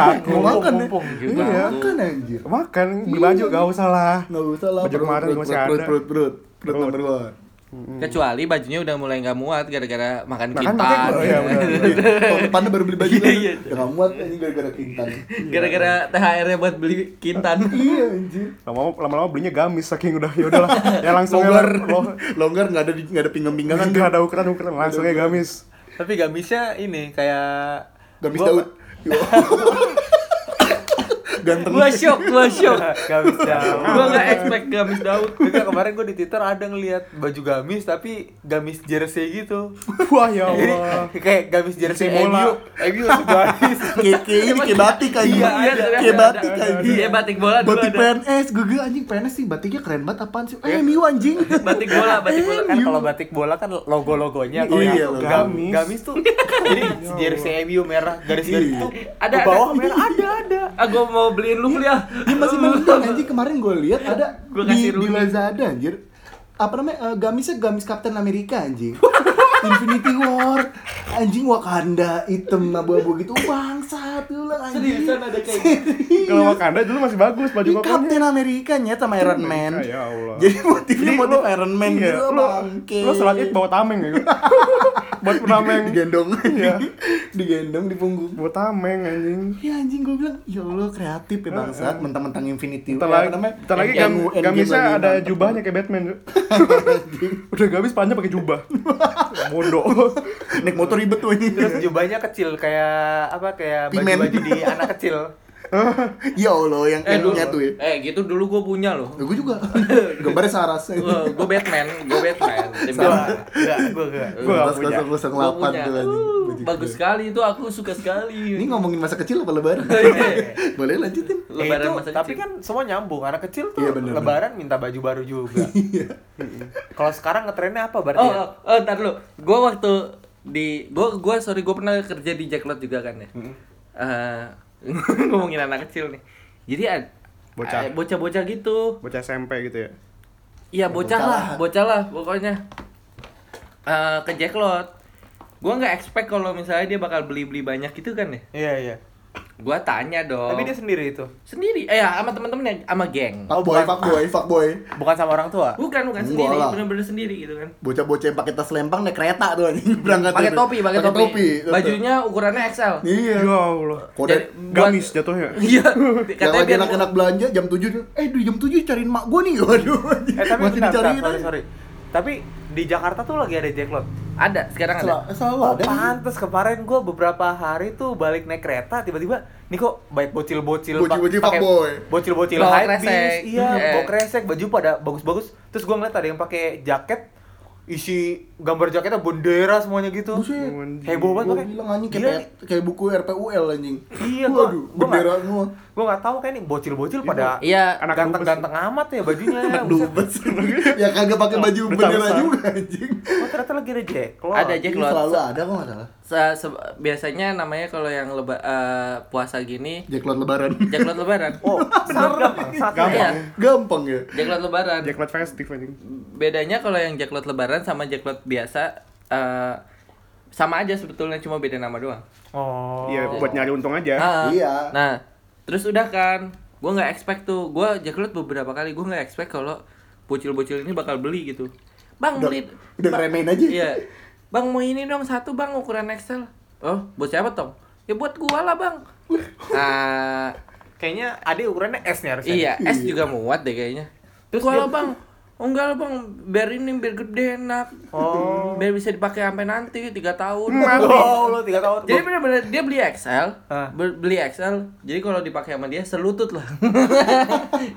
[SPEAKER 4] makan nih.
[SPEAKER 2] Mumpung, mumpung.
[SPEAKER 3] Iya.
[SPEAKER 4] Mau Makan anjir.
[SPEAKER 3] Makan beli baju gak usah lah.
[SPEAKER 4] Enggak usah lah.
[SPEAKER 3] Baju kemarin masih ada.
[SPEAKER 4] Perut, perut, perut, perut
[SPEAKER 3] Perut.
[SPEAKER 4] nomor one.
[SPEAKER 1] Kecuali bajunya udah mulai nggak muat gara-gara Hmm. makan
[SPEAKER 3] Makan
[SPEAKER 1] kintan.
[SPEAKER 3] pakai- oh, iya, benar,
[SPEAKER 4] Tahun depannya baru beli baju
[SPEAKER 1] Iya,
[SPEAKER 4] lagi.
[SPEAKER 1] iya.
[SPEAKER 4] Ya nggak muat ini gara-gara kintan.
[SPEAKER 1] Gara-gara THR-nya buat beli kintan.
[SPEAKER 4] Iya anjir.
[SPEAKER 3] lama-lama lama-lama belinya gamis saking udah ya udahlah ya langsung ya
[SPEAKER 4] Longgar,
[SPEAKER 3] lo
[SPEAKER 4] longgar nggak ada di- nggak ada pinggang-pinggangan.
[SPEAKER 3] nggak ada ukuran ukuran langsung ya gamis
[SPEAKER 2] Tapi gamisnya ini kayak
[SPEAKER 4] Gamis
[SPEAKER 2] gua-
[SPEAKER 4] Daud. Ganteng.
[SPEAKER 1] gua shock, gua shock.
[SPEAKER 2] gamis Daud.
[SPEAKER 1] gua nggak expect gamis Daud.
[SPEAKER 2] Juga kemarin gue di Twitter ada ngeliat baju gamis tapi gamis jersey gitu.
[SPEAKER 3] wah ya
[SPEAKER 2] Jadi
[SPEAKER 3] allah
[SPEAKER 2] kayak gamis jersey
[SPEAKER 3] Jersey
[SPEAKER 2] MU,
[SPEAKER 3] bola.
[SPEAKER 2] MU masih gamis.
[SPEAKER 4] Iya, Kayak kayak ini kayak batik aja.
[SPEAKER 1] Iya, iya, ternyata
[SPEAKER 4] Kayak
[SPEAKER 1] ada,
[SPEAKER 4] batik
[SPEAKER 1] ada,
[SPEAKER 4] aja.
[SPEAKER 1] ada. Iya, batik bola dulu
[SPEAKER 4] Batik
[SPEAKER 1] ada. Iya.
[SPEAKER 4] PNS, gue gue anjing PNS sih batiknya keren banget apaan sih? Eh, Miu anjing. Eh,
[SPEAKER 1] Batik bola, batik bola.
[SPEAKER 2] kan kalau batik bola kan logo-logonya kalau
[SPEAKER 4] Iya,
[SPEAKER 2] yang
[SPEAKER 4] logo.
[SPEAKER 2] gamis. gamis tuh jadi jersey MU merah garis-garis
[SPEAKER 4] Iya.
[SPEAKER 2] itu
[SPEAKER 1] Ada,
[SPEAKER 2] ke bawah
[SPEAKER 1] ada.
[SPEAKER 2] merah ada ada
[SPEAKER 1] Ah, gua mau beliin lu ya.
[SPEAKER 4] Dia masih menentang anjing kemarin gue lihat ada
[SPEAKER 1] Gua
[SPEAKER 4] di,
[SPEAKER 1] kasih
[SPEAKER 4] di
[SPEAKER 1] Rooney.
[SPEAKER 4] Lazada anjir. Apa namanya? eh, gamisnya gamis Kapten Amerika anjing. Infinity War anjing Wakanda hitam abu-abu gitu bangsat lu lah anjing.
[SPEAKER 1] Seriusan ada kayak
[SPEAKER 3] kalau Wakanda dulu masih bagus baju
[SPEAKER 4] Di
[SPEAKER 3] kokonya
[SPEAKER 4] Kapten Amerika nyet sama Iron Man.
[SPEAKER 3] ya Allah.
[SPEAKER 4] Jadi motifnya motif Iron Man
[SPEAKER 3] Iya,
[SPEAKER 4] gitu
[SPEAKER 3] lo
[SPEAKER 4] bangke.
[SPEAKER 3] lo sholat id bawa tameng ya buat tameng
[SPEAKER 4] digendong.
[SPEAKER 3] Iya.
[SPEAKER 4] digendong di punggung.
[SPEAKER 3] bawa tameng anjing
[SPEAKER 4] Ya anjing gue bilang, ya Allah kreatif ya bangsat, mentang-mentang Infinity
[SPEAKER 3] Ntar
[SPEAKER 4] War.
[SPEAKER 3] lagi,
[SPEAKER 4] Apa namanya?
[SPEAKER 3] ntar lagi gam-
[SPEAKER 4] NGN
[SPEAKER 3] gamisnya
[SPEAKER 4] lagi
[SPEAKER 3] ada
[SPEAKER 4] mantep.
[SPEAKER 3] jubahnya kayak Batman. Cuk. Udah gamis panjang pakai jubah. Bodoh.
[SPEAKER 4] Naik motor ribet tuh anjing.
[SPEAKER 2] terus jubahnya kecil kayak apa kayak
[SPEAKER 4] Pimen.
[SPEAKER 2] baju-baju di anak kecil
[SPEAKER 4] Ya Allah yang
[SPEAKER 1] Eh, dulu,
[SPEAKER 4] endnya tuh ya.
[SPEAKER 1] eh gitu dulu gua punya loh.
[SPEAKER 4] Nah, gue juga. Gambarnya Saras.
[SPEAKER 1] Gua, gua Batman, gua Batman. Tim
[SPEAKER 2] gua
[SPEAKER 1] Batman.
[SPEAKER 2] enggak gua enggak
[SPEAKER 4] Gua
[SPEAKER 3] gua nggak punya.
[SPEAKER 1] Gua
[SPEAKER 4] 008
[SPEAKER 1] punya.
[SPEAKER 4] tuh anjing.
[SPEAKER 1] Uh,
[SPEAKER 4] Baju
[SPEAKER 1] bagus
[SPEAKER 4] gede.
[SPEAKER 1] sekali itu aku suka
[SPEAKER 4] Ini
[SPEAKER 1] sekali.
[SPEAKER 4] ngomongin masa kecil apa lebaran? Boleh lanjutin.
[SPEAKER 2] Eh,
[SPEAKER 1] Lebaran
[SPEAKER 2] itu,
[SPEAKER 1] masa
[SPEAKER 2] tapi
[SPEAKER 1] kecil.
[SPEAKER 2] kan semua nyambung anak kecil tuh
[SPEAKER 4] Iya, bener, Iya.
[SPEAKER 2] lebaran minta baju baru juga kalau sekarang ngetrennya apa berarti
[SPEAKER 1] Oh,
[SPEAKER 2] ya?
[SPEAKER 1] oh, oh, ntar lu. Gua waktu di gua gua sorry gua pernah kerja di Jacklot juga kan ya. Eh, ngomongin anak kecil nih. Jadi ad-
[SPEAKER 3] Bocah.
[SPEAKER 1] eh, bocah-bocah gitu.
[SPEAKER 3] Bocah SMP gitu ya.
[SPEAKER 1] Iya bocah,
[SPEAKER 4] bocah
[SPEAKER 1] lah,
[SPEAKER 4] lah.
[SPEAKER 1] bocah lah pokoknya. Eh, ke Jacklot. Gua nggak expect kalau misalnya dia bakal beli-beli banyak gitu kan ya.
[SPEAKER 2] iya iya
[SPEAKER 1] Gua tanya dong.
[SPEAKER 2] tapi dia sendiri itu
[SPEAKER 1] sendiri eh ya, sama temen-temennya sama geng.
[SPEAKER 4] Fuck Oh, boy, fuck boy, fuck boy.
[SPEAKER 2] bukan sama orang tua
[SPEAKER 1] Bukan, bukan
[SPEAKER 4] Enggak
[SPEAKER 1] sendiri,
[SPEAKER 4] lah.
[SPEAKER 1] bener-bener sendiri gitu kan.
[SPEAKER 4] Bocah-bocah yang pakai tas lempang naik kereta tuh anjing berangkat.
[SPEAKER 1] Pakai
[SPEAKER 4] tuh.
[SPEAKER 1] topi, pakai topi.
[SPEAKER 4] tetep.
[SPEAKER 1] Bajunya ukurannya XL.
[SPEAKER 4] Iya.
[SPEAKER 3] Ya Allah.
[SPEAKER 4] Kode
[SPEAKER 1] Jadi- Buat-
[SPEAKER 3] Gamis jatuhnya.
[SPEAKER 1] Iya,
[SPEAKER 4] yang
[SPEAKER 1] katanya
[SPEAKER 4] lagi
[SPEAKER 1] biar
[SPEAKER 4] enak-enak belanja jam 7 tuh, eh di jam 7 cariin mak gua nih. Waduh. anjing.
[SPEAKER 2] eh tapi
[SPEAKER 4] masih
[SPEAKER 2] bentar,
[SPEAKER 4] dicariin.
[SPEAKER 2] bentar, sorry,
[SPEAKER 4] aja.
[SPEAKER 2] sorry. tapi di Jakarta tuh lagi ada jacklot
[SPEAKER 1] ada sekarang ada.
[SPEAKER 4] Sel- Selalu
[SPEAKER 2] Oh,
[SPEAKER 4] ada.
[SPEAKER 2] pantes kemarin gua beberapa hari tuh balik naik kereta tiba-tiba nih kok banyak bocil-bocil pak-
[SPEAKER 4] Bocil-bocil
[SPEAKER 2] pakai-
[SPEAKER 4] fuckboy.
[SPEAKER 2] bocil-bocil
[SPEAKER 1] Bawa
[SPEAKER 2] hypebeast,
[SPEAKER 1] kresek.
[SPEAKER 2] iya
[SPEAKER 1] Iya.
[SPEAKER 2] bawa kresek baju pada bagus-bagus terus gua ngeliat ada yang pakai jaket isi gambar jaketnya bondera semuanya gitu
[SPEAKER 4] Buset.
[SPEAKER 2] heboh banget
[SPEAKER 4] Gua
[SPEAKER 2] pakai.
[SPEAKER 4] bilang anjing
[SPEAKER 2] Gila
[SPEAKER 4] kayak
[SPEAKER 2] nih.
[SPEAKER 4] kayak buku RPUL anjing.
[SPEAKER 2] iya gua
[SPEAKER 4] Waduh,
[SPEAKER 2] gua nggak-
[SPEAKER 4] bendera semua.
[SPEAKER 2] gua nggak tahu kayak nih bocil-bocil pada
[SPEAKER 1] Iya,
[SPEAKER 3] anak
[SPEAKER 2] ganteng-ganteng amat ya bajunya Buset.
[SPEAKER 4] Dubes. ya kagak pakai baju
[SPEAKER 3] Besar-besar.
[SPEAKER 4] bendera juga anjing.
[SPEAKER 2] oh ternyata lagi ada jacklot
[SPEAKER 1] ada
[SPEAKER 4] Ini
[SPEAKER 1] jacklot.
[SPEAKER 4] Selalu
[SPEAKER 1] Se-
[SPEAKER 4] ada kok nggak salah.
[SPEAKER 1] se- se- biasanya namanya kalau yang leba- eh, puasa gini
[SPEAKER 4] Jacklot lebaran.
[SPEAKER 1] Jacklot lebaran.
[SPEAKER 2] oh serem
[SPEAKER 1] Iya,
[SPEAKER 4] Gampang ya.
[SPEAKER 1] Jacklot lebaran.
[SPEAKER 3] Jackpot festive anjing.
[SPEAKER 1] Bedanya kalau yang Jacklot lebaran sama Jacklot biasa eh, sama aja sebetulnya cuma beda nama doang.
[SPEAKER 2] oh
[SPEAKER 3] Iya, buat nyari untung aja.
[SPEAKER 1] Ah,
[SPEAKER 4] Iya.
[SPEAKER 1] Nah, terus udah kan, gue nggak expect tuh, gue jaklot beberapa kali gue nggak expect kalau bocil-bocil ini bakal beli gitu. Bang
[SPEAKER 4] Udah,
[SPEAKER 1] beli,
[SPEAKER 4] udah ngeremehin aja.
[SPEAKER 1] iya. Bang mau ini dong satu bang ukuran XL. Oh, buat siapa Tom? Ya buat gua lah bang. Nah,
[SPEAKER 2] kayaknya ada ukurannya S nih harusnya
[SPEAKER 1] iya, S juga muat deh kayaknya. Terus gua lah bang, "Oh, enggak lah bang, biar ini biar gede enak.
[SPEAKER 2] Oh.
[SPEAKER 1] Biar bisa dipakai sampai nanti tiga tahun.
[SPEAKER 2] Oh, lu tiga tahun.
[SPEAKER 1] Jadi bener-bener dia beli XL,
[SPEAKER 2] Hah.
[SPEAKER 1] be- beli XL. Jadi kalau dipakai sama dia selutut lah.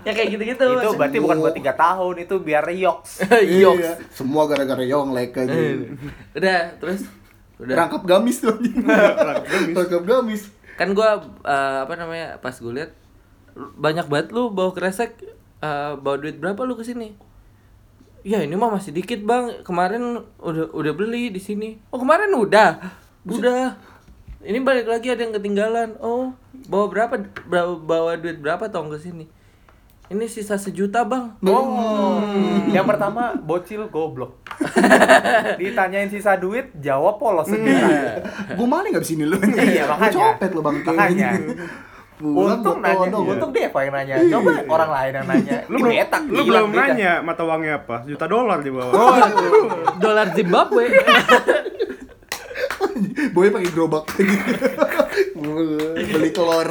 [SPEAKER 1] ya kayak gitu-gitu.
[SPEAKER 2] itu berarti bukan buat tiga tahun, itu biar rioks.
[SPEAKER 1] Yoks.
[SPEAKER 4] Iya. Semua gara-gara Yonglek
[SPEAKER 2] Iya. Eh,
[SPEAKER 4] aja.
[SPEAKER 1] Udah, terus udah.
[SPEAKER 4] Rangkap gamis tuh anjing.
[SPEAKER 3] Rangkap gamis.
[SPEAKER 4] Rangkap gamis.
[SPEAKER 1] Kan gua eh, apa namanya? Pas gue lihat banyak banget lu bawa kresek eh, bawa duit berapa lu ke sini? Ya ini mah masih dikit, Bang. Kemarin udah udah beli di sini. Oh, kemarin udah. Udah. Ini balik lagi ada yang ketinggalan. Oh, bawa berapa? Bawa, bawa duit berapa tong ke sini? Ini sisa sejuta, Bang.
[SPEAKER 2] Oh. Yang pertama bocil goblok. Ditanyain sisa duit,
[SPEAKER 1] Hmm.
[SPEAKER 2] jawab polos sendiri.
[SPEAKER 1] Iya.
[SPEAKER 4] Gue malah nggak di sini lu.
[SPEAKER 2] Iya, makanya.
[SPEAKER 4] Gua copet lu bang.
[SPEAKER 2] Makanya.
[SPEAKER 4] pulang
[SPEAKER 2] Untung
[SPEAKER 4] buat
[SPEAKER 2] nanya,
[SPEAKER 4] todong.
[SPEAKER 2] untung ya. Iya. dia yang nanya. Coba orang lain yang nanya.
[SPEAKER 3] Lu belum,
[SPEAKER 2] Dietak,
[SPEAKER 3] lu
[SPEAKER 2] hilang
[SPEAKER 3] belum
[SPEAKER 2] duitnya.
[SPEAKER 3] nanya mata uangnya apa? Juta dolar di bawah.
[SPEAKER 1] Dolar Zimbabwe.
[SPEAKER 4] Boy pakai gerobak beli telur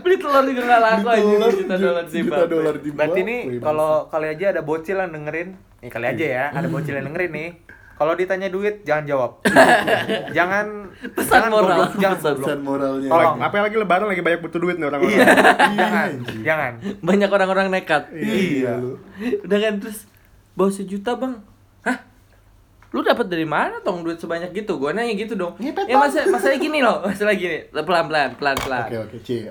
[SPEAKER 1] Beli telur juga nggak laku aja
[SPEAKER 4] Telur,
[SPEAKER 1] juta dolar
[SPEAKER 4] juta
[SPEAKER 1] Zimbabwe.
[SPEAKER 4] dolar Zimbabwe.
[SPEAKER 2] Berarti nih
[SPEAKER 4] Wih,
[SPEAKER 2] kalau kali aja ada bocil yang dengerin, nih kali aja ya, ada bocil yang dengerin nih. Kalau ditanya duit jangan jawab. jangan
[SPEAKER 1] Pesan
[SPEAKER 2] jangan
[SPEAKER 1] moral.
[SPEAKER 2] goblok, jangan
[SPEAKER 1] Pesan-
[SPEAKER 2] goblok.
[SPEAKER 4] pesan moralnya
[SPEAKER 2] Tolong.
[SPEAKER 3] Apa lagi lebaran lagi banyak butuh duit nih orang-orang.
[SPEAKER 2] Iya,
[SPEAKER 4] Iya,
[SPEAKER 2] jangan,
[SPEAKER 4] anjing.
[SPEAKER 2] jangan.
[SPEAKER 1] Banyak orang-orang nekat.
[SPEAKER 4] iya lu
[SPEAKER 1] Udah kan terus bawa sejuta bang. Hah? Lu dapat dari mana tong duit sebanyak gitu? Gua nanya gitu dong.
[SPEAKER 4] Ngepet,
[SPEAKER 1] ya
[SPEAKER 4] Bang.
[SPEAKER 1] masa masalah gini loh, masalah gini. Pelan-pelan, pelan-pelan.
[SPEAKER 4] oke oke chill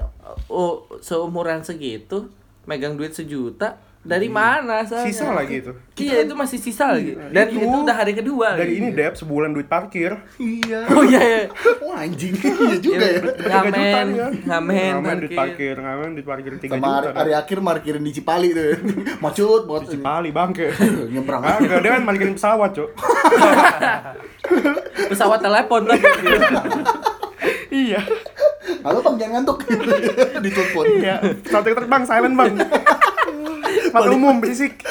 [SPEAKER 1] Oh, seumuran segitu megang duit sejuta dari mana saya?
[SPEAKER 3] Sisa lagi itu.
[SPEAKER 1] Iya, itu masih sisa lagi. Dan itu,
[SPEAKER 3] Itu
[SPEAKER 1] udah hari kedua.
[SPEAKER 3] Dari
[SPEAKER 1] lagi.
[SPEAKER 3] ini Dep sebulan duit parkir.
[SPEAKER 4] iya
[SPEAKER 1] Oh iya, iya.
[SPEAKER 4] wah anjing iya juga ya
[SPEAKER 3] Tiga juta
[SPEAKER 1] Ngamen,
[SPEAKER 3] nih kan.
[SPEAKER 1] ngamen,
[SPEAKER 3] ngamen duit
[SPEAKER 1] parkir.
[SPEAKER 3] parkir, ngamen duit parkir 3
[SPEAKER 4] sama hari,
[SPEAKER 3] juta. kan?
[SPEAKER 4] hari akhir markirin di Cipali tuh macut buat
[SPEAKER 3] Cipali bangke.
[SPEAKER 4] nyebrang
[SPEAKER 3] Kagak, dia kan malikin pesawat, Cuk.
[SPEAKER 1] pesawat telepon tapi
[SPEAKER 3] iya.
[SPEAKER 4] halo bang jangan ngantuk ditelepon
[SPEAKER 3] Iya. Pesawat yang terbang silent, Bang. Mata umum berisik.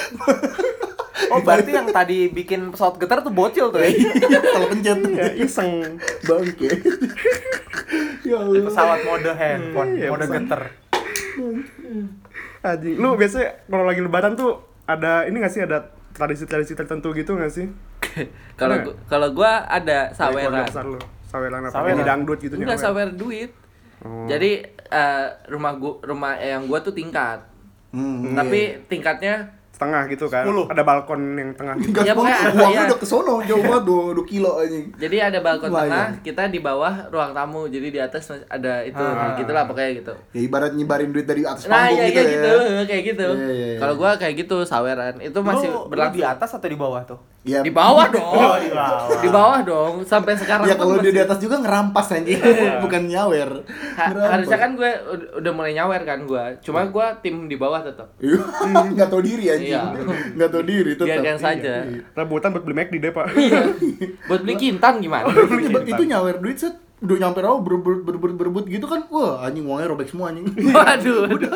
[SPEAKER 2] Oh, berarti yang tadi bikin pesawat getar tuh bocil tuh ya.
[SPEAKER 4] kalau pencet
[SPEAKER 3] Ya,
[SPEAKER 1] Iya.
[SPEAKER 3] iseng.
[SPEAKER 4] bangke ya Allah
[SPEAKER 2] Pesawat mode handphone,
[SPEAKER 3] Iya,
[SPEAKER 2] mode
[SPEAKER 3] pesan.
[SPEAKER 2] getar.
[SPEAKER 3] Anjing. Lu biasanya kalau lagi lebaran tuh ada ini gak sih ada tradisi-tradisi tertentu gitu gak sih?
[SPEAKER 1] kalau gua- kalau gua ada
[SPEAKER 3] Dari keluarga
[SPEAKER 1] saweran
[SPEAKER 3] besar lu. Saweran apa?
[SPEAKER 2] Saweran.
[SPEAKER 3] Ini dangdut gitu
[SPEAKER 1] enggak
[SPEAKER 3] nyawer.
[SPEAKER 1] sawer duit
[SPEAKER 4] Oh.
[SPEAKER 1] jadi eh, rumah gua rumah eh, yang gua tuh tingkat
[SPEAKER 4] Hmm.
[SPEAKER 1] tapi tingkatnya
[SPEAKER 3] Setengah gitu kan.
[SPEAKER 2] Sepuluh.
[SPEAKER 3] Ada balkon yang tengah gitu.
[SPEAKER 1] Ya,
[SPEAKER 4] Gas banget,
[SPEAKER 1] pokoknya ada-
[SPEAKER 4] uangnya
[SPEAKER 1] iya.
[SPEAKER 4] udah kesono jauh banget 2 kilo anjing
[SPEAKER 1] jadi ada balkon tengah
[SPEAKER 4] Lumayan.
[SPEAKER 1] kita di bawah ruang tamu jadi di atas mas- ada itu
[SPEAKER 2] Ah.
[SPEAKER 1] gitulah pokoknya gitu
[SPEAKER 4] ya ibarat nyebarin duit dari atas
[SPEAKER 1] nah
[SPEAKER 4] panggung
[SPEAKER 1] iya iya
[SPEAKER 4] gitu ya
[SPEAKER 1] gitu kayak gitu
[SPEAKER 4] Iya, iya, iya.
[SPEAKER 1] kalau gua kayak gitu saweran itu masih
[SPEAKER 2] Lu, lu
[SPEAKER 1] berlangsung
[SPEAKER 2] di atas atau di bawah tuh?
[SPEAKER 4] Iya.
[SPEAKER 1] di bawah dong
[SPEAKER 2] Oh, di bawah.
[SPEAKER 1] di bawah dong sampai sekarang
[SPEAKER 4] Ya
[SPEAKER 1] pun
[SPEAKER 4] kalau dia
[SPEAKER 1] masih- Iya.
[SPEAKER 4] di atas juga ngerampas anjing, bukan nyawer.
[SPEAKER 1] Ha-
[SPEAKER 4] Ngerampas.
[SPEAKER 1] harusnya kan gue ud- udah mulai nyawer kan gue cuma gue tim di bawah tetap
[SPEAKER 4] Iya, nggak tahu diri anjing.
[SPEAKER 1] Iya.
[SPEAKER 4] Nggak tahu diri Iya. tetap.
[SPEAKER 1] biarkan saja
[SPEAKER 3] Rebutan buat beli McD deh, Pak.
[SPEAKER 1] Iya. buat beli kintan gimana
[SPEAKER 4] Itu nyebut- itu nyawer duit set udah nyampe rawa berebut berebut berebut gitu kan wah anjing uangnya robek semua anjing
[SPEAKER 1] waduh itu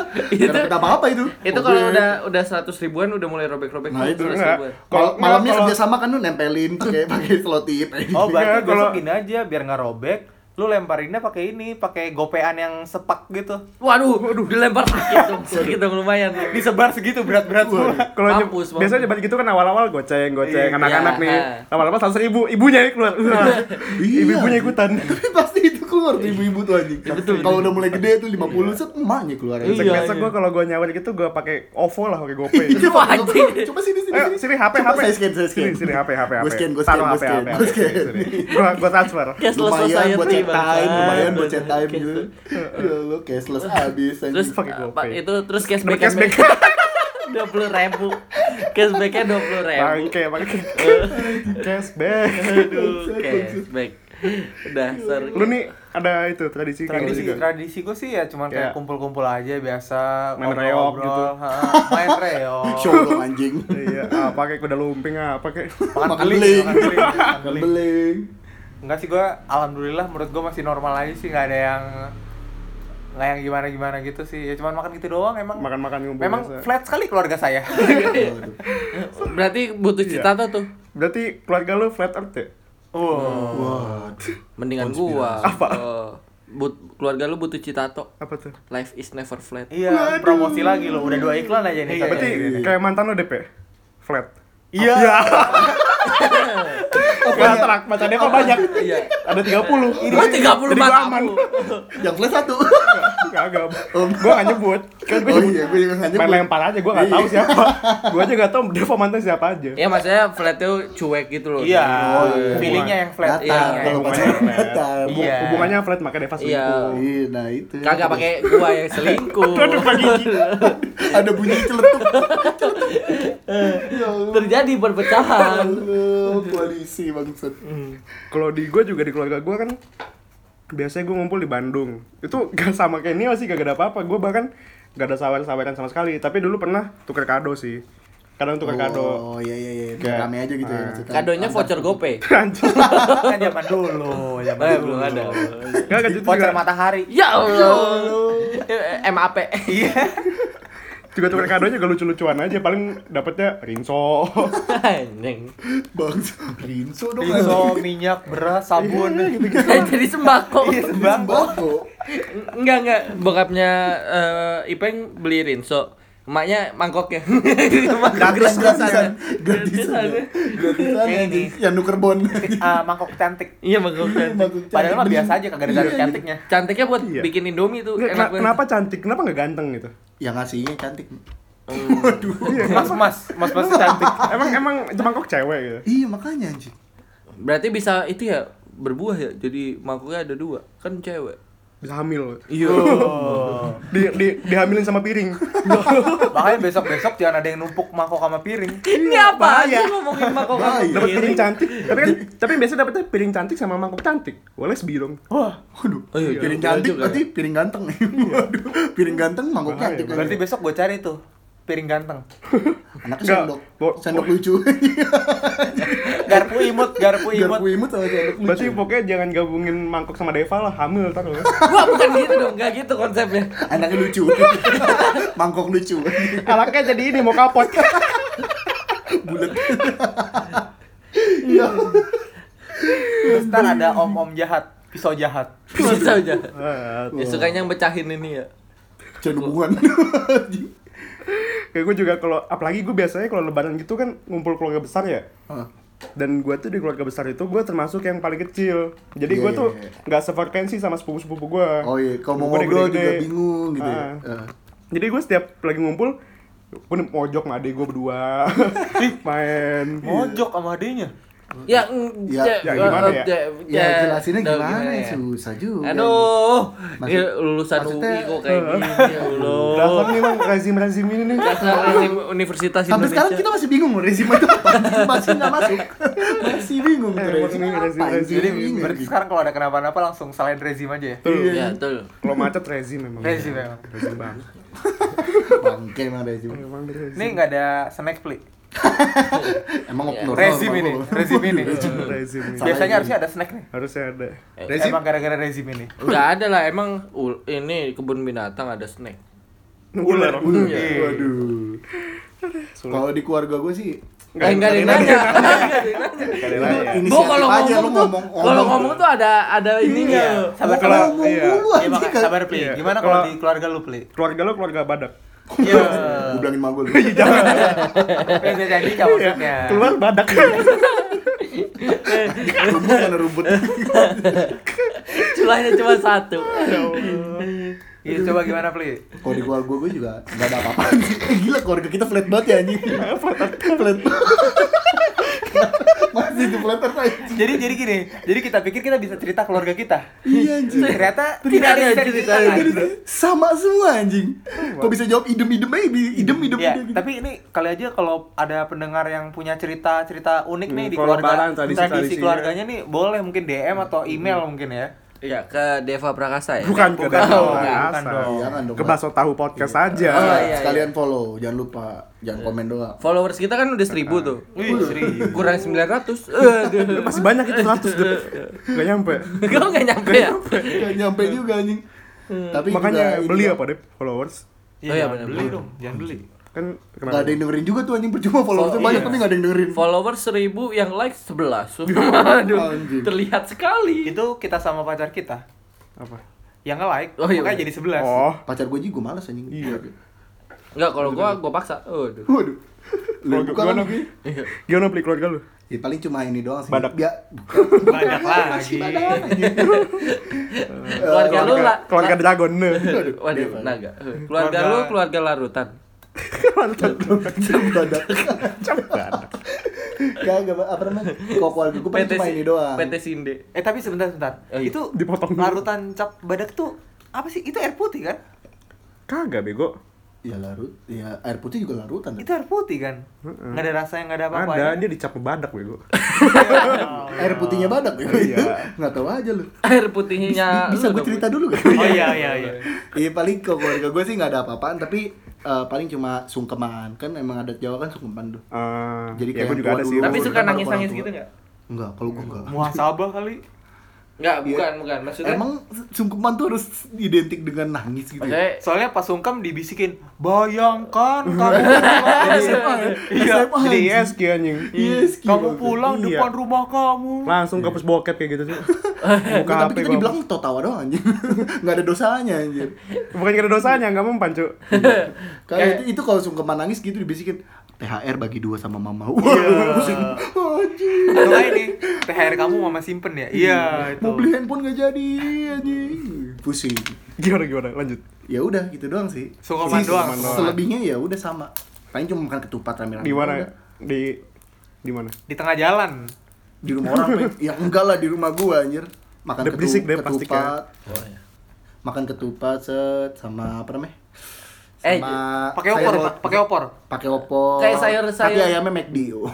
[SPEAKER 4] Iya, nggak dapet apa apa itu
[SPEAKER 1] itu kalau udah udah seratus ribuan udah mulai robek-robek
[SPEAKER 4] Nah, itu
[SPEAKER 1] 100
[SPEAKER 3] enggak.
[SPEAKER 1] ribuan.
[SPEAKER 4] Mal-
[SPEAKER 3] Kalau-
[SPEAKER 4] malamnya
[SPEAKER 3] kalau-
[SPEAKER 4] kerjasama kan lu nempelin pakai pakai selotip
[SPEAKER 2] Oh,
[SPEAKER 3] Iya,
[SPEAKER 2] berarti besok
[SPEAKER 3] kalau-
[SPEAKER 2] gini aja biar nggak robek. Lu lemparinnya pakai ini, pakai gopean yang sepak gitu.
[SPEAKER 1] waduh dilempar sakit dong sakit dong lumayan
[SPEAKER 2] Disebar segitu berat-berat semua.
[SPEAKER 3] Kalau nyeb-
[SPEAKER 1] Mampus, mampus.
[SPEAKER 3] biasanya nyebar gitu kan awal-awal goceng, goceng
[SPEAKER 1] Iya.
[SPEAKER 3] anak-anak nih.
[SPEAKER 1] Iya.
[SPEAKER 3] Lama-lama seratus ribu, ibunya yang keluar. Nah, Ibu-ibunya ikutan.
[SPEAKER 4] Iya. tapi pasti itu keluar tuh ibu-ibu tuh anjing
[SPEAKER 1] betul.
[SPEAKER 4] kalau udah mulai gede tuh 50 set emaknya keluar anjing.
[SPEAKER 1] Iya,
[SPEAKER 3] Besok
[SPEAKER 1] iya.
[SPEAKER 3] gua kalau gua nyawer gitu gua pakai OVO lah, pakai GoPay.
[SPEAKER 1] Itu anjing.
[SPEAKER 4] Coba sini sini
[SPEAKER 3] Ayo, sini HP,
[SPEAKER 4] Coba
[SPEAKER 3] HP.
[SPEAKER 4] Saya scan, saya scan.
[SPEAKER 3] Sini, sini HP, HP, HP.
[SPEAKER 4] Gue scan, gue scan,
[SPEAKER 3] Taruh
[SPEAKER 4] gue
[SPEAKER 3] HP,
[SPEAKER 4] scan.
[SPEAKER 3] HP,
[SPEAKER 4] Gue scan.
[SPEAKER 3] Sini. Gua gua transfer.
[SPEAKER 1] cashless
[SPEAKER 4] Lumayan
[SPEAKER 1] society
[SPEAKER 4] buat
[SPEAKER 1] bang.
[SPEAKER 4] chat time, lumayan buat chat time
[SPEAKER 1] Cashless.
[SPEAKER 4] gitu. Ya lu cashless abis
[SPEAKER 1] terus
[SPEAKER 4] anjing.
[SPEAKER 3] Pakai
[SPEAKER 1] eh,
[SPEAKER 3] GoPay.
[SPEAKER 1] pak itu terus
[SPEAKER 3] Dapat
[SPEAKER 1] cashback
[SPEAKER 3] cashback.
[SPEAKER 1] dua puluh ribu cashbacknya dua puluh ribu
[SPEAKER 3] Bangke, bangke. Cashback.
[SPEAKER 1] aduh cashback dasar
[SPEAKER 3] Lu nih ada itu tradisi kayak gitu
[SPEAKER 2] tradisi
[SPEAKER 3] juga.
[SPEAKER 2] tradisi gue sih ya cuman kayak
[SPEAKER 3] Kayak-
[SPEAKER 2] kumpul-kumpul aja biasa
[SPEAKER 3] Main
[SPEAKER 2] ngobrol-
[SPEAKER 3] reog
[SPEAKER 2] ngobrol,
[SPEAKER 3] gitu.
[SPEAKER 2] ha, main reog
[SPEAKER 4] Show dong anjing.
[SPEAKER 3] Iya, ah, pakai kuda lumping ah, pakai.
[SPEAKER 4] Makan
[SPEAKER 2] makan
[SPEAKER 4] beling.
[SPEAKER 2] beling makan beling, makan beling.
[SPEAKER 4] Beling.
[SPEAKER 2] enggak sih gue alhamdulillah menurut gue masih normal aja sih nggak ada yang nggak yang gimana gimana gitu sih ya cuman makan gitu doang emang
[SPEAKER 3] Makan-makan ngumpul
[SPEAKER 2] memang
[SPEAKER 3] biasa.
[SPEAKER 2] flat sekali keluarga saya
[SPEAKER 1] berarti butuh cita tuh
[SPEAKER 3] Berarti keluarga lu flat earth ya?
[SPEAKER 2] oh
[SPEAKER 4] What?
[SPEAKER 1] Mendingan gua. Apa? keluarga lu butuh citato.
[SPEAKER 3] Apa tuh?
[SPEAKER 1] Life is never flat.
[SPEAKER 2] iya promosi lagi lo udah dua iklan aja
[SPEAKER 1] Iya,
[SPEAKER 2] nih
[SPEAKER 3] Iya, Berarti kayak mantan lo DP flat.
[SPEAKER 2] iya
[SPEAKER 3] Kontrak, mantan DP banyak.
[SPEAKER 1] Iya.
[SPEAKER 3] Ada 30.
[SPEAKER 1] Ini 30
[SPEAKER 3] Jadi gua
[SPEAKER 1] mata
[SPEAKER 3] aman.
[SPEAKER 1] aku.
[SPEAKER 4] Yang plus satu.
[SPEAKER 3] Kagak. Gua enggak nyebut. Kan gua
[SPEAKER 4] Oh
[SPEAKER 3] nyebut.
[SPEAKER 4] iya, gue juga nggak
[SPEAKER 3] Main
[SPEAKER 4] nyebut.
[SPEAKER 3] lempar aja, gua
[SPEAKER 1] Iya.
[SPEAKER 3] enggak tahu siapa. Gua aja enggak tahu DP mantan siapa aja.
[SPEAKER 1] Ya maksudnya flat tuh cuek gitu loh.
[SPEAKER 2] iya
[SPEAKER 4] Oh, iya.
[SPEAKER 2] feelingnya yang flat
[SPEAKER 4] Datar,
[SPEAKER 1] Iya,
[SPEAKER 4] kalau
[SPEAKER 3] iya.
[SPEAKER 4] pacaran datar.
[SPEAKER 3] Hubung-
[SPEAKER 2] Iya.
[SPEAKER 3] Hubungannya flat makanya DP
[SPEAKER 1] Iya.
[SPEAKER 3] selingkuh.
[SPEAKER 4] Iya, nah itu.
[SPEAKER 1] Kagak pakai gua yang selingkuh.
[SPEAKER 4] Ada bunyi celetuk. Ya Allah.
[SPEAKER 1] Terjadi perpecahan.
[SPEAKER 4] Allah, Koalisi bangsat.
[SPEAKER 3] Kalau di gua juga di keluarga gua kan biasanya gua ngumpul di Bandung. Itu gak sama kayak ini sih, gak ada apa-apa. Gua bahkan gak ada sawer-saweran sama sekali. Tapi dulu pernah tuker kado sih. kadang tukar kado
[SPEAKER 4] Oh iya iya iya,
[SPEAKER 3] Kayak,
[SPEAKER 4] rame aja gitu ya.
[SPEAKER 3] ah.
[SPEAKER 4] maksudnya.
[SPEAKER 1] Kadonya
[SPEAKER 4] Antar-
[SPEAKER 1] voucher GoPay.
[SPEAKER 2] kan zaman dulu, zaman
[SPEAKER 1] Eh,
[SPEAKER 2] dulu.
[SPEAKER 1] belum ada.
[SPEAKER 3] Nggak, kan itu
[SPEAKER 2] Voucher
[SPEAKER 3] juga-
[SPEAKER 2] matahari.
[SPEAKER 1] Ya Allah. Eh, MAP.
[SPEAKER 3] juga tukar kadonya gak lucu-lucuan aja paling dapatnya rinso
[SPEAKER 1] Anjing.
[SPEAKER 4] Bang Rinso dong.
[SPEAKER 3] Iya.
[SPEAKER 2] Rinso, minyak, beras, sabun, Iya,
[SPEAKER 1] Eh, jadi sembako.
[SPEAKER 2] sembako.
[SPEAKER 4] Bako.
[SPEAKER 1] Enggak enggak, Iya. bokapnya eh, Ipeng beli rinso. Emaknya mangkoknya.
[SPEAKER 4] Gratis
[SPEAKER 1] Gratisan. ya.
[SPEAKER 4] gratisan. Gratisan. ya. Gratisan
[SPEAKER 2] Kayak
[SPEAKER 4] anjing.
[SPEAKER 2] ini.
[SPEAKER 4] Yang nuker bon.
[SPEAKER 2] Ah, mangkok cantik.
[SPEAKER 1] Iya mangkoknya.
[SPEAKER 4] Mangkok
[SPEAKER 2] Padahal mah
[SPEAKER 4] cantik.
[SPEAKER 2] biasa aja kagak ada cantiknya.
[SPEAKER 1] Cantiknya buat
[SPEAKER 3] Iya.
[SPEAKER 1] bikin Indomie tuh. enak
[SPEAKER 3] Nggak, kena-
[SPEAKER 1] banget.
[SPEAKER 3] kenapa cantik kenapa nggak ganteng gitu
[SPEAKER 4] Ya ngasihnya cantik.
[SPEAKER 1] Oh.
[SPEAKER 3] iya.
[SPEAKER 2] Mas, mas, mas, mas cantik.
[SPEAKER 3] emang emang Jepangkok cewek gitu
[SPEAKER 4] Iya makanya anjing.
[SPEAKER 1] Berarti bisa itu ya berbuah ya. Jadi mangkoknya ada dua. Kan cewek.
[SPEAKER 3] bisa hamil
[SPEAKER 1] Iya.
[SPEAKER 3] di, di dihamilin sama piring
[SPEAKER 1] Iya.
[SPEAKER 2] Makanya besok-besok jangan ada yang numpuk mangkok sama piring.
[SPEAKER 1] Ini apa sih ngomongin mangkok
[SPEAKER 4] Bahaya.
[SPEAKER 3] Oh, dapat piring
[SPEAKER 1] piring?
[SPEAKER 3] cantik tapi kan tapi biasanya dapetnya piring cantik sama mangkok cantik boleh sebelum
[SPEAKER 4] Wah, waduh.
[SPEAKER 1] Oh, iya,
[SPEAKER 4] piring
[SPEAKER 1] iya
[SPEAKER 4] cantik
[SPEAKER 1] juga
[SPEAKER 4] berarti piring ganteng. Waduh, piring ganteng mangkok
[SPEAKER 3] Iya. Bahaya,
[SPEAKER 4] cantik.
[SPEAKER 2] Berarti besok gue cari tuh piring ganteng.
[SPEAKER 4] Anaknya
[SPEAKER 3] Nggak,
[SPEAKER 4] sendok.
[SPEAKER 3] bo-
[SPEAKER 4] Sendok
[SPEAKER 3] bo-
[SPEAKER 4] lucu.
[SPEAKER 2] Garpu imut, garpu
[SPEAKER 4] Biar
[SPEAKER 2] imut.
[SPEAKER 4] imut sama sendok lucu.
[SPEAKER 1] iya.
[SPEAKER 3] berarti pokoknya jangan gabungin mangkok sama Deva lah hamil ntar lo
[SPEAKER 1] Wah, bukan gitu dong. Enggak gitu konsepnya.
[SPEAKER 4] Anaknya lucu. Mangkok lucu.
[SPEAKER 3] anaknya jadi ini mau kapot
[SPEAKER 4] Bulat.
[SPEAKER 2] Terus ntar ada om-om jahat, pisau jahat.
[SPEAKER 1] Bisa aja.
[SPEAKER 3] Ah,
[SPEAKER 1] Ya sukanya yang pecahin ini ya.
[SPEAKER 4] Jangan hubungan. Anjing.
[SPEAKER 3] kayak gue juga kalau apalagi gue biasanya kalau lebaran gitu kan ngumpul keluarga besar ya
[SPEAKER 4] Ah.
[SPEAKER 3] dan gue tuh di keluarga besar itu gue termasuk yang paling kecil jadi
[SPEAKER 4] Iya,
[SPEAKER 3] gue
[SPEAKER 4] iya,
[SPEAKER 3] tuh
[SPEAKER 4] iya.
[SPEAKER 3] nggak sefrekuensi sama sepupu sepupu gue
[SPEAKER 4] Oh iya, kalau mau ngobrol juga bingung gitu ya. Ah.
[SPEAKER 3] jadi gue setiap lagi ngumpul gue mojok sama adek gue berdua main
[SPEAKER 4] Oh.
[SPEAKER 2] Mojok sama adenya.
[SPEAKER 1] Ya, mm,
[SPEAKER 4] Ya,
[SPEAKER 1] ja-
[SPEAKER 3] ya gimana ya?
[SPEAKER 1] ja-
[SPEAKER 4] Ya
[SPEAKER 1] ja-
[SPEAKER 4] jelasinnya
[SPEAKER 1] aduh,
[SPEAKER 4] gimana,
[SPEAKER 1] ya?
[SPEAKER 4] susah juga.
[SPEAKER 1] Aduh, ini
[SPEAKER 4] Maksud-
[SPEAKER 1] lulusan UI
[SPEAKER 4] maksudnya-
[SPEAKER 1] kok kayak gini ya
[SPEAKER 3] dasar
[SPEAKER 1] Allah.
[SPEAKER 3] nih emang razim razim ini nih
[SPEAKER 1] Dasar rezim Universitas
[SPEAKER 4] Sampai
[SPEAKER 1] Indonesia.
[SPEAKER 4] sekarang kita masih bingung loh rezim itu apa. Masih nggak masuk. Masih bingung tuh
[SPEAKER 3] Eh,
[SPEAKER 4] rezim
[SPEAKER 3] ini
[SPEAKER 4] apa.
[SPEAKER 3] rezim,
[SPEAKER 4] anjing.
[SPEAKER 3] rezim.
[SPEAKER 2] Jadi
[SPEAKER 4] Bingung.
[SPEAKER 2] berarti sekarang kalau ada kenapa-napa langsung salahin rezim aja ya.
[SPEAKER 3] tuh
[SPEAKER 1] Ya, betul.
[SPEAKER 3] kalau macet rezim memang
[SPEAKER 2] Rezim ya? memang.
[SPEAKER 3] rezim banget
[SPEAKER 4] Bangke emang rezim.
[SPEAKER 3] emang dia rezim
[SPEAKER 2] Ini nggak ada snack pli.
[SPEAKER 1] Ya.
[SPEAKER 4] Emang oknur.
[SPEAKER 2] Rezim ini, rezim ini. Hmm.
[SPEAKER 4] Eh.
[SPEAKER 3] rezim ini.
[SPEAKER 2] Biasanya harusnya ada snack nih.
[SPEAKER 3] harusnya ada
[SPEAKER 4] Rezim?
[SPEAKER 2] Emang gara-gara rezim ini.
[SPEAKER 1] Enggak ada lah emang ul- ini kebun binatang ada snack.
[SPEAKER 3] ular
[SPEAKER 4] Waduh.
[SPEAKER 2] Iya.
[SPEAKER 4] Waduh. Kalau di keluarga gue sih
[SPEAKER 1] Enggak enggak Eh, ada yang nanya.
[SPEAKER 3] Kali lain ya.
[SPEAKER 4] Inisiatif
[SPEAKER 1] Gua kalau
[SPEAKER 4] aja, lu
[SPEAKER 1] ngomong tuh
[SPEAKER 4] ngomong-
[SPEAKER 1] kalau
[SPEAKER 4] ngomong.
[SPEAKER 1] ngomong tuh ada ada ininya.
[SPEAKER 2] Iya. Sabar
[SPEAKER 4] Oh, kalau
[SPEAKER 3] kalau-
[SPEAKER 4] ngomong
[SPEAKER 3] iya.
[SPEAKER 4] dulu
[SPEAKER 2] Iya,
[SPEAKER 4] anjing
[SPEAKER 2] makanya
[SPEAKER 4] kan.
[SPEAKER 2] sabar pli.
[SPEAKER 3] Iya.
[SPEAKER 2] Gimana kalau
[SPEAKER 3] Kalau-
[SPEAKER 2] di keluarga lu pli?
[SPEAKER 3] keluarga lo keluarga badak
[SPEAKER 2] Iya.
[SPEAKER 4] Gua gitu. bilangin sama gue.
[SPEAKER 2] Beda jadi nggak maksudnya.
[SPEAKER 3] keluar badak
[SPEAKER 4] Rumput karena rumput.
[SPEAKER 1] Celahnya cuma satu.
[SPEAKER 2] Iya, coba gimana pli?
[SPEAKER 4] Kalau di keluarga gue juga nggak ada apa-apa. Gila keluarga kita flat banget ya anjing. Flat. Masih di flat earth, anjing.
[SPEAKER 2] Jadi jadi gini, jadi kita pikir kita bisa cerita keluarga kita.
[SPEAKER 4] Iya anjing.
[SPEAKER 2] Ternyata tidak ada yang bisa diceritakan.
[SPEAKER 4] Sama semua anjing. Kok bisa jawab idem-idem aja, bi- idem-idem
[SPEAKER 2] Ya,
[SPEAKER 4] idem.
[SPEAKER 2] tapi ini kali aja kalau ada pendengar yang punya cerita-cerita unik nih
[SPEAKER 3] Hmm,
[SPEAKER 2] di
[SPEAKER 3] kalau
[SPEAKER 2] keluarga,
[SPEAKER 3] lebaran,
[SPEAKER 2] tradisi,
[SPEAKER 3] tradisi-tradisinya.
[SPEAKER 2] keluarganya nih boleh mungkin DM atau email mungkin ya.
[SPEAKER 1] Iya, ke Deva Prakasa ya.
[SPEAKER 3] bukan
[SPEAKER 2] Bukan
[SPEAKER 3] bukan
[SPEAKER 2] dong,
[SPEAKER 3] Rasa.
[SPEAKER 2] bukan dong.
[SPEAKER 4] Jangan dong,
[SPEAKER 3] ke bakso tahu podcast aja
[SPEAKER 1] Oh, iya, iya.
[SPEAKER 4] Sekalian follow, jangan lupa, jangan komen doang.
[SPEAKER 1] Followers kita kan udah 1000 tuh.
[SPEAKER 2] Wih, serius.
[SPEAKER 1] Kurang 900. Aduh.
[SPEAKER 3] masih banyak itu 100 deh nggak nyampe
[SPEAKER 1] Kau nggak nyampe ya?
[SPEAKER 4] Gak nyampe juga anjing. Tapi
[SPEAKER 3] makanya
[SPEAKER 4] juga
[SPEAKER 3] beli
[SPEAKER 4] ini-
[SPEAKER 3] apa deh followers
[SPEAKER 2] Iya,
[SPEAKER 1] Oh iya,
[SPEAKER 2] jangan
[SPEAKER 1] benar,
[SPEAKER 2] beli
[SPEAKER 1] benar.
[SPEAKER 2] dong, jangan beli.
[SPEAKER 3] kan
[SPEAKER 4] Gak ada
[SPEAKER 3] kenapa
[SPEAKER 4] yang dengerin juga tuh anjing percuma followersnya
[SPEAKER 1] Follow-
[SPEAKER 4] banyak
[SPEAKER 1] iya.
[SPEAKER 4] tapi gak ada yang dengerin.
[SPEAKER 1] Followers 1000 yang like 11. Aduh,
[SPEAKER 4] Anjing.
[SPEAKER 1] terlihat sekali.
[SPEAKER 2] Itu kita sama pacar kita
[SPEAKER 3] apa
[SPEAKER 2] yang nge-like,
[SPEAKER 1] Oh, iya,
[SPEAKER 2] makanya
[SPEAKER 1] benar.
[SPEAKER 2] jadi 11.
[SPEAKER 3] oh
[SPEAKER 4] Pacar gue juga gue malas anjing.
[SPEAKER 3] Iya.
[SPEAKER 1] Enggak, kalau gua gua paksa. Aduh.
[SPEAKER 4] Waduh. Lu
[SPEAKER 3] Kalau
[SPEAKER 4] buka
[SPEAKER 3] gua
[SPEAKER 4] kan
[SPEAKER 3] nang-
[SPEAKER 1] Iya.
[SPEAKER 3] gimana beli keluarga lu
[SPEAKER 4] Ya paling cuma ini doang sih.
[SPEAKER 3] Badak.
[SPEAKER 4] Ya,
[SPEAKER 2] Banyak lagi.
[SPEAKER 1] Keluarga lu lah.
[SPEAKER 3] keluarga dragon nih
[SPEAKER 1] Waduh, naga. Eh, Keluarga lu
[SPEAKER 2] Keluarga-
[SPEAKER 1] keluarga larutan.
[SPEAKER 4] badak. Gak, gak, apa namanya? Kok keluarga gue paling cuma
[SPEAKER 1] si-
[SPEAKER 4] ini doang.
[SPEAKER 1] PT Sinde.
[SPEAKER 2] Eh tapi sebentar sebentar.
[SPEAKER 1] Oh, iya.
[SPEAKER 2] Itu
[SPEAKER 3] Dipotong dulu.
[SPEAKER 2] larutan cap badak tuh apa sih? Itu air putih kan?
[SPEAKER 3] kagak bego
[SPEAKER 4] Ya larut, ya air putih juga larutan.
[SPEAKER 2] Itu air putih kan? Nggak ada rasanya, nggak ada apa-apa. ya.
[SPEAKER 3] ada dia dicap badak bego
[SPEAKER 4] air putihnya badak ya?
[SPEAKER 3] Iya.
[SPEAKER 4] nggak tahu aja lu
[SPEAKER 1] Air putihnya
[SPEAKER 4] bisa
[SPEAKER 1] Ya, lu
[SPEAKER 4] gue
[SPEAKER 1] dong.
[SPEAKER 4] cerita dulu Ya, gak?
[SPEAKER 2] Oh iya iya iya.
[SPEAKER 4] Iya paling ke keluarga gue sih nggak ada apa-apaan tapi eh, paling cuma sungkeman kan emang adat Jawa kan sungkeman tuh
[SPEAKER 3] Eh,
[SPEAKER 4] Jadi
[SPEAKER 3] ya
[SPEAKER 4] kayak
[SPEAKER 3] gue juga ada sih.
[SPEAKER 4] waduh.
[SPEAKER 1] Tapi suka
[SPEAKER 4] Orang
[SPEAKER 1] nangis-nangis
[SPEAKER 4] tua.
[SPEAKER 1] gitu nggak?
[SPEAKER 4] enggak kalau gua enggak
[SPEAKER 2] Muhasabah kali.
[SPEAKER 1] Nggak, bukan, bukan. Maksudnya
[SPEAKER 4] Iya. emang gitu sungkeman tuh harus identik dengan nangis gitu ya?
[SPEAKER 1] maksudnya
[SPEAKER 2] Soalnya pas sungkem dibisikin, "Bayangkan kamu pulang." Iya.
[SPEAKER 4] SMA,
[SPEAKER 3] Jadi
[SPEAKER 4] anjing.
[SPEAKER 3] yes ki anjing.
[SPEAKER 4] Yes, ki.
[SPEAKER 2] Kamu pulang
[SPEAKER 3] Iya.
[SPEAKER 2] depan rumah kamu.
[SPEAKER 3] Langsung kapus bokep kayak gitu sih. Buka
[SPEAKER 4] Nggak, tapi
[SPEAKER 3] HP
[SPEAKER 4] kita
[SPEAKER 3] gua.
[SPEAKER 4] dibilang tau tawa doang anjir nggak ada dosanya anjir
[SPEAKER 3] Bukan kira dosanya, enggak mempan, Cuk.
[SPEAKER 2] Eh.
[SPEAKER 4] kalau
[SPEAKER 1] Kayak-
[SPEAKER 4] itu, itu kalau sungkeman nangis gitu dibisikin THR bagi dua sama mama
[SPEAKER 2] Iya.
[SPEAKER 4] Wah, pusing. anjir
[SPEAKER 2] Atau ini, THR kamu mama simpen ya? Iya, itu.
[SPEAKER 4] mau beli handphone nggak jadi anjing pusing
[SPEAKER 3] Gimana gimana? Lanjut.
[SPEAKER 4] ya udah gitu doang sih
[SPEAKER 2] Sungkeman
[SPEAKER 4] Sih,
[SPEAKER 2] doang.
[SPEAKER 4] selebihnya ya udah sama paling cuma makan ketupat rame-rame
[SPEAKER 3] Di mana?
[SPEAKER 2] ya?
[SPEAKER 4] Udah.
[SPEAKER 3] Di di mana?
[SPEAKER 2] Di tengah jalan.
[SPEAKER 4] di rumah orang Pe. ya enggak lah di rumah gua anjir makan
[SPEAKER 3] Udah
[SPEAKER 4] ketu-
[SPEAKER 3] berisik deh, pasti
[SPEAKER 4] ketupat makan ketupat set sama apa namanya
[SPEAKER 1] Eh,
[SPEAKER 4] sama
[SPEAKER 2] Pakai opor,
[SPEAKER 4] sayur-
[SPEAKER 2] Pak. pakai opor.
[SPEAKER 4] pakai opor
[SPEAKER 1] Kayak sayur-
[SPEAKER 4] tapi
[SPEAKER 1] sayur.
[SPEAKER 4] ayamnya McD oh.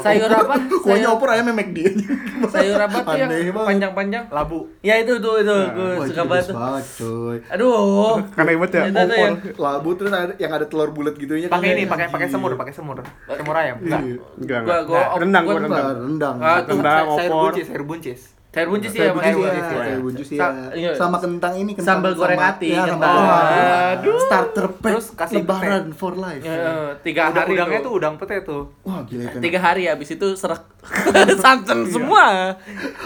[SPEAKER 1] sayur apa?
[SPEAKER 4] kuahnya
[SPEAKER 1] Sayur,
[SPEAKER 4] opor ayamnya McD anjir.
[SPEAKER 1] sayur apa tuh yang
[SPEAKER 4] Aneh banget.
[SPEAKER 1] panjang-panjang?
[SPEAKER 2] Labu.
[SPEAKER 1] Ya itu tuh itu gue
[SPEAKER 4] Wah,
[SPEAKER 1] suka
[SPEAKER 4] anjir,
[SPEAKER 1] banget.
[SPEAKER 4] bagus
[SPEAKER 1] tuh.
[SPEAKER 4] banget coy
[SPEAKER 1] Aduh.
[SPEAKER 3] Karena hebat ya.
[SPEAKER 1] Itu tuh
[SPEAKER 3] Opor.
[SPEAKER 1] yang-
[SPEAKER 4] labu terus ada, yang ada telur bulat gitu ya
[SPEAKER 2] Pakai ini, pakai pakai semur, pakai semur. Semur ayam.
[SPEAKER 4] Iya.
[SPEAKER 2] Enggak. Eh,
[SPEAKER 3] Enggak.
[SPEAKER 1] Gua-
[SPEAKER 3] enggak.
[SPEAKER 1] gua
[SPEAKER 3] Nah,
[SPEAKER 1] op-
[SPEAKER 3] Rendang gua
[SPEAKER 1] gua
[SPEAKER 3] rendang.
[SPEAKER 4] Nah, rendang
[SPEAKER 1] Ah, tuh.
[SPEAKER 3] Rendang,
[SPEAKER 2] Sayur
[SPEAKER 3] opor.
[SPEAKER 2] buncis, sayur buncis.
[SPEAKER 1] Sayur buncis
[SPEAKER 4] Sayur
[SPEAKER 1] ya,
[SPEAKER 4] buncis
[SPEAKER 1] makanya.
[SPEAKER 4] ya, sayur buncis ya.
[SPEAKER 1] Sa- iya.
[SPEAKER 4] Sama kentang ini kentang
[SPEAKER 1] Sambal
[SPEAKER 4] sama-
[SPEAKER 1] goreng hati,
[SPEAKER 4] ya, sambal
[SPEAKER 1] kentang.
[SPEAKER 4] goreng hati.
[SPEAKER 1] Aduh.
[SPEAKER 4] Starter pack
[SPEAKER 2] Terus kasih
[SPEAKER 4] lebaran for life.
[SPEAKER 1] Ya, eh, tiga
[SPEAKER 2] Udang
[SPEAKER 1] hari
[SPEAKER 2] udangnya tuh
[SPEAKER 1] tuh.
[SPEAKER 2] udang pete tuh.
[SPEAKER 4] Wah, gila ya, kan.
[SPEAKER 1] Tiga hari habis itu serak
[SPEAKER 4] Iya.
[SPEAKER 1] santan semua.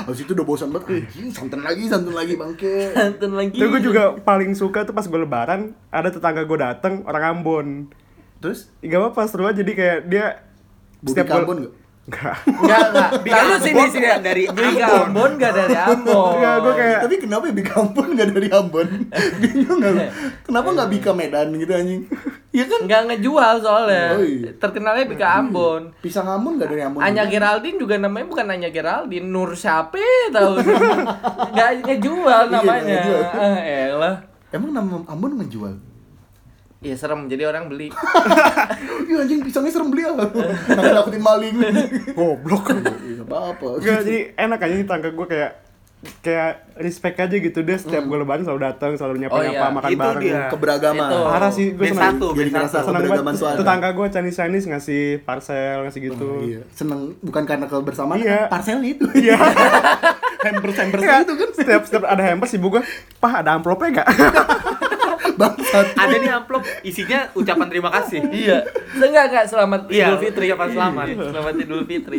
[SPEAKER 4] Habis itu udah bosan banget. Anjing, santan lagi, santan lagi bangke.
[SPEAKER 1] Santan lagi.
[SPEAKER 3] Itu gue juga paling suka tuh pas gue lebaran ada tetangga gue dateng orang Ambon.
[SPEAKER 4] Terus
[SPEAKER 3] Gak apa-apa seru aja jadi kayak dia
[SPEAKER 4] Budi
[SPEAKER 3] gua-
[SPEAKER 4] Kambon nggak?
[SPEAKER 3] Enggak.
[SPEAKER 1] Enggak, enggak.
[SPEAKER 2] Di
[SPEAKER 1] Lalu
[SPEAKER 2] Ambon
[SPEAKER 1] sini sini
[SPEAKER 2] nggak dari
[SPEAKER 1] Di Ambon enggak dari Ambon.
[SPEAKER 3] Enggak, gue kayak
[SPEAKER 4] Tapi kenapa ya Bika Ambon nggak dari Ambon? Bingung nggak? Kenapa nggak Bika Medan gitu anjing? Ya kan?
[SPEAKER 1] Enggak ngejual soalnya.
[SPEAKER 4] Oh, iya.
[SPEAKER 1] Terkenalnya Bika Ambon.
[SPEAKER 4] Hmm. Pisang Ambon nggak dari Ambon.
[SPEAKER 1] Anya
[SPEAKER 4] juga.
[SPEAKER 1] Geraldine juga namanya bukan Anya Geraldine, Nur siapa tahu. Enggak ngejual
[SPEAKER 4] Iya,
[SPEAKER 1] namanya.
[SPEAKER 4] nggak ngejual.
[SPEAKER 1] Eh, elah.
[SPEAKER 4] Emang nama Ambon ngejual?
[SPEAKER 1] Iya serem, jadi orang beli.
[SPEAKER 4] Iya anjing pisangnya serem beli apa? Nanti dapetin maling.
[SPEAKER 3] goblok.
[SPEAKER 4] Iya, apa-apa.
[SPEAKER 3] Enggak, jadi enak aja nih tangga gue kayak kayak respect aja gitu dia setiap
[SPEAKER 4] Hmm.
[SPEAKER 3] gue lebaran selalu datang selalu
[SPEAKER 1] Oh,
[SPEAKER 3] nyapa nyapa
[SPEAKER 1] iya.
[SPEAKER 3] makan
[SPEAKER 2] Itu
[SPEAKER 3] bareng
[SPEAKER 2] dia.
[SPEAKER 4] Keberagaman.
[SPEAKER 1] Itu.
[SPEAKER 3] parah sih gue
[SPEAKER 2] B1,
[SPEAKER 3] senang
[SPEAKER 4] Jadi
[SPEAKER 2] B1.
[SPEAKER 4] kerasa
[SPEAKER 3] senang
[SPEAKER 4] keberagaman
[SPEAKER 3] banget
[SPEAKER 4] suara.
[SPEAKER 3] tetangga gue Chinese Chinese ngasih parcel ngasih gitu
[SPEAKER 4] Oh, iya. Seneng bukan karena kebersamaan,
[SPEAKER 3] Iya.
[SPEAKER 4] parselnya itu.
[SPEAKER 3] Iya.
[SPEAKER 4] hampers hampers
[SPEAKER 3] Iya,
[SPEAKER 4] itu kan
[SPEAKER 3] setiap setiap ada hampers ibu gue pah ada amplopnya gak
[SPEAKER 4] bangsat.
[SPEAKER 2] Ada nih amplop isinya ucapan terima kasih.
[SPEAKER 1] iya. Enggak enggak selamat
[SPEAKER 2] Iya,
[SPEAKER 1] Idul Fitri.
[SPEAKER 2] ucapan selamat.
[SPEAKER 1] Selamat Idul Fitri.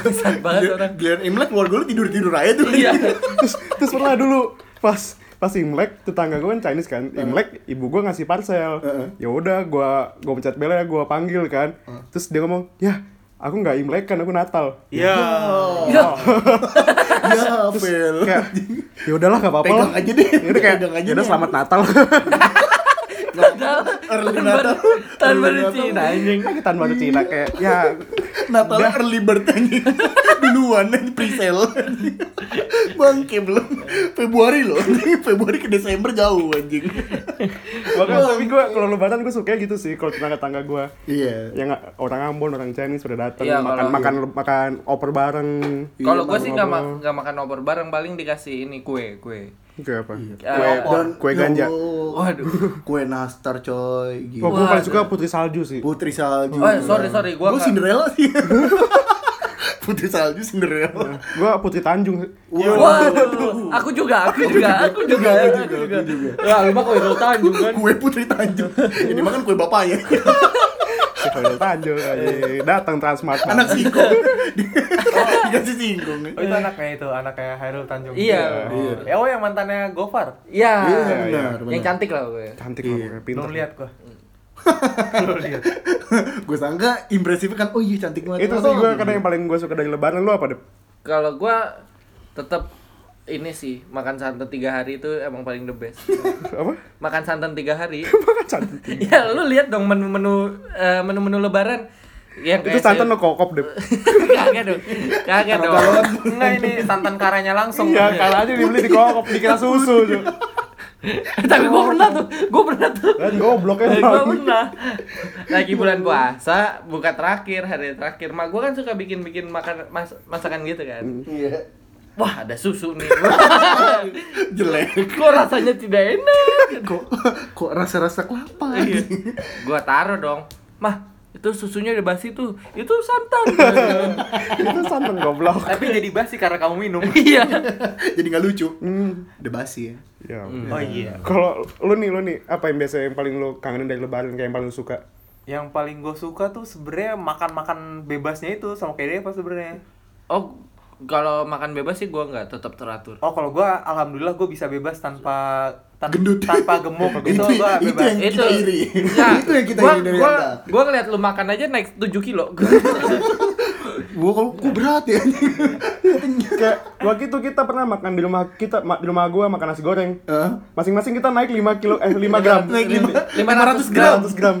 [SPEAKER 1] Bangsat banget orang.
[SPEAKER 4] Giliran Imlek keluarga lu tidur tidur aja tuh.
[SPEAKER 1] Iya.
[SPEAKER 3] terus terus pernah dulu pas pas Imlek tetangga gue kan Chinese kan Imlek ibu gue ngasih parcel
[SPEAKER 4] Heeh.
[SPEAKER 3] ya udah gue gue pencet belnya gue panggil kan terus dia ngomong ya aku nggak Imlek kan aku Natal
[SPEAKER 2] Iya.
[SPEAKER 4] Ya, Fel.
[SPEAKER 3] kayak ya udahlah nggak apa-apa
[SPEAKER 4] Pegang
[SPEAKER 3] lah."
[SPEAKER 4] aja deh.
[SPEAKER 3] Ya udah kayak
[SPEAKER 4] Pegang aja
[SPEAKER 3] ya udah
[SPEAKER 4] deh.
[SPEAKER 3] selamat Natal
[SPEAKER 1] Padahal
[SPEAKER 4] Early
[SPEAKER 1] tahun
[SPEAKER 4] Natal.
[SPEAKER 1] baru- Tahun
[SPEAKER 4] Early
[SPEAKER 1] baru
[SPEAKER 4] Natal.
[SPEAKER 1] Cina anjing.
[SPEAKER 3] Kayak tahun baru Cina kayak ya
[SPEAKER 4] Natal early bird anjing. Duluan anjing pre-sale. anjing. Bangke belum Februari loh. anjing. Februari ke Desember jauh anjing.
[SPEAKER 3] makanya tapi gue kalau lebaran gue suka gitu sih kalau tetangga tangga gue
[SPEAKER 4] Iya.
[SPEAKER 3] yang nggak- orang Ambon orang Chinese sudah datang
[SPEAKER 1] Iya,
[SPEAKER 3] makan
[SPEAKER 1] kalau-
[SPEAKER 3] makan makan oper bareng
[SPEAKER 4] Iya.
[SPEAKER 1] Kalau gue
[SPEAKER 3] makan
[SPEAKER 1] sih nggak ma-
[SPEAKER 3] oper.
[SPEAKER 1] nggak makan opor bareng, paling dikasih ini kue kue.
[SPEAKER 3] Kayak apa
[SPEAKER 1] Eh,
[SPEAKER 3] Kue- kue ganja.
[SPEAKER 1] Waduh.
[SPEAKER 4] ya Kue nastar coy. Gila.
[SPEAKER 3] Oh, gue paling suka putri salju sih.
[SPEAKER 4] Putri salju.
[SPEAKER 1] Oh, sorry, sorry, gua
[SPEAKER 4] Gua
[SPEAKER 1] nggak-
[SPEAKER 4] Cinderella sih. Putri salju Cinderella.
[SPEAKER 3] Gue putri Tanjung.
[SPEAKER 1] Waduh, aku juga, aku juga, Iya, aku juga, aku juga. Ya, lu mah kue Rul Tanjung
[SPEAKER 3] Iya.
[SPEAKER 1] kan.
[SPEAKER 4] Kue Putri Tanjung. Ini makan kue ya. bapaknya.
[SPEAKER 3] Putri Tanjung aja. Datang Transmart.
[SPEAKER 4] Anak singkong. Dikasih singkong.
[SPEAKER 2] Oh, itu anaknya itu, anaknya Hairul Tanjung.
[SPEAKER 1] Iya.
[SPEAKER 2] Oh, Eh, oh yang mantannya Gofar.
[SPEAKER 1] Iya.
[SPEAKER 4] Iya,
[SPEAKER 3] iya.
[SPEAKER 4] benar,
[SPEAKER 1] Yang
[SPEAKER 4] benar.
[SPEAKER 1] cantik lah gue.
[SPEAKER 3] Cantik loh, pintar.
[SPEAKER 2] Belum lihat gua. Belum lihat.
[SPEAKER 4] Gue sangka impresif kan, oh iya cantik banget.
[SPEAKER 3] Itu sih
[SPEAKER 4] Oh,
[SPEAKER 3] gue kadang yang paling gue suka dari lebaran lu apa deh?
[SPEAKER 1] Kalau gue tetap ini sih makan santan tiga hari itu emang paling the best.
[SPEAKER 3] Apa?
[SPEAKER 1] Makan santan tiga hari.
[SPEAKER 3] Makan santan.
[SPEAKER 1] ya lu lihat dong menu-menu eh, menu-menu lebaran yang
[SPEAKER 3] Itu santan lo kokop deh.
[SPEAKER 1] Kagak dong. Kagak dong.
[SPEAKER 2] Enggak ini santan karanya langsung.
[SPEAKER 3] Iya, kalau aja dibeli di kokop dikira susu. Cuk.
[SPEAKER 1] Tapi gue pernah tuh, gue pernah tuh.
[SPEAKER 3] Kan goblok
[SPEAKER 1] Eh, gua
[SPEAKER 3] emang.
[SPEAKER 1] pernah lagi bulan puasa
[SPEAKER 2] Hmm.
[SPEAKER 1] buka terakhir hari terakhir mak gua kan suka bikin bikin makan mas- masakan gitu kan
[SPEAKER 4] Iya.
[SPEAKER 1] wah ada susu nih
[SPEAKER 4] jelek
[SPEAKER 1] kok rasanya tidak enak
[SPEAKER 4] kok kok rasa-rasa kelapa
[SPEAKER 1] Iya.
[SPEAKER 4] anjing.
[SPEAKER 1] gua taruh dong mah itu susunya udah basi tuh itu santan
[SPEAKER 3] itu santan goblok
[SPEAKER 1] Eh.
[SPEAKER 2] Tapi jadi basi karena kamu minum.
[SPEAKER 1] iya
[SPEAKER 4] jadi nggak lucu
[SPEAKER 3] hmm.
[SPEAKER 4] udah basi ya
[SPEAKER 3] ya
[SPEAKER 1] Hmm.
[SPEAKER 2] Oh iya.
[SPEAKER 3] kalau lu nih lu nih apa yang biasa yang paling lu kangenin dari lebaran kayak yang paling lu suka
[SPEAKER 2] Yang paling gue suka tuh sebenarnya makan-makan bebasnya itu sama kayak Deva sebenarnya.
[SPEAKER 1] oh kalau makan bebas sih gua nggak tetap teratur
[SPEAKER 2] Oh kalau gue alhamdulillah gue bisa bebas tanpa tan-
[SPEAKER 4] Gendut.
[SPEAKER 2] tanpa gemuk itu gue
[SPEAKER 4] Itu- itu
[SPEAKER 2] bebas.
[SPEAKER 4] yang- Kita iri.
[SPEAKER 1] Nggak,
[SPEAKER 4] Itu yang kita
[SPEAKER 1] Ya. gua,
[SPEAKER 4] iri dari
[SPEAKER 1] gua,
[SPEAKER 4] Anda.
[SPEAKER 1] gua ngeliat lu makan aja naik 7 kilo
[SPEAKER 4] gua kok kok berat ya anjing?
[SPEAKER 3] kayak waktu itu kita pernah makan di rumah kita ma- di rumah gua makan nasi goreng
[SPEAKER 4] Hah?
[SPEAKER 3] masing-masing kita naik 5 kilo eh 5 gram
[SPEAKER 4] naik lima
[SPEAKER 1] 500 gram
[SPEAKER 3] 500 gram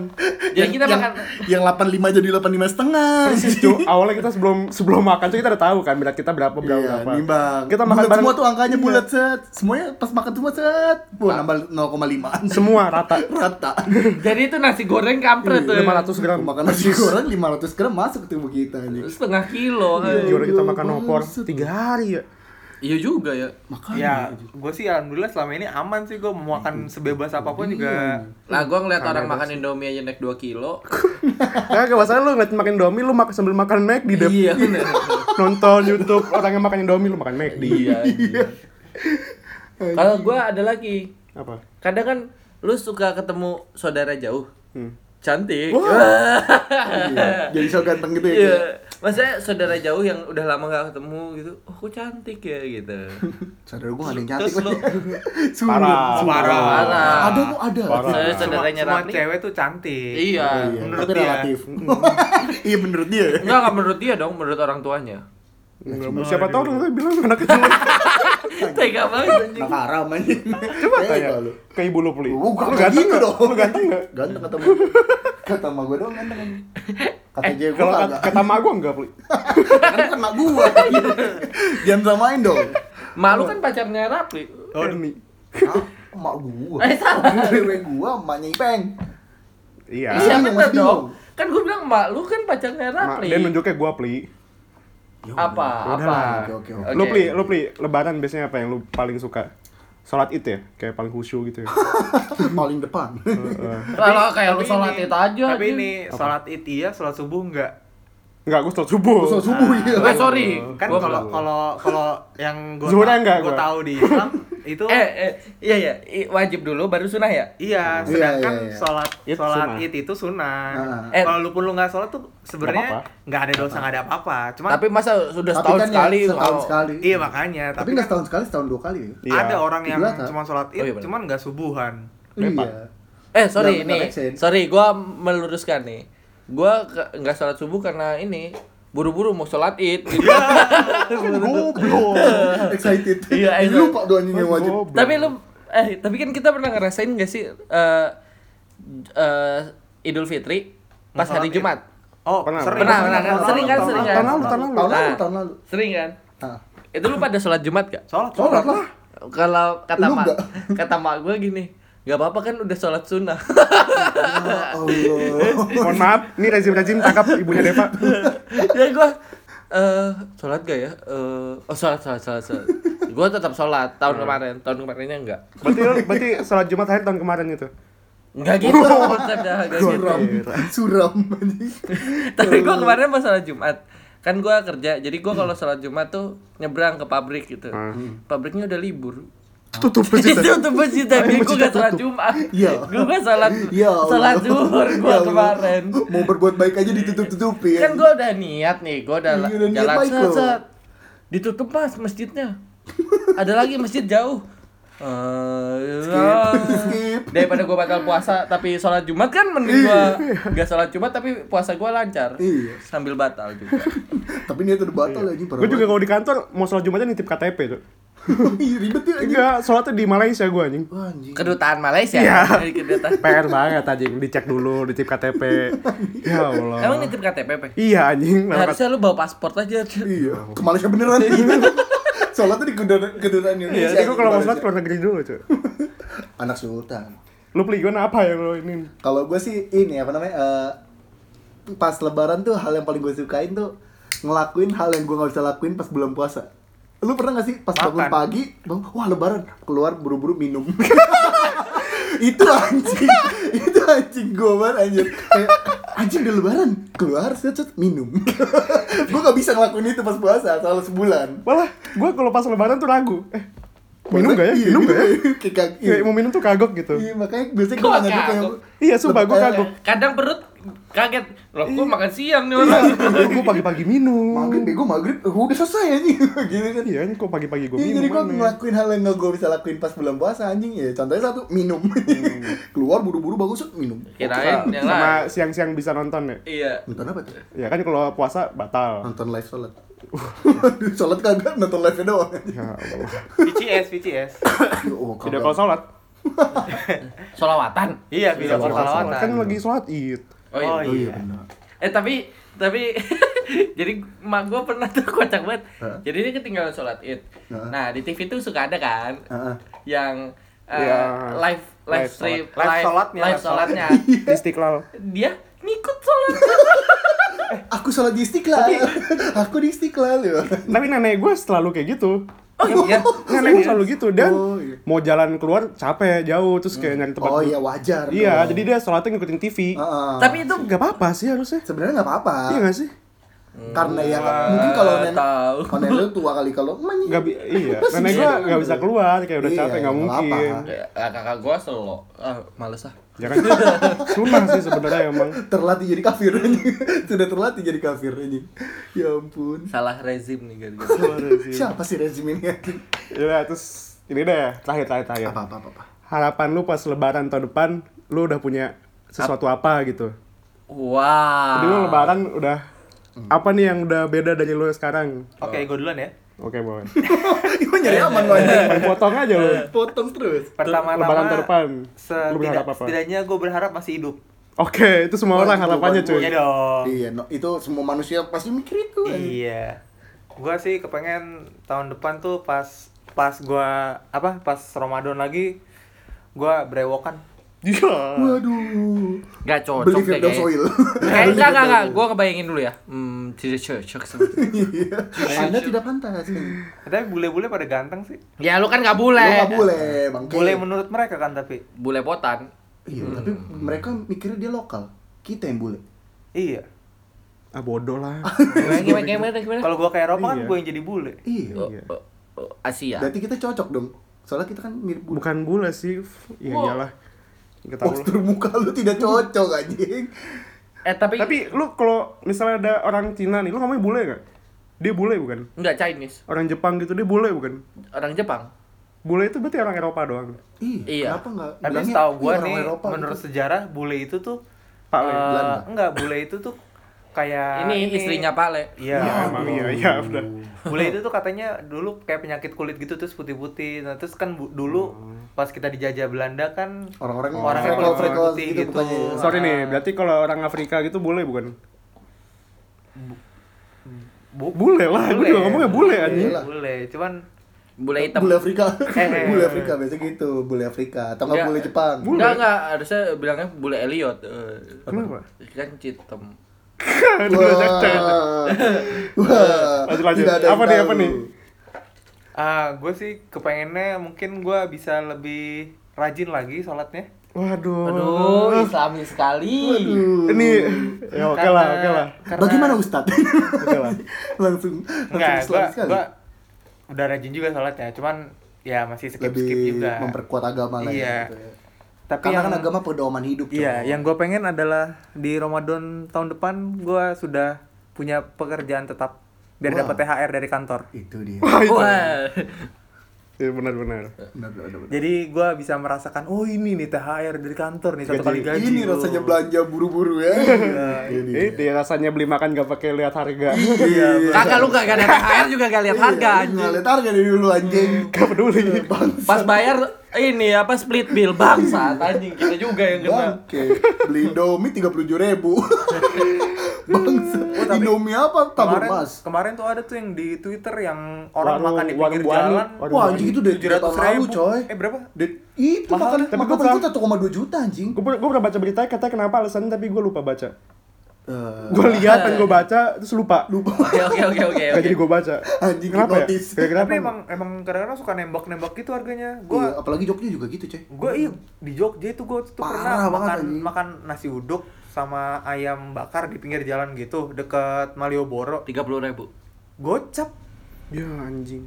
[SPEAKER 1] jadi kita
[SPEAKER 4] yang,
[SPEAKER 1] makan
[SPEAKER 4] yang 85 jadi 85 setengah
[SPEAKER 3] Cu, awalnya kita sebelum sebelum makan tuh kita udah tahu kan berat kita berapa berapa
[SPEAKER 4] Iya,
[SPEAKER 3] berapa.
[SPEAKER 4] nimbang.
[SPEAKER 3] Kita makan
[SPEAKER 4] Bulat
[SPEAKER 3] bareng Iya.
[SPEAKER 4] semua tuh angkanya bulat set. Semuanya pas makan semua set. Wah, nambah 0,5.
[SPEAKER 3] Nah. semua rata.
[SPEAKER 4] Rata.
[SPEAKER 1] jadi itu nasi goreng kampret tuh
[SPEAKER 4] Iya.
[SPEAKER 3] 500 Iya, gram.
[SPEAKER 4] Makan nasi goreng 500 gram masuk ke tubuh kita ini.
[SPEAKER 1] setengah kilo
[SPEAKER 3] Iya, orang kita makan
[SPEAKER 4] Iya,
[SPEAKER 3] opor
[SPEAKER 4] bangsat.
[SPEAKER 3] 3 hari ya.
[SPEAKER 1] iya juga ya
[SPEAKER 2] Ya,
[SPEAKER 4] Makanya.
[SPEAKER 2] gue sih alhamdulillah selama ini aman sih gue mau makan sebebas apapun
[SPEAKER 1] Iya.
[SPEAKER 2] juga.
[SPEAKER 1] Lah gua ngeliat orang makan Indomie aja naik 2 kilo.
[SPEAKER 3] Kagak masalah lu ngeliat makan Indomie lu makan sambil makan McD deh.
[SPEAKER 1] iya bener.
[SPEAKER 4] ya.
[SPEAKER 3] Nonton YouTube orang yang makan Indomie lu makan McD.
[SPEAKER 1] iya. Kalau gua ada lagi.
[SPEAKER 3] Apa?
[SPEAKER 1] Kadang kan lu suka ketemu saudara jauh.
[SPEAKER 3] Hmm.
[SPEAKER 1] Cantik.
[SPEAKER 4] Jadi so ganteng gitu ya.
[SPEAKER 1] Iya. Maksudnya saudara jauh yang udah lama gak ketemu gitu. Oh, kok cantik ya gitu.
[SPEAKER 4] Saudara gua gak ada yang
[SPEAKER 2] Terus
[SPEAKER 4] cantik
[SPEAKER 2] lu
[SPEAKER 4] lagi. Sungguh.
[SPEAKER 3] Parah.
[SPEAKER 4] Sungguh.
[SPEAKER 2] Parah.
[SPEAKER 1] Parah.
[SPEAKER 4] Ada kok ada.
[SPEAKER 3] Parah.
[SPEAKER 1] Saya
[SPEAKER 2] semua,
[SPEAKER 1] saudaranya
[SPEAKER 2] semua
[SPEAKER 1] Rafli.
[SPEAKER 2] cewek tuh cantik.
[SPEAKER 1] Iya.
[SPEAKER 4] Iya,
[SPEAKER 2] Menurut
[SPEAKER 4] tapi
[SPEAKER 2] dia.
[SPEAKER 4] relatif. Iya menurut dia.
[SPEAKER 1] Enggak, enggak menurut dia dong, menurut orang tuanya.
[SPEAKER 3] Enggak, siapa tahu orang tuh bilang anak kecil.
[SPEAKER 1] Tega banget anjing.
[SPEAKER 4] Nah, haram aja.
[SPEAKER 3] Coba tanya ke ibu lu
[SPEAKER 4] Iya,
[SPEAKER 3] pulih.
[SPEAKER 4] Lu gak
[SPEAKER 3] ganteng
[SPEAKER 4] gitu
[SPEAKER 3] nggak?
[SPEAKER 4] dong.
[SPEAKER 3] Lu ganteng enggak?
[SPEAKER 4] Ganteng kata kata sama gua doang ganteng.
[SPEAKER 1] Eh,
[SPEAKER 4] Kata dia gua
[SPEAKER 3] Kalau kata,
[SPEAKER 4] kagak.
[SPEAKER 3] kata emak gua enggak pulih.
[SPEAKER 4] kan kena gua jangan samain dong
[SPEAKER 1] Malu kan pacarnya Rapli.
[SPEAKER 3] Oh, demi.
[SPEAKER 4] Hah? emak gua
[SPEAKER 1] Eh, salah.
[SPEAKER 4] cewek gua emaknya ipeng
[SPEAKER 3] Iya.
[SPEAKER 4] Iya.
[SPEAKER 1] Siapa
[SPEAKER 4] masih
[SPEAKER 1] dong? Kan gue bilang, "Mak, lu kan pacarnya
[SPEAKER 3] Mak,
[SPEAKER 1] Rapli."
[SPEAKER 3] dia nunjuknya gua pulih.
[SPEAKER 1] apa apa
[SPEAKER 3] Udahlah.
[SPEAKER 4] Ya oke oke oke
[SPEAKER 1] Oke.
[SPEAKER 3] Lu pli, lu pli, lebaran biasanya apa yang lu paling suka? Salat id ya, kayak paling khusyuk gitu ya. Eh,
[SPEAKER 4] paling depan
[SPEAKER 3] Heeh.
[SPEAKER 1] kalau kayak lu
[SPEAKER 2] Tapi
[SPEAKER 1] sholat
[SPEAKER 2] ini-
[SPEAKER 1] itu aja
[SPEAKER 2] Tapi
[SPEAKER 1] anjing.
[SPEAKER 2] ini sholat id iya, sholat subuh enggak.
[SPEAKER 3] Enggak, gua salat subuh.
[SPEAKER 4] Terus subuh iya
[SPEAKER 1] eh sorry
[SPEAKER 2] Kan
[SPEAKER 1] Gua
[SPEAKER 2] kalau
[SPEAKER 1] nggak-
[SPEAKER 2] kalau kalau yang gue
[SPEAKER 3] Zuhurnya enggak
[SPEAKER 2] gue
[SPEAKER 3] gua.
[SPEAKER 2] tahu di Islam itu
[SPEAKER 1] eh eh iya iya I- wajib dulu baru sunah ya
[SPEAKER 2] Iya,
[SPEAKER 4] Iya,
[SPEAKER 2] sedangkan
[SPEAKER 4] iya, iya.
[SPEAKER 2] sholat
[SPEAKER 3] Id
[SPEAKER 2] sholat
[SPEAKER 3] sunnah.
[SPEAKER 2] id itu sunnah.
[SPEAKER 1] Ah. Eh.
[SPEAKER 2] Kalau lu pun lu nggak sholat tuh sebenarnya
[SPEAKER 3] Nggak apa-apa.
[SPEAKER 2] nggak ada dosa nggak ada apa-apa. Cuma
[SPEAKER 1] tapi masa sudah
[SPEAKER 4] Tapi
[SPEAKER 1] setahun
[SPEAKER 4] kan ya,
[SPEAKER 1] sekali
[SPEAKER 4] setahun
[SPEAKER 1] kalau-
[SPEAKER 4] sekali
[SPEAKER 2] iya makanya.
[SPEAKER 4] tapi
[SPEAKER 2] Tapi,
[SPEAKER 4] nggak
[SPEAKER 2] kan
[SPEAKER 4] setahun sekali setahun dua kali ya
[SPEAKER 3] Iya.
[SPEAKER 2] ada orang yang
[SPEAKER 4] Iya, tak?
[SPEAKER 2] cuma sholat id,
[SPEAKER 1] Oh, iya, benar.
[SPEAKER 2] cuman nggak subuhan.
[SPEAKER 3] Lepak.
[SPEAKER 4] iya
[SPEAKER 1] eh sorry
[SPEAKER 4] Nggak-
[SPEAKER 1] nih
[SPEAKER 4] nggak make sense.
[SPEAKER 1] sorry gua meluruskan nih gua ke- nggak sholat subuh karena ini buru-buru mau sholat id gitu.
[SPEAKER 3] Goblok.
[SPEAKER 4] excited
[SPEAKER 1] Iya,
[SPEAKER 4] Ih,
[SPEAKER 1] excited.
[SPEAKER 4] lupa doang yang wajib
[SPEAKER 3] Ah, Goblok.
[SPEAKER 1] tapi lu eh tapi kan kita pernah ngerasain gak sih eh eh, Idul Fitri pas
[SPEAKER 2] Sholat
[SPEAKER 1] hari
[SPEAKER 2] Id.
[SPEAKER 1] Jumat
[SPEAKER 2] Oh,
[SPEAKER 3] Pernah,
[SPEAKER 2] sering.
[SPEAKER 1] pernah pernah kan
[SPEAKER 4] Tahun
[SPEAKER 1] sering kan
[SPEAKER 4] lalu,
[SPEAKER 1] sering kan
[SPEAKER 3] tahun lalu, tahun
[SPEAKER 4] tahun
[SPEAKER 3] lalu.
[SPEAKER 4] lalu
[SPEAKER 1] Nah,
[SPEAKER 4] tahun lalu
[SPEAKER 1] sering kan
[SPEAKER 4] Ah.
[SPEAKER 1] itu lu pada sholat Jumat gak
[SPEAKER 2] Sholat,
[SPEAKER 4] sholat lah
[SPEAKER 1] kalau kata
[SPEAKER 4] Lu
[SPEAKER 1] mak
[SPEAKER 4] nggak?
[SPEAKER 1] kata mak gue gini nggak apa-apa kan udah sholat sunnah
[SPEAKER 4] ya Allah
[SPEAKER 3] Mohon maaf, ini rezim-rezim tangkap ibunya Deva.
[SPEAKER 1] ya gue eh sholat gak ya Eh, oh sholat sholat sholat, sholat. gue tetap sholat tahun kemarin tahun kemarinnya enggak
[SPEAKER 3] Berarti lu- berarti salat Jumat hari tahun kemarin itu.
[SPEAKER 1] enggak gitu konsepnya enggak gitu
[SPEAKER 4] suram suram
[SPEAKER 1] tapi gue kemarin pas sholat Jumat kan gue kerja jadi gue kalau sholat Jumat tuh nyebrang ke pabrik gitu
[SPEAKER 4] Ah.
[SPEAKER 1] pabriknya udah libur
[SPEAKER 3] Tutup
[SPEAKER 1] itu
[SPEAKER 3] pesita.
[SPEAKER 1] tuh masjid jadi gue gak sholat Jumat
[SPEAKER 4] Iya.
[SPEAKER 1] gue gak sholat
[SPEAKER 4] Ya Allah.
[SPEAKER 1] sholat zuhur gue
[SPEAKER 4] Ya Allah.
[SPEAKER 1] kemarin
[SPEAKER 4] Mau berbuat baik aja ditutup-tutupin.
[SPEAKER 1] kan gue udah niat nih gue udah
[SPEAKER 4] Iya,
[SPEAKER 1] la-
[SPEAKER 4] udah niat
[SPEAKER 1] jalan
[SPEAKER 4] baik
[SPEAKER 1] set,
[SPEAKER 4] loh.
[SPEAKER 1] set. ditutup mas masjidnya ada lagi masjid jauh Eh, ya.
[SPEAKER 4] skip.
[SPEAKER 1] daripada gue batal puasa tapi sholat jumat kan mending gue gak sholat jumat tapi puasa gue lancar
[SPEAKER 4] Iya.
[SPEAKER 1] sambil batal juga
[SPEAKER 4] Tapi niat udah batal lagi parah.
[SPEAKER 3] Gue juga kalau di kantor mau salat Jumatnya nitip KTP tuh.
[SPEAKER 4] banget. Ih, ribet ya anjing.
[SPEAKER 3] Enggak, salatnya di Malaysia gua anjing.
[SPEAKER 4] Wah, anjing.
[SPEAKER 1] kedutaan Malaysia
[SPEAKER 4] Iya.
[SPEAKER 1] dari kedutaan
[SPEAKER 3] PR banget anjing, dicek dulu, nitip KTP. Ya
[SPEAKER 4] Oh.
[SPEAKER 1] emang
[SPEAKER 3] Allah.
[SPEAKER 1] nitip KTP Pe?
[SPEAKER 3] Iya anjing,
[SPEAKER 1] Nah,
[SPEAKER 3] lewat-
[SPEAKER 1] harusnya lu bawa paspor aja
[SPEAKER 4] Iya, ke Malaysia beneran. Sholat tuh di kedutaan kedutaan Indonesia.
[SPEAKER 3] Iya, jadi gua kalau mau salat
[SPEAKER 4] Malaysia.
[SPEAKER 3] keluar negeri dulu, cuy.
[SPEAKER 4] anak sultan.
[SPEAKER 3] Lu beli gua apa yang lu ini?
[SPEAKER 4] Kalau gue sih ini apa namanya? eh, pas lebaran tuh hal yang paling gue sukain tuh ngelakuin hal yang gue nggak bisa lakuin pas bulan puasa. Lu pernah gak sih pas bangun
[SPEAKER 2] Makan.
[SPEAKER 4] pagi, bang, wah lebaran, keluar buru-buru minum. itu anjing, itu anjing gua banget anjir. Kayak, anjing udah lebaran, keluar set set minum. gua gak bisa ngelakuin itu pas puasa, soal sebulan.
[SPEAKER 3] Malah gue kalau pas lebaran tuh ragu. Eh, minum gak ya?
[SPEAKER 4] Iya,
[SPEAKER 3] Minum gak ya?
[SPEAKER 4] Kayak kag- iya.
[SPEAKER 3] Kayak mau minum tuh kagok gitu.
[SPEAKER 4] Iya, makanya biasanya
[SPEAKER 1] Gua
[SPEAKER 4] gua nggak
[SPEAKER 1] kagok.
[SPEAKER 4] kayak
[SPEAKER 3] Iya, sumpah gue
[SPEAKER 4] Eh,
[SPEAKER 3] kagok.
[SPEAKER 1] kadang perut kaget loh gua
[SPEAKER 4] Iya.
[SPEAKER 1] makan siang nih orang
[SPEAKER 3] gue pagi-pagi minum.
[SPEAKER 4] Maghrib, bego maghrib, eh, udah selesai anjing Gitu kan
[SPEAKER 3] Iya, ini kok pagi-pagi gue
[SPEAKER 4] Iya,
[SPEAKER 3] minum.
[SPEAKER 4] jadi gua
[SPEAKER 3] aneh.
[SPEAKER 4] ngelakuin hal yang gak gue bisa lakuin pas bulan puasa anjing ya contohnya satu minum
[SPEAKER 3] Hmm.
[SPEAKER 4] keluar buru-buru bagus set, minum
[SPEAKER 1] kirain yang
[SPEAKER 3] sama
[SPEAKER 1] lain
[SPEAKER 3] siang-siang bisa nonton ya.
[SPEAKER 1] iya
[SPEAKER 4] nonton apa tuh
[SPEAKER 3] Ya kan kalau puasa batal.
[SPEAKER 4] nonton live sholat Waduh, sholat kagak nonton live nya doang
[SPEAKER 3] Ya Allah.
[SPEAKER 2] VCS, VCS.
[SPEAKER 4] oh,
[SPEAKER 3] Video call sholat.
[SPEAKER 1] solawatan
[SPEAKER 2] Iya, video call
[SPEAKER 3] Sholat kan
[SPEAKER 2] salawatan.
[SPEAKER 3] lagi sholat id.
[SPEAKER 1] oh iya.
[SPEAKER 2] Oh
[SPEAKER 4] oh iya
[SPEAKER 2] iya.
[SPEAKER 4] benar
[SPEAKER 1] eh tapi tapi jadi mak gua pernah tuh kocak banget
[SPEAKER 4] Hah?
[SPEAKER 1] jadi dia ketinggalan sholat id
[SPEAKER 4] Hah?
[SPEAKER 1] nah di tv tuh suka ada kan
[SPEAKER 3] Ah,
[SPEAKER 4] Heeh.
[SPEAKER 1] yang eh,
[SPEAKER 3] Iya.
[SPEAKER 1] live
[SPEAKER 3] Live
[SPEAKER 1] live stream
[SPEAKER 2] sholat. Live sholatnya,
[SPEAKER 1] live
[SPEAKER 2] live
[SPEAKER 1] sholatnya
[SPEAKER 4] Iya.
[SPEAKER 3] Istiqlal.
[SPEAKER 1] dia ngikut sholat
[SPEAKER 4] Eh, aku sholat di istiqlal aku di istiqlal ya
[SPEAKER 3] Tapi nenek gue selalu kayak gitu.
[SPEAKER 2] Iya.
[SPEAKER 3] Nenek gue selalu gitu dan
[SPEAKER 4] Oh, iya.
[SPEAKER 3] mau jalan keluar capek jauh terus kayak nyari tempat.
[SPEAKER 4] oh
[SPEAKER 3] duduk.
[SPEAKER 4] iya wajar
[SPEAKER 3] Iya,
[SPEAKER 4] dong.
[SPEAKER 3] jadi dia sholatnya ngikutin TV.
[SPEAKER 4] Heeh.
[SPEAKER 1] tapi itu
[SPEAKER 3] Gak apa-apa sih harusnya.
[SPEAKER 4] sebenarnya nggak apa-apa
[SPEAKER 3] Iya gak sih?
[SPEAKER 4] karena ya mungkin kalau
[SPEAKER 1] Nggak
[SPEAKER 4] nenek
[SPEAKER 1] tahu.
[SPEAKER 4] kalau nenek lu tua kali kalau emaknya.
[SPEAKER 3] Gak bi- iya, nenek gua gak bisa keluar kayak udah
[SPEAKER 4] Iya,
[SPEAKER 3] capek gak
[SPEAKER 4] nggak
[SPEAKER 3] mungkin.
[SPEAKER 4] apa-apa.
[SPEAKER 1] Ya, kakak gua selo ah, males ah
[SPEAKER 3] Ya kan sunnah sih sebenarnya emang.
[SPEAKER 4] terlatih jadi kafir anjing. sudah terlatih jadi kafir anjing ya ampun
[SPEAKER 1] salah rezim nih gara-gara
[SPEAKER 4] siapa sih rezim ini anjing?
[SPEAKER 3] Iya, terus ini deh terakhir terakhir terakhir.
[SPEAKER 4] apa apa apa, apa.
[SPEAKER 3] Harapan lu pas lebaran tahun depan lu udah punya sesuatu apa gitu. Jadi lu
[SPEAKER 4] Ah.
[SPEAKER 1] wow
[SPEAKER 3] lebaran udah
[SPEAKER 4] Hmm.
[SPEAKER 3] apa nih yang udah beda dari lu sekarang?
[SPEAKER 2] Oke, gue duluan ya.
[SPEAKER 3] Oke, boleh.
[SPEAKER 4] Gue nyari aman lo anjing.
[SPEAKER 3] Main potong aja lu.
[SPEAKER 4] Potong terus.
[SPEAKER 3] Lebaran tahun
[SPEAKER 2] Pertama-tama
[SPEAKER 3] depan. Lu berharap
[SPEAKER 2] setidak,
[SPEAKER 3] apa?
[SPEAKER 2] setidaknya gue berharap masih hidup.
[SPEAKER 3] Oke, itu semua orang
[SPEAKER 4] Wah,
[SPEAKER 3] harapannya
[SPEAKER 4] itu
[SPEAKER 3] cuy.
[SPEAKER 2] Iya dong.
[SPEAKER 4] Iya, no, itu semua manusia pasti mikir itu. anjing.
[SPEAKER 2] Iya. Gua sih kepengen tahun depan tuh pas pas gua apa pas Ramadan lagi gua brewokan.
[SPEAKER 3] Iya.
[SPEAKER 4] Waduh.
[SPEAKER 1] Gak cocok deh
[SPEAKER 4] Beli Firdaus
[SPEAKER 1] kayaknya. Eh,
[SPEAKER 4] Oil.
[SPEAKER 1] Kayak enggak enggak enggak, gua kebayangin dulu ya. Hmm, tidak cocok sama.
[SPEAKER 4] Iya. Anda tidak pantas. anjing.
[SPEAKER 2] Tapi bule-bule pada ganteng sih.
[SPEAKER 1] Ya lu kan gak
[SPEAKER 4] Lo
[SPEAKER 1] bule.
[SPEAKER 4] nggak boleh, Bang.
[SPEAKER 2] Bule menurut mereka kan tapi.
[SPEAKER 1] Bule potan.
[SPEAKER 4] Iya,
[SPEAKER 1] Hmm.
[SPEAKER 4] tapi mereka mikirnya dia lokal. Kita yang boleh.
[SPEAKER 2] Iya.
[SPEAKER 3] Ah bodoh lah.
[SPEAKER 1] Gimana gimana gimana gimana?
[SPEAKER 2] Kalau gua ke Eropa kan
[SPEAKER 3] Iya.
[SPEAKER 2] gua yang jadi bule.
[SPEAKER 4] Iya.
[SPEAKER 1] Oh, oh, oh, Asia.
[SPEAKER 4] Berarti kita cocok dong. Soalnya kita kan mirip bule.
[SPEAKER 3] Bukan bule sih. Ya
[SPEAKER 1] Wow.
[SPEAKER 3] iyalah. Nggak tahu lah.
[SPEAKER 4] Postur muka lu tidak cocok anjing.
[SPEAKER 1] Eh tapi
[SPEAKER 3] Tapi lu kalau misalnya ada orang Cina nih, lu ngomongnya bule gak? Dia bule bukan?
[SPEAKER 1] enggak Chinese,
[SPEAKER 3] Orang Jepang gitu dia bule bukan?
[SPEAKER 1] orang Jepang.
[SPEAKER 3] Bule itu berarti orang Eropa doang.
[SPEAKER 1] Iya.
[SPEAKER 4] Iya, kenapa enggak?
[SPEAKER 2] Tapi
[SPEAKER 4] bilangnya,
[SPEAKER 2] setahu
[SPEAKER 4] "Ih,
[SPEAKER 2] gua
[SPEAKER 4] orang
[SPEAKER 2] nih
[SPEAKER 4] Eropa
[SPEAKER 2] menurut
[SPEAKER 4] gitu."
[SPEAKER 2] sejarah bule itu tuh
[SPEAKER 3] Pak Le.
[SPEAKER 2] eh,
[SPEAKER 4] Belanda.
[SPEAKER 2] enggak bule itu tuh kayak
[SPEAKER 1] Ah, Ini istrinya Pak Le.
[SPEAKER 2] Iya.
[SPEAKER 3] Ya, emang iya, iya udah.
[SPEAKER 2] Bule itu tuh katanya dulu kayak penyakit kulit gitu terus putih-putih. Nah, terus kan bu- dulu
[SPEAKER 4] Hmm.
[SPEAKER 2] pas kita dijajah Belanda kan
[SPEAKER 4] orang-orang
[SPEAKER 2] Orang
[SPEAKER 4] orang
[SPEAKER 2] yang
[SPEAKER 4] freckles freckles
[SPEAKER 2] putih
[SPEAKER 4] gitu,
[SPEAKER 2] gitu.
[SPEAKER 4] bukannya ya?
[SPEAKER 3] Sorry nih, berarti kalau orang Afrika gitu bule bukan?
[SPEAKER 2] bu-
[SPEAKER 3] Bule lah, gue
[SPEAKER 2] Bule.
[SPEAKER 3] juga ngomongnya bule anjing.
[SPEAKER 4] Iya lah.
[SPEAKER 2] bule. Cuman
[SPEAKER 1] Bule hitam.
[SPEAKER 4] Bule Afrika.
[SPEAKER 2] Eh, eh,
[SPEAKER 4] bule
[SPEAKER 2] eh.
[SPEAKER 4] Afrika biasa gitu, bule Afrika atau
[SPEAKER 1] Enggak.
[SPEAKER 4] enggak bule Jepang.
[SPEAKER 1] Enggak enggak, harusnya bilangnya bule Elliot. Eh,
[SPEAKER 3] Kenapa?
[SPEAKER 1] Kan hitam.
[SPEAKER 3] Aduh, ajak cek.
[SPEAKER 4] Wah. Wah.
[SPEAKER 3] Lanjut, lanjut.
[SPEAKER 4] Tidak ada yang
[SPEAKER 3] Apa nih,
[SPEAKER 4] tahu.
[SPEAKER 3] apa nih?
[SPEAKER 2] ah gue sih kepengennya mungkin gue bisa lebih rajin lagi sholatnya.
[SPEAKER 3] Waduh.
[SPEAKER 1] Aduh, islami sekali.
[SPEAKER 3] Ini ya oke lah, oke lah.
[SPEAKER 2] Karena-
[SPEAKER 4] Bagaimana Ustad?
[SPEAKER 3] Oke lah.
[SPEAKER 4] langsung
[SPEAKER 2] Enggak,
[SPEAKER 4] langsung
[SPEAKER 2] gue
[SPEAKER 4] Islam sekali.
[SPEAKER 2] gue udah rajin juga sholatnya. Cuman ya masih skip
[SPEAKER 4] Lebih
[SPEAKER 2] skip juga.
[SPEAKER 4] memperkuat agama lah
[SPEAKER 2] Iya.
[SPEAKER 4] ya. gitu ya.
[SPEAKER 2] Tapi
[SPEAKER 4] Karena
[SPEAKER 2] yang
[SPEAKER 4] kan agama pedoman hidup.
[SPEAKER 2] iya,
[SPEAKER 4] coy.
[SPEAKER 2] yang gue pengen adalah di Ramadan tahun depan gue sudah punya pekerjaan tetap biar dapat THR dari kantor.
[SPEAKER 4] itu dia.
[SPEAKER 1] Wah.
[SPEAKER 3] Iya benar-benar.
[SPEAKER 4] Benar, benar, benar.
[SPEAKER 2] Jadi gue bisa merasakan, oh ini nih THR dari kantor nih satu
[SPEAKER 3] Gaji.
[SPEAKER 2] kali gaji.
[SPEAKER 4] Ini
[SPEAKER 2] loh.
[SPEAKER 4] rasanya belanja buru-buru ya. Iya, iya.
[SPEAKER 3] Eh, dia rasanya beli makan gak pakai lihat harga.
[SPEAKER 1] Kakak lu gak ada THR juga gak lihat harga
[SPEAKER 4] Iya,
[SPEAKER 1] anjing.
[SPEAKER 4] Ngeliat harga dari dulu anjing. Iya,
[SPEAKER 3] Gak peduli.
[SPEAKER 4] Bangsa.
[SPEAKER 1] Pas bayar ini apa split bill bangsa anjing kita juga yang kena.
[SPEAKER 4] Bangke, beli Indomie tiga puluh ribu. Bangsa, Indomie apa? Tabur
[SPEAKER 2] Kemarin,
[SPEAKER 4] emas.
[SPEAKER 2] kemarin tuh ada tuh yang di Twitter yang orang
[SPEAKER 3] Warung-
[SPEAKER 2] makan di pinggir
[SPEAKER 3] warung Buani.
[SPEAKER 2] jalan. gitu
[SPEAKER 3] Warung
[SPEAKER 4] Wah anjing itu dari tiga
[SPEAKER 2] 700
[SPEAKER 4] tahun lalu
[SPEAKER 2] ribu.
[SPEAKER 4] coy.
[SPEAKER 2] Eh berapa?
[SPEAKER 4] De- itu
[SPEAKER 2] Mahal,
[SPEAKER 4] makan
[SPEAKER 3] tapi
[SPEAKER 4] makan
[SPEAKER 3] gua
[SPEAKER 4] kita 1,2 juta anjing.
[SPEAKER 3] Gue pernah baca beritanya katanya kenapa alasannya tapi gue lupa baca.
[SPEAKER 4] Eh,
[SPEAKER 3] Gue lihat dan gue baca terus lupa. Lupa.
[SPEAKER 1] Oke oke oke oke.
[SPEAKER 3] Gak jadi gue baca.
[SPEAKER 4] Anjing
[SPEAKER 3] Kenapa ya?
[SPEAKER 4] hipnotis.
[SPEAKER 3] Kira-kira
[SPEAKER 2] Tapi
[SPEAKER 3] apa?
[SPEAKER 2] emang emang kadang-kadang suka nembak-nembak gitu harganya.
[SPEAKER 4] iya,
[SPEAKER 2] Gua
[SPEAKER 4] apalagi Jogja juga gitu, Coy.
[SPEAKER 2] gua iya di Jogja itu gua tuh
[SPEAKER 4] Parah
[SPEAKER 2] pernah
[SPEAKER 4] banget,
[SPEAKER 2] makan
[SPEAKER 4] anjing.
[SPEAKER 2] makan nasi uduk sama ayam bakar di pinggir jalan gitu deket Malioboro.
[SPEAKER 1] Tiga puluh ribu.
[SPEAKER 2] Gocap.
[SPEAKER 3] Ya anjing.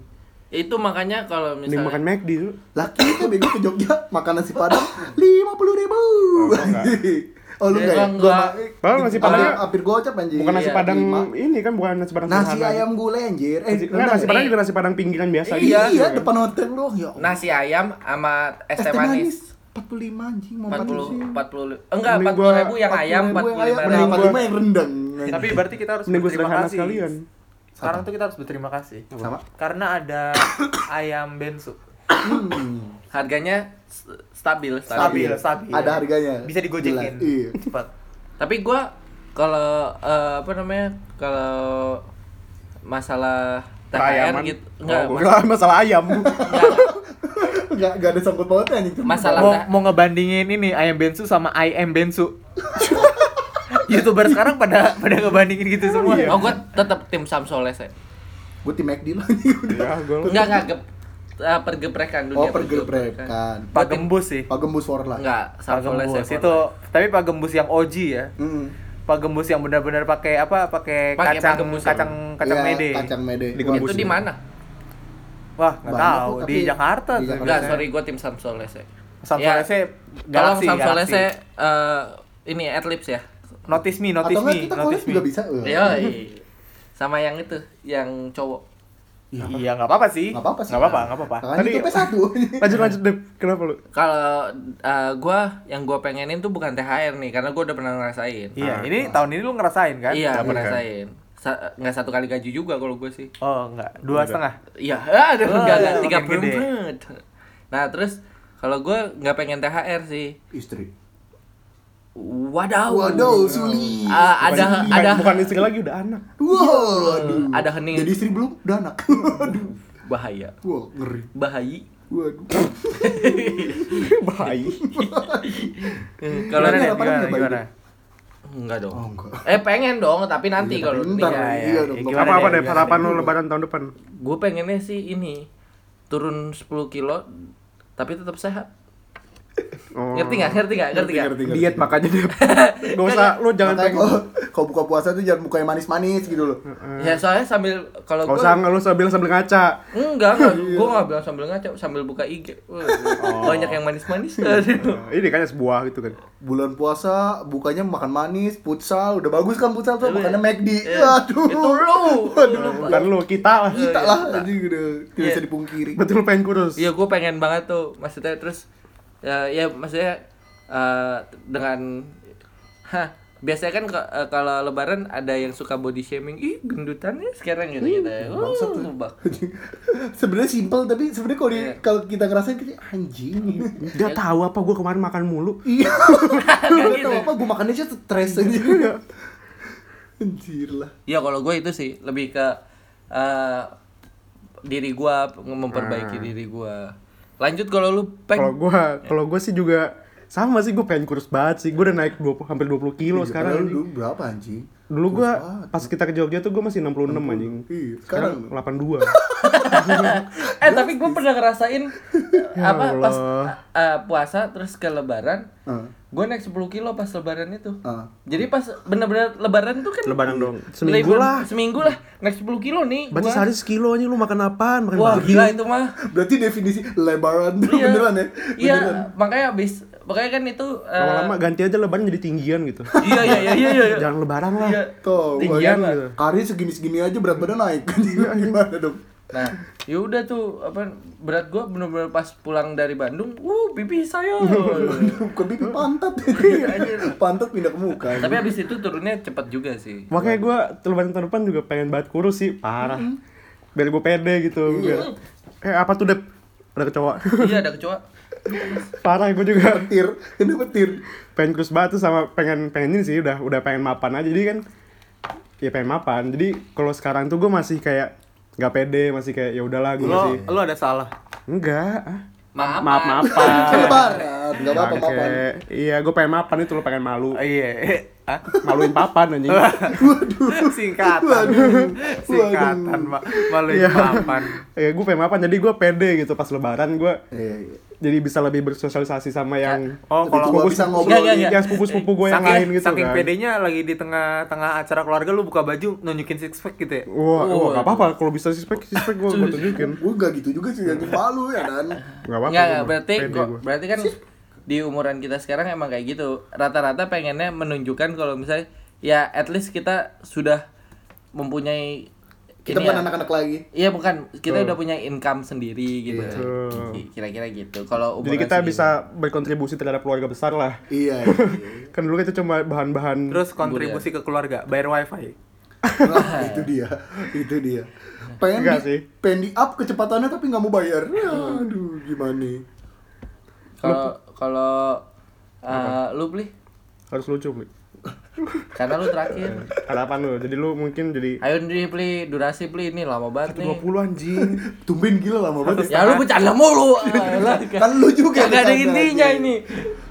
[SPEAKER 1] Itu makanya kalau
[SPEAKER 3] Ini
[SPEAKER 1] misalnya
[SPEAKER 3] makan McD tuh.
[SPEAKER 4] Laki itu bego ke Jogja makan nasi padang lima puluh ribu. Oh, lu
[SPEAKER 1] Ya,
[SPEAKER 4] enggak ya?
[SPEAKER 1] enggak.
[SPEAKER 4] Gua ma-
[SPEAKER 3] Padahal nasi
[SPEAKER 4] hampir-
[SPEAKER 3] padang-
[SPEAKER 4] hampir gocap anjing.
[SPEAKER 3] Bukan nasi
[SPEAKER 1] Iya,
[SPEAKER 3] padang
[SPEAKER 4] lima.
[SPEAKER 3] ini kan bukan nasi padang
[SPEAKER 4] Nasi
[SPEAKER 3] sederhana.
[SPEAKER 4] ayam gulai anjir. Eh,
[SPEAKER 3] Nasi- Enggak, nasi
[SPEAKER 4] bentar.
[SPEAKER 3] padang juga nasi padang pinggiran biasa
[SPEAKER 4] Iya,
[SPEAKER 3] gitu kan.
[SPEAKER 4] depan hotel lu. Ya. Allah.
[SPEAKER 1] nasi ayam sama Nah, es teh manis.
[SPEAKER 4] 45 anjing mau
[SPEAKER 1] 40
[SPEAKER 4] 40.
[SPEAKER 1] 40 enggak
[SPEAKER 3] Mending
[SPEAKER 1] 40
[SPEAKER 3] gua-
[SPEAKER 1] ribu ya, yang ayam 45
[SPEAKER 4] Mending
[SPEAKER 1] ribu.
[SPEAKER 4] 45 yang rendang.
[SPEAKER 2] Tapi berarti kita harus
[SPEAKER 3] Mending gue
[SPEAKER 2] berterima
[SPEAKER 3] sederhana
[SPEAKER 2] kasih.
[SPEAKER 3] sekalian.
[SPEAKER 2] Sekarang tuh kita harus berterima kasih.
[SPEAKER 4] sama.
[SPEAKER 2] Karena ada ayam bensu.
[SPEAKER 4] Hmm.
[SPEAKER 1] Harganya s- stabil, stabil.
[SPEAKER 2] Stabil, stabil.
[SPEAKER 4] Ada harganya.
[SPEAKER 2] Bisa digojekin.
[SPEAKER 4] Jelas, Iya.
[SPEAKER 2] Cepat.
[SPEAKER 1] Tapi gua kalau eh, apa namanya? Kalau masalah THR
[SPEAKER 3] Ayaman.
[SPEAKER 1] gitu enggak
[SPEAKER 3] Oh, Enggak, masalah ayam.
[SPEAKER 4] Enggak enggak ada sangkut pautnya anjing.
[SPEAKER 1] Masalah
[SPEAKER 2] mau,
[SPEAKER 1] teh-
[SPEAKER 2] mau ngebandingin ini ayam bensu sama IM bensu. Youtuber sekarang pada pada ngebandingin gitu semua.
[SPEAKER 4] Iya.
[SPEAKER 1] Oh, gua tetap tim Samsoles ya.
[SPEAKER 4] Gue tim McD lah anjing udah.
[SPEAKER 3] Ya, gue.
[SPEAKER 1] Enggak enggak gep, eh, pergeprekan dunia
[SPEAKER 4] Oh, pergreprekan.
[SPEAKER 2] Pak Gembus sih.
[SPEAKER 4] Pak Oh, Gembus for lah.
[SPEAKER 1] Enggak,
[SPEAKER 2] Pak
[SPEAKER 1] Samsoles ya.
[SPEAKER 2] Gembus itu tapi Pak Gembus yang OG ya.
[SPEAKER 4] Mm.
[SPEAKER 2] Pak Gembus yang benar-benar pakai apa? Pakai
[SPEAKER 1] Pakai Pak
[SPEAKER 2] kacang
[SPEAKER 1] Gembus ya.
[SPEAKER 2] kacang kacang
[SPEAKER 4] Iya,
[SPEAKER 2] mede.
[SPEAKER 4] Kacang mede.
[SPEAKER 3] Di
[SPEAKER 1] Itu
[SPEAKER 3] Gembus
[SPEAKER 1] di
[SPEAKER 3] ya.
[SPEAKER 1] mana?
[SPEAKER 2] Wah, nggak
[SPEAKER 4] Banyak
[SPEAKER 2] tahu
[SPEAKER 4] kok,
[SPEAKER 2] di
[SPEAKER 4] tapi- iya.
[SPEAKER 2] Jakarta.
[SPEAKER 4] di
[SPEAKER 2] tuh.
[SPEAKER 4] Jakarta.
[SPEAKER 1] Enggak, sorry gua tim Samsoles ya.
[SPEAKER 2] Samsoles
[SPEAKER 1] Ya,
[SPEAKER 2] ya,
[SPEAKER 1] Tolong
[SPEAKER 2] Galaxy,
[SPEAKER 1] Samsoles
[SPEAKER 2] Galaxy.
[SPEAKER 1] ya eh, ini adlibs ya.
[SPEAKER 2] Notice me,
[SPEAKER 4] Atau
[SPEAKER 2] notice
[SPEAKER 4] enggak
[SPEAKER 2] me,
[SPEAKER 4] kita
[SPEAKER 2] notice
[SPEAKER 4] collab
[SPEAKER 2] me.
[SPEAKER 4] juga bisa. eh. Wah.
[SPEAKER 1] Iya. Yoi. Sama yang itu, yang cowok.
[SPEAKER 2] Iya, nggak apa-apa sih.
[SPEAKER 4] Nggak apa-apa sih.
[SPEAKER 2] Nggak apa-apa, nggak apa-apa.
[SPEAKER 4] Makanya
[SPEAKER 3] Tadi-
[SPEAKER 4] itu P1.
[SPEAKER 3] Lanjut lanjut deh. Kenapa lu?
[SPEAKER 1] Kalau eh, gua yang gua pengenin tuh bukan THR nih, karena gua udah pernah ngerasain.
[SPEAKER 2] Iya, ini tahun ini lu ngerasain kan?
[SPEAKER 1] Iya,
[SPEAKER 3] Tapi
[SPEAKER 1] pernah
[SPEAKER 3] kan.
[SPEAKER 1] ngerasain. Sa- nggak satu kali gaji juga kalau gua sih.
[SPEAKER 2] Oh, enggak. Dua setengah.
[SPEAKER 1] Iya, aduh
[SPEAKER 2] Oh,
[SPEAKER 1] enggak
[SPEAKER 2] iya,
[SPEAKER 1] enggak tiga
[SPEAKER 2] makin gede.
[SPEAKER 1] Nah, terus kalau gua nggak pengen THR sih.
[SPEAKER 4] Istri.
[SPEAKER 1] Wadaw.
[SPEAKER 4] Waduh, sulit.
[SPEAKER 1] Eh, ada
[SPEAKER 3] Bukan-
[SPEAKER 1] ada
[SPEAKER 3] bukan istri lagi udah anak.
[SPEAKER 4] Wow, aduh.
[SPEAKER 1] ada hening.
[SPEAKER 4] Jadi istri belum? Udah anak. Aduh.
[SPEAKER 1] bahaya.
[SPEAKER 4] Wah, ngeri.
[SPEAKER 1] Bahaya.
[SPEAKER 4] Waduh.
[SPEAKER 3] Bayi.
[SPEAKER 1] Kalau
[SPEAKER 2] Gimana,
[SPEAKER 4] Gimana,
[SPEAKER 2] gimana,
[SPEAKER 4] apaan
[SPEAKER 2] gimana,
[SPEAKER 4] dia, Pak
[SPEAKER 2] gimana?
[SPEAKER 1] enggak dong.
[SPEAKER 4] Oh, enggak.
[SPEAKER 1] Eh pengen dong, tapi nanti
[SPEAKER 4] Iya,
[SPEAKER 1] kalau
[SPEAKER 4] tapi ntar.
[SPEAKER 1] nikah.
[SPEAKER 4] Iya, dong,
[SPEAKER 2] ya,
[SPEAKER 4] dong.
[SPEAKER 2] gimana
[SPEAKER 3] Apa apa
[SPEAKER 2] dia,
[SPEAKER 3] deh
[SPEAKER 2] gimana
[SPEAKER 3] harapan
[SPEAKER 2] dia?
[SPEAKER 3] lu lebaran tahun depan?
[SPEAKER 1] Gue pengennya sih ini turun 10 kilo tapi tetap sehat.
[SPEAKER 3] Oh.
[SPEAKER 1] Ngerti nggak? Ngerti nggak? Ngerti nggak?
[SPEAKER 4] Ngerti, ngerti.
[SPEAKER 3] Diet makanya deh. Gak usah lu jangan
[SPEAKER 4] Makanya
[SPEAKER 3] pengen.
[SPEAKER 4] kalau kalau buka puasa tuh jangan buka yang manis-manis gitu loh.
[SPEAKER 1] Ya soalnya sambil kalau
[SPEAKER 3] Gak
[SPEAKER 1] gue
[SPEAKER 3] usah lu sambil sambil ngaca.
[SPEAKER 1] enggak enggak, gue nggak bilang sambil ngaca, sambil buka IG. Wah, Banyak yang manis-manis. Aduh.
[SPEAKER 3] Nah, Ini kan sebuah gitu kan.
[SPEAKER 4] Bulan puasa bukanya makan manis, futsal, udah bagus kan futsal tuh,
[SPEAKER 1] Iya.
[SPEAKER 4] makannya McD.
[SPEAKER 1] Eh,
[SPEAKER 4] Aduh.
[SPEAKER 1] Itu lu. Lu.
[SPEAKER 3] Bukan lu kita lah.
[SPEAKER 4] Kita lah
[SPEAKER 1] Iya,
[SPEAKER 4] anjing udah tidak bisa dipungkiri.
[SPEAKER 3] Betul pengen kurus.
[SPEAKER 1] Iya gue pengen banget tuh maksudnya terus ya, ya maksudnya eh, dengan hah biasanya kan ke- eh, kalau lebaran ada yang suka body shaming ih gendutannya sekarang gitu gitu ya
[SPEAKER 4] bangsat
[SPEAKER 1] Uh,
[SPEAKER 4] tuh.
[SPEAKER 1] bak-
[SPEAKER 4] Anjing. sebenarnya simpel tapi sebenarnya kalau di-
[SPEAKER 1] Iya.
[SPEAKER 4] kalau kita ngerasain kita anjing.
[SPEAKER 3] Gak tahu apa gua kemarin makan mulu.
[SPEAKER 4] Iya.
[SPEAKER 1] Nggak
[SPEAKER 4] Lu
[SPEAKER 1] gitu. Iya.
[SPEAKER 4] tau apa gue makannya aja stres aja. Anjir lah.
[SPEAKER 1] ya kalau gue itu sih lebih ke eh, diri gue memperbaiki diri gue lanjut kalau lu
[SPEAKER 3] Hmm. Kalau
[SPEAKER 1] peng
[SPEAKER 3] gua kalau gua sih juga sama sih gua pengen kurus banget sih. Gua udah naik 20, hampir 20 kilo
[SPEAKER 4] Iya,
[SPEAKER 3] sekarang.
[SPEAKER 4] padahal
[SPEAKER 3] anjing.
[SPEAKER 4] lu dulu berapa anjing?
[SPEAKER 3] Dulu
[SPEAKER 4] Kurus
[SPEAKER 3] gua
[SPEAKER 4] banget.
[SPEAKER 3] pas kita ke Jogja tuh gua masih 66 anjing.
[SPEAKER 4] Iya, sekarang
[SPEAKER 3] Sekarang 82.
[SPEAKER 1] eh tapi gue pernah ngerasain eh,
[SPEAKER 3] Ya
[SPEAKER 1] apa pas
[SPEAKER 3] Allah.
[SPEAKER 1] eh, puasa terus ke lebaran
[SPEAKER 4] Heeh.
[SPEAKER 1] gue naik 10 kilo pas lebaran itu
[SPEAKER 4] Ah.
[SPEAKER 1] Jadi pas bener-bener lebaran tuh kan
[SPEAKER 3] Lebaran dong. Seminggu
[SPEAKER 1] Lebaran-
[SPEAKER 3] lah.
[SPEAKER 1] Seminggu lah Naik 10 kilo nih
[SPEAKER 3] Berarti
[SPEAKER 1] gua.
[SPEAKER 3] sehari sekilo anjing lu makan apaan? Makan
[SPEAKER 1] Wah
[SPEAKER 3] babi.
[SPEAKER 1] gila itu mah
[SPEAKER 4] Berarti definisi lebaran tuh
[SPEAKER 1] Iya.
[SPEAKER 4] beneran ya?
[SPEAKER 1] Iya
[SPEAKER 4] Beneran.
[SPEAKER 1] makanya abis Makanya kan itu eh,
[SPEAKER 3] Lama-lama ganti aja lebaran jadi tinggian gitu.
[SPEAKER 1] Iya iya iya iya iya
[SPEAKER 3] Jangan lebaran lah.
[SPEAKER 1] Iya.
[SPEAKER 4] Tuh,
[SPEAKER 3] Tinggian
[SPEAKER 4] bayangin,
[SPEAKER 3] gitu.
[SPEAKER 4] Kari segini-segini aja berat badan naik.
[SPEAKER 1] Iya,
[SPEAKER 4] Gimana dong?
[SPEAKER 1] Nah yaudah tuh apa Berat gua bener-bener pas pulang dari Bandung Uh pipi saya
[SPEAKER 4] Bukan pipi pantat.
[SPEAKER 1] Iya, anjir.
[SPEAKER 4] pantat pindah ke muka.
[SPEAKER 1] Tapi abis itu turunnya cepet juga sih
[SPEAKER 3] Makanya gua lebaran tahun depan juga pengen banget kurus sih, parah. Biar gue pede gitu. Biar... Eh apa tuh Dep? Ada kecoa.
[SPEAKER 1] Iya ada kecoa
[SPEAKER 3] parah gue juga
[SPEAKER 4] petir, ini petir.
[SPEAKER 3] pengen kurus banget tuh sama pengen pengen ini sih udah udah pengen mapan aja jadi kan ya pengen mapan jadi kalau sekarang tuh gue masih kayak nggak pede masih kayak ya udahlah
[SPEAKER 2] Lo
[SPEAKER 3] gue masih
[SPEAKER 2] lo ada salah.
[SPEAKER 3] enggak ah.
[SPEAKER 1] Maaf
[SPEAKER 3] maaf
[SPEAKER 1] Pak.
[SPEAKER 3] maafan
[SPEAKER 4] Lebaran, enggak apa-apa
[SPEAKER 3] Bangke. iya gue pengen mapan itu lo pengen malu
[SPEAKER 2] Iya. Hah?
[SPEAKER 3] maluin papan anjing
[SPEAKER 2] singkatan singkatan Mbak. melalui
[SPEAKER 3] Iya.
[SPEAKER 2] papan
[SPEAKER 3] ya gue pengen papan jadi gue pede gitu pas lebaran gue
[SPEAKER 4] Iya, iya.
[SPEAKER 3] jadi bisa lebih bersosialisasi sama yang
[SPEAKER 2] oh
[SPEAKER 4] Lebih
[SPEAKER 2] kalau
[SPEAKER 4] tua bisa ngobrol
[SPEAKER 1] Iya, iya,
[SPEAKER 4] nih.
[SPEAKER 1] iya.
[SPEAKER 3] yang sepupu-sepupu gue yang
[SPEAKER 2] saking,
[SPEAKER 3] lain gitu
[SPEAKER 2] saking
[SPEAKER 3] kan
[SPEAKER 2] pedenya lagi di tengah-tengah acara keluarga lu buka baju nunjukin six pack gitu ya
[SPEAKER 3] Wah, wah,
[SPEAKER 1] Waduh.
[SPEAKER 3] gak apa-apa. Kalau bisa suspek, suspek gue gue tunjukin.
[SPEAKER 4] Gue gak gitu juga sih, anjing malu ya kan
[SPEAKER 1] Enggak,
[SPEAKER 3] Gak apa-apa. gua
[SPEAKER 1] enggak,
[SPEAKER 3] mah.
[SPEAKER 1] berarti
[SPEAKER 3] Pede
[SPEAKER 1] kok
[SPEAKER 3] gua.
[SPEAKER 1] berarti kan di umuran kita sekarang emang kayak gitu. Rata-rata pengennya menunjukkan kalau misalnya ya at least kita sudah mempunyai
[SPEAKER 4] Kita
[SPEAKER 1] ini
[SPEAKER 4] bukan
[SPEAKER 1] ya.
[SPEAKER 4] anak-anak lagi
[SPEAKER 1] Iya bukan, kita
[SPEAKER 3] Betul.
[SPEAKER 1] udah punya income sendiri gitu.
[SPEAKER 3] Betul.
[SPEAKER 1] Kira-kira gitu. Kalau
[SPEAKER 3] Jadi
[SPEAKER 1] umuran
[SPEAKER 3] kita
[SPEAKER 1] segini.
[SPEAKER 3] bisa berkontribusi terhadap keluarga besar lah.
[SPEAKER 4] Iya, iya, iya.
[SPEAKER 3] Kan dulu kita cuma bahan-bahan.
[SPEAKER 2] terus kontribusi ke keluarga bayar wifi
[SPEAKER 4] Nah, itu dia, itu dia. Pengen di,
[SPEAKER 3] Enggak sih.
[SPEAKER 4] pengen di up kecepatannya tapi nggak mau bayar. Aduh, gimana nih?
[SPEAKER 1] kalau kalau eh, lu beli
[SPEAKER 3] harus lucu, Pli.
[SPEAKER 1] karena lu terakhir.
[SPEAKER 3] Harapan lu. Jadi lu mungkin jadi
[SPEAKER 1] Ayo nih beli durasi beli ini lama banget nih.
[SPEAKER 3] 20 anjing.
[SPEAKER 4] Tumben gila lama banget.
[SPEAKER 1] Ya lu bercanda mulu. Alah,
[SPEAKER 4] Kan lu juga
[SPEAKER 1] Gak ada
[SPEAKER 4] bercanda,
[SPEAKER 1] intinya
[SPEAKER 4] anjing.
[SPEAKER 1] ini.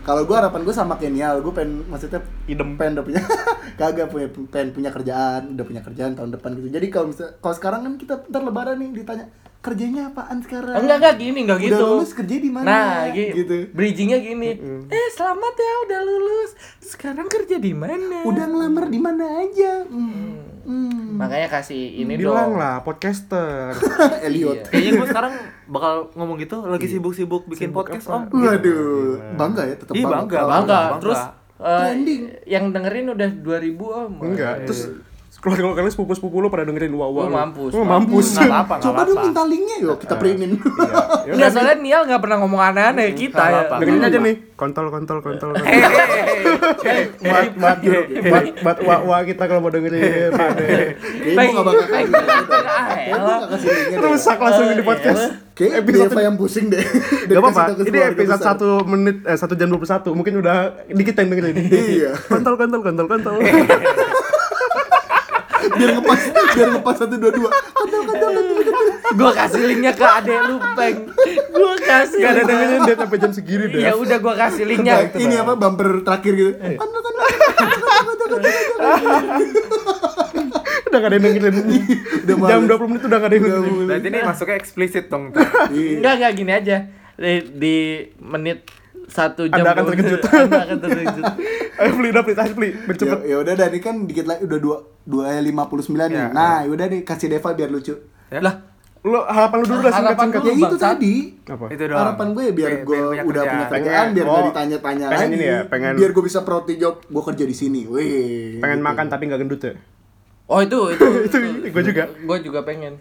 [SPEAKER 4] Kalau gua harapan gua sama Kenial, gua pengen maksudnya
[SPEAKER 3] Idem.
[SPEAKER 4] pengen udah punya kagak punya pengen punya kerjaan, udah punya kerjaan tahun depan gitu. Jadi kalau misal kalau sekarang kan kita ntar lebaran nih ditanya kerjanya apaan sekarang?
[SPEAKER 1] Enggak enggak gini enggak
[SPEAKER 4] Udah
[SPEAKER 1] gitu.
[SPEAKER 4] lulus kerja di mana?
[SPEAKER 1] Nah, gi-
[SPEAKER 4] Gitu.
[SPEAKER 1] Bridgingnya gini. Eh, selamat ya udah lulus. Sekarang kerja di mana?
[SPEAKER 4] Udah ngelamar di mana aja? Hmm. Hmm.
[SPEAKER 1] Makanya kasih ini dong.
[SPEAKER 3] Bilang lah, podcaster.
[SPEAKER 4] Elliot.
[SPEAKER 2] kayaknya gue sekarang bakal ngomong gitu lagi sibuk-sibuk bikin podcast om
[SPEAKER 4] Waduh, bangga ya tetap
[SPEAKER 2] Iya. Ih, bangga,
[SPEAKER 1] Bangga.
[SPEAKER 2] bangga.
[SPEAKER 1] Terus eh,
[SPEAKER 4] Trending.
[SPEAKER 1] yang dengerin udah oh, 2000 om.
[SPEAKER 3] Enggak. Terus keluarga keluarga lu sepupu-sepupu lu pada dengerin wah-wah.
[SPEAKER 1] Lu
[SPEAKER 3] lu.
[SPEAKER 1] mampus,
[SPEAKER 3] Lu
[SPEAKER 2] mampus
[SPEAKER 3] mampus.
[SPEAKER 2] nggak apa-apa nggak
[SPEAKER 4] Coba dong
[SPEAKER 2] apa-apa
[SPEAKER 4] minta linknya yuk, kita printin.
[SPEAKER 3] Iya.
[SPEAKER 1] Enggak soalnya Nial enggak pernah ngomong aneh-aneh kita ya.
[SPEAKER 2] apa-apa.
[SPEAKER 3] Dengerin aja nih. Kontol, kontol, kontol,
[SPEAKER 1] Eh,
[SPEAKER 3] kontol. Buat, buat, buat, buat wah-wah kita kalau mau dengerin. eh. Pade.
[SPEAKER 4] Kayaknya gua gak bakal gitu. kasih
[SPEAKER 1] Pengen-
[SPEAKER 4] linknya deh.
[SPEAKER 1] Ah,
[SPEAKER 4] Kayaknya gua gak kasih linknya
[SPEAKER 1] Iya,
[SPEAKER 4] deh.
[SPEAKER 3] Rusak langsung di
[SPEAKER 1] Eh,
[SPEAKER 3] podcast.
[SPEAKER 4] Kayaknya
[SPEAKER 3] Episode
[SPEAKER 4] Deva yang pusing deh.
[SPEAKER 3] Gak
[SPEAKER 4] Dari
[SPEAKER 3] apa-apa,
[SPEAKER 4] kasih tahu ke
[SPEAKER 3] ini
[SPEAKER 4] keluarga
[SPEAKER 3] episode
[SPEAKER 4] besar.
[SPEAKER 3] satu menit, eh, satu jam 21 Mungkin udah dikit yang dengerin
[SPEAKER 4] Iya.
[SPEAKER 3] Kontol, kontol, kontol, kontol
[SPEAKER 4] Biar ngepas, biar ngepas satu dua dua.
[SPEAKER 1] Gua kasih linknya ke adek lu, Peng. Gua kasih.
[SPEAKER 3] Gak ada
[SPEAKER 1] linknya.
[SPEAKER 3] dengerin dia sampai jam segini deh
[SPEAKER 1] Ya
[SPEAKER 2] Iya,
[SPEAKER 1] udah gua kasih
[SPEAKER 4] Nah,
[SPEAKER 1] linknya.
[SPEAKER 2] gitu
[SPEAKER 4] ini
[SPEAKER 2] kan.
[SPEAKER 4] apa bumper terakhir gitu. Anda kan
[SPEAKER 3] Udah gak ada yang dengerin
[SPEAKER 4] Udah
[SPEAKER 3] Jam
[SPEAKER 4] males.
[SPEAKER 3] 20 menit udah gak ada yang dengerin
[SPEAKER 2] berarti ini masuknya eksplisit dong
[SPEAKER 4] Iya.
[SPEAKER 1] Enggak, enggak gini aja. Di, di menit satu jam
[SPEAKER 3] Anda akan
[SPEAKER 1] gua-
[SPEAKER 3] terkejut.
[SPEAKER 1] Anda akan terkejut.
[SPEAKER 3] Ayo beli, udah beli, tahan beli,
[SPEAKER 4] Ya,
[SPEAKER 3] bercepet
[SPEAKER 4] ya udah dah, ini kan dikit lagi udah dua dua lima puluh sembilan nih.
[SPEAKER 2] Ya.
[SPEAKER 4] Nah, yaudah nih kasih Deva biar lucu.
[SPEAKER 2] Oh,
[SPEAKER 1] Lah,
[SPEAKER 3] Lo harapan lu dulu dah singkat
[SPEAKER 1] Harapan
[SPEAKER 3] singkat
[SPEAKER 1] lu.
[SPEAKER 4] Ya itu
[SPEAKER 1] bangsat.
[SPEAKER 4] tadi.
[SPEAKER 3] Apa?
[SPEAKER 2] itu doang
[SPEAKER 4] Harapan gue ya biar
[SPEAKER 2] Biar-
[SPEAKER 4] gue
[SPEAKER 2] biar punya
[SPEAKER 4] udah punya
[SPEAKER 2] kerjaan.
[SPEAKER 4] kerjaan biar gak
[SPEAKER 3] Pengen- oh,
[SPEAKER 4] ditanya-tanya
[SPEAKER 3] pengen
[SPEAKER 4] lagi.
[SPEAKER 3] ini ya, pengen-
[SPEAKER 4] biar gue bisa properti job gue kerja di sini. Wih. gitu.
[SPEAKER 3] Pengen makan tapi gak gendut ya
[SPEAKER 1] oh itu itu
[SPEAKER 3] Itu gue juga
[SPEAKER 1] Gue juga pengen.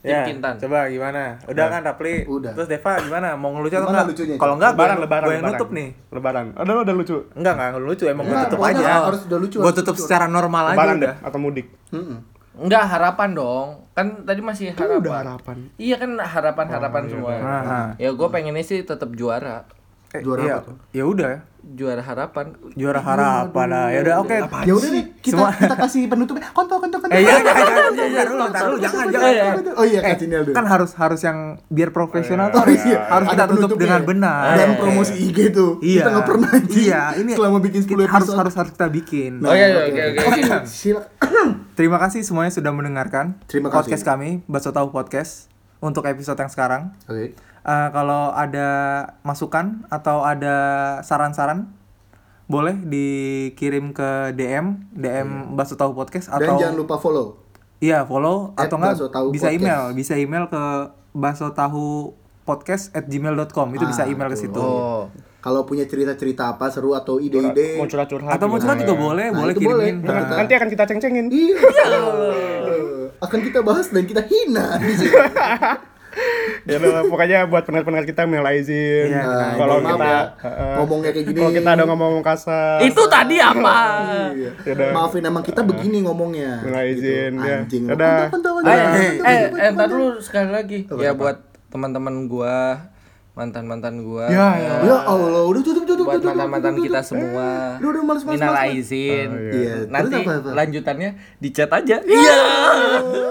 [SPEAKER 1] Tim
[SPEAKER 2] Ya,
[SPEAKER 1] Kintan.
[SPEAKER 2] coba gimana? Udah kan Rapli?
[SPEAKER 4] Nah. Udah.
[SPEAKER 2] Terus Deva gimana? Mau ngelucu atau
[SPEAKER 4] Gimana
[SPEAKER 2] enggak?
[SPEAKER 4] lucunya?
[SPEAKER 2] Kalau enggak,
[SPEAKER 3] Lebaran,
[SPEAKER 2] gue-
[SPEAKER 3] lebaran,
[SPEAKER 2] gue yang
[SPEAKER 3] lebaran.
[SPEAKER 2] nutup nih.
[SPEAKER 3] Lebaran, ada lo udah lucu
[SPEAKER 2] Enggak, enggak lucu. Emang gue
[SPEAKER 4] Enggak,
[SPEAKER 2] tutup
[SPEAKER 4] Nah, pokoknya
[SPEAKER 2] aja.
[SPEAKER 4] harus udah lucu,
[SPEAKER 2] Gue
[SPEAKER 4] harus
[SPEAKER 2] tutup
[SPEAKER 4] lucu.
[SPEAKER 2] secara normal aja
[SPEAKER 3] Lebaran
[SPEAKER 2] udah.
[SPEAKER 3] deh, atau mudik
[SPEAKER 4] Mm-mm.
[SPEAKER 1] Enggak harapan dong. Kan tadi masih
[SPEAKER 3] Itu
[SPEAKER 1] harapan.
[SPEAKER 3] udah harapan
[SPEAKER 1] Iya kan harapan-harapan semua.
[SPEAKER 2] Aha.
[SPEAKER 1] Ya gue pengennya sih tetap juara.
[SPEAKER 2] Eh,
[SPEAKER 4] Juara
[SPEAKER 2] iya.
[SPEAKER 4] apa tuh? Iya,
[SPEAKER 2] Ya udah.
[SPEAKER 1] Juara harapan.
[SPEAKER 2] Juara harapan lah. Ya udah oke.
[SPEAKER 4] Ya udah deh, kita
[SPEAKER 2] Semua-
[SPEAKER 4] kita kasih penutupnya. Kontol kontol kontol.
[SPEAKER 2] Eh, jangan, jangan, jangan, jangan, jangan, dulu, ntar dulu, jangan, jangan.
[SPEAKER 1] iya.
[SPEAKER 4] Oh iya,
[SPEAKER 2] Eh,
[SPEAKER 4] kasih Niel dulu.
[SPEAKER 2] kan harus harus yang biar profesional tuh
[SPEAKER 4] Oh,
[SPEAKER 2] harus
[SPEAKER 4] iya.
[SPEAKER 2] harus
[SPEAKER 4] Ada
[SPEAKER 2] kita tutup
[SPEAKER 4] penutupnya
[SPEAKER 2] dengan
[SPEAKER 4] ya.
[SPEAKER 2] benar.
[SPEAKER 4] Dan
[SPEAKER 2] Oke.
[SPEAKER 4] promosi IG tuh.
[SPEAKER 2] Iya.
[SPEAKER 4] Kita nggak pernah anjing.
[SPEAKER 2] Iya, ini
[SPEAKER 4] selama bikin 10 episode.
[SPEAKER 2] harus harus harus kita bikin.
[SPEAKER 1] Oh iya, iya, oke, oke, oke.
[SPEAKER 4] Silakan.
[SPEAKER 2] Terima kasih semuanya sudah mendengarkan
[SPEAKER 4] Terima kasih.
[SPEAKER 2] podcast kami, Baso Tahu Podcast untuk episode yang sekarang.
[SPEAKER 4] Oke.
[SPEAKER 2] Eh, kalau ada masukan atau ada saran-saran boleh dikirim ke DM DM Baso Tahu Podcast
[SPEAKER 4] Hmm. Dan
[SPEAKER 2] atau
[SPEAKER 4] jangan lupa follow.
[SPEAKER 2] iya follow
[SPEAKER 4] At
[SPEAKER 2] atau enggak
[SPEAKER 4] Baso Tahu
[SPEAKER 2] bisa
[SPEAKER 4] Podcast.
[SPEAKER 2] email bisa email ke baso tahu podcast at gmail.com itu bisa
[SPEAKER 4] Ah,
[SPEAKER 2] email ke
[SPEAKER 4] betul.
[SPEAKER 2] situ
[SPEAKER 1] Oh.
[SPEAKER 4] Kalau punya cerita-cerita apa seru atau ide-ide.
[SPEAKER 3] Mau curhat-curhat
[SPEAKER 2] atau mau
[SPEAKER 3] juga.
[SPEAKER 2] curhat juga boleh
[SPEAKER 4] Oh, Nah,
[SPEAKER 2] boleh
[SPEAKER 4] itu
[SPEAKER 2] kirimin
[SPEAKER 4] boleh.
[SPEAKER 2] Nah,
[SPEAKER 3] Nanti akan kita ceng-cengin
[SPEAKER 4] Iya.
[SPEAKER 1] Ya
[SPEAKER 4] Eh, Akan kita bahas dan kita hina di sini.
[SPEAKER 3] ya udah, pokoknya buat pendengar-pendengar kita minal izin
[SPEAKER 2] Iya,
[SPEAKER 4] Nah,
[SPEAKER 3] kalau
[SPEAKER 4] mohon maaf
[SPEAKER 3] kita
[SPEAKER 4] ya,
[SPEAKER 3] heeh.
[SPEAKER 4] ngomongnya kayak gini.
[SPEAKER 3] kalau kita ada ngomong kasar
[SPEAKER 1] Itu tadi apa?
[SPEAKER 4] Iya.
[SPEAKER 3] Yaudah.
[SPEAKER 4] Maafin emang kita begini ngomongnya.
[SPEAKER 3] Minal Iya. izin,
[SPEAKER 4] Gitu.
[SPEAKER 3] ya.
[SPEAKER 4] Anjing.
[SPEAKER 3] Dadah.
[SPEAKER 4] Kontol, kontol, kontol,
[SPEAKER 1] Eh,
[SPEAKER 4] kontol,
[SPEAKER 1] eh,
[SPEAKER 4] kontol,
[SPEAKER 1] eh,
[SPEAKER 4] kontol,
[SPEAKER 1] eh, ntar
[SPEAKER 4] kontol.
[SPEAKER 1] dulu sekali lagi. Ya buat teman-teman gua, mantan-mantan gua.
[SPEAKER 3] Ya,
[SPEAKER 1] ya.
[SPEAKER 4] Ya Allah, udah tutup tutup
[SPEAKER 1] buat
[SPEAKER 4] tutup, tutup.
[SPEAKER 1] mantan-mantan
[SPEAKER 4] tutup,
[SPEAKER 1] kita
[SPEAKER 4] tutup.
[SPEAKER 1] semua.
[SPEAKER 4] Eh, Udah, udah, males, males,
[SPEAKER 1] Minal
[SPEAKER 4] males.
[SPEAKER 1] aizin.
[SPEAKER 4] Iya, terus Ya.
[SPEAKER 1] Nanti
[SPEAKER 4] apa, apa?
[SPEAKER 1] lanjutannya di chat aja. Iya.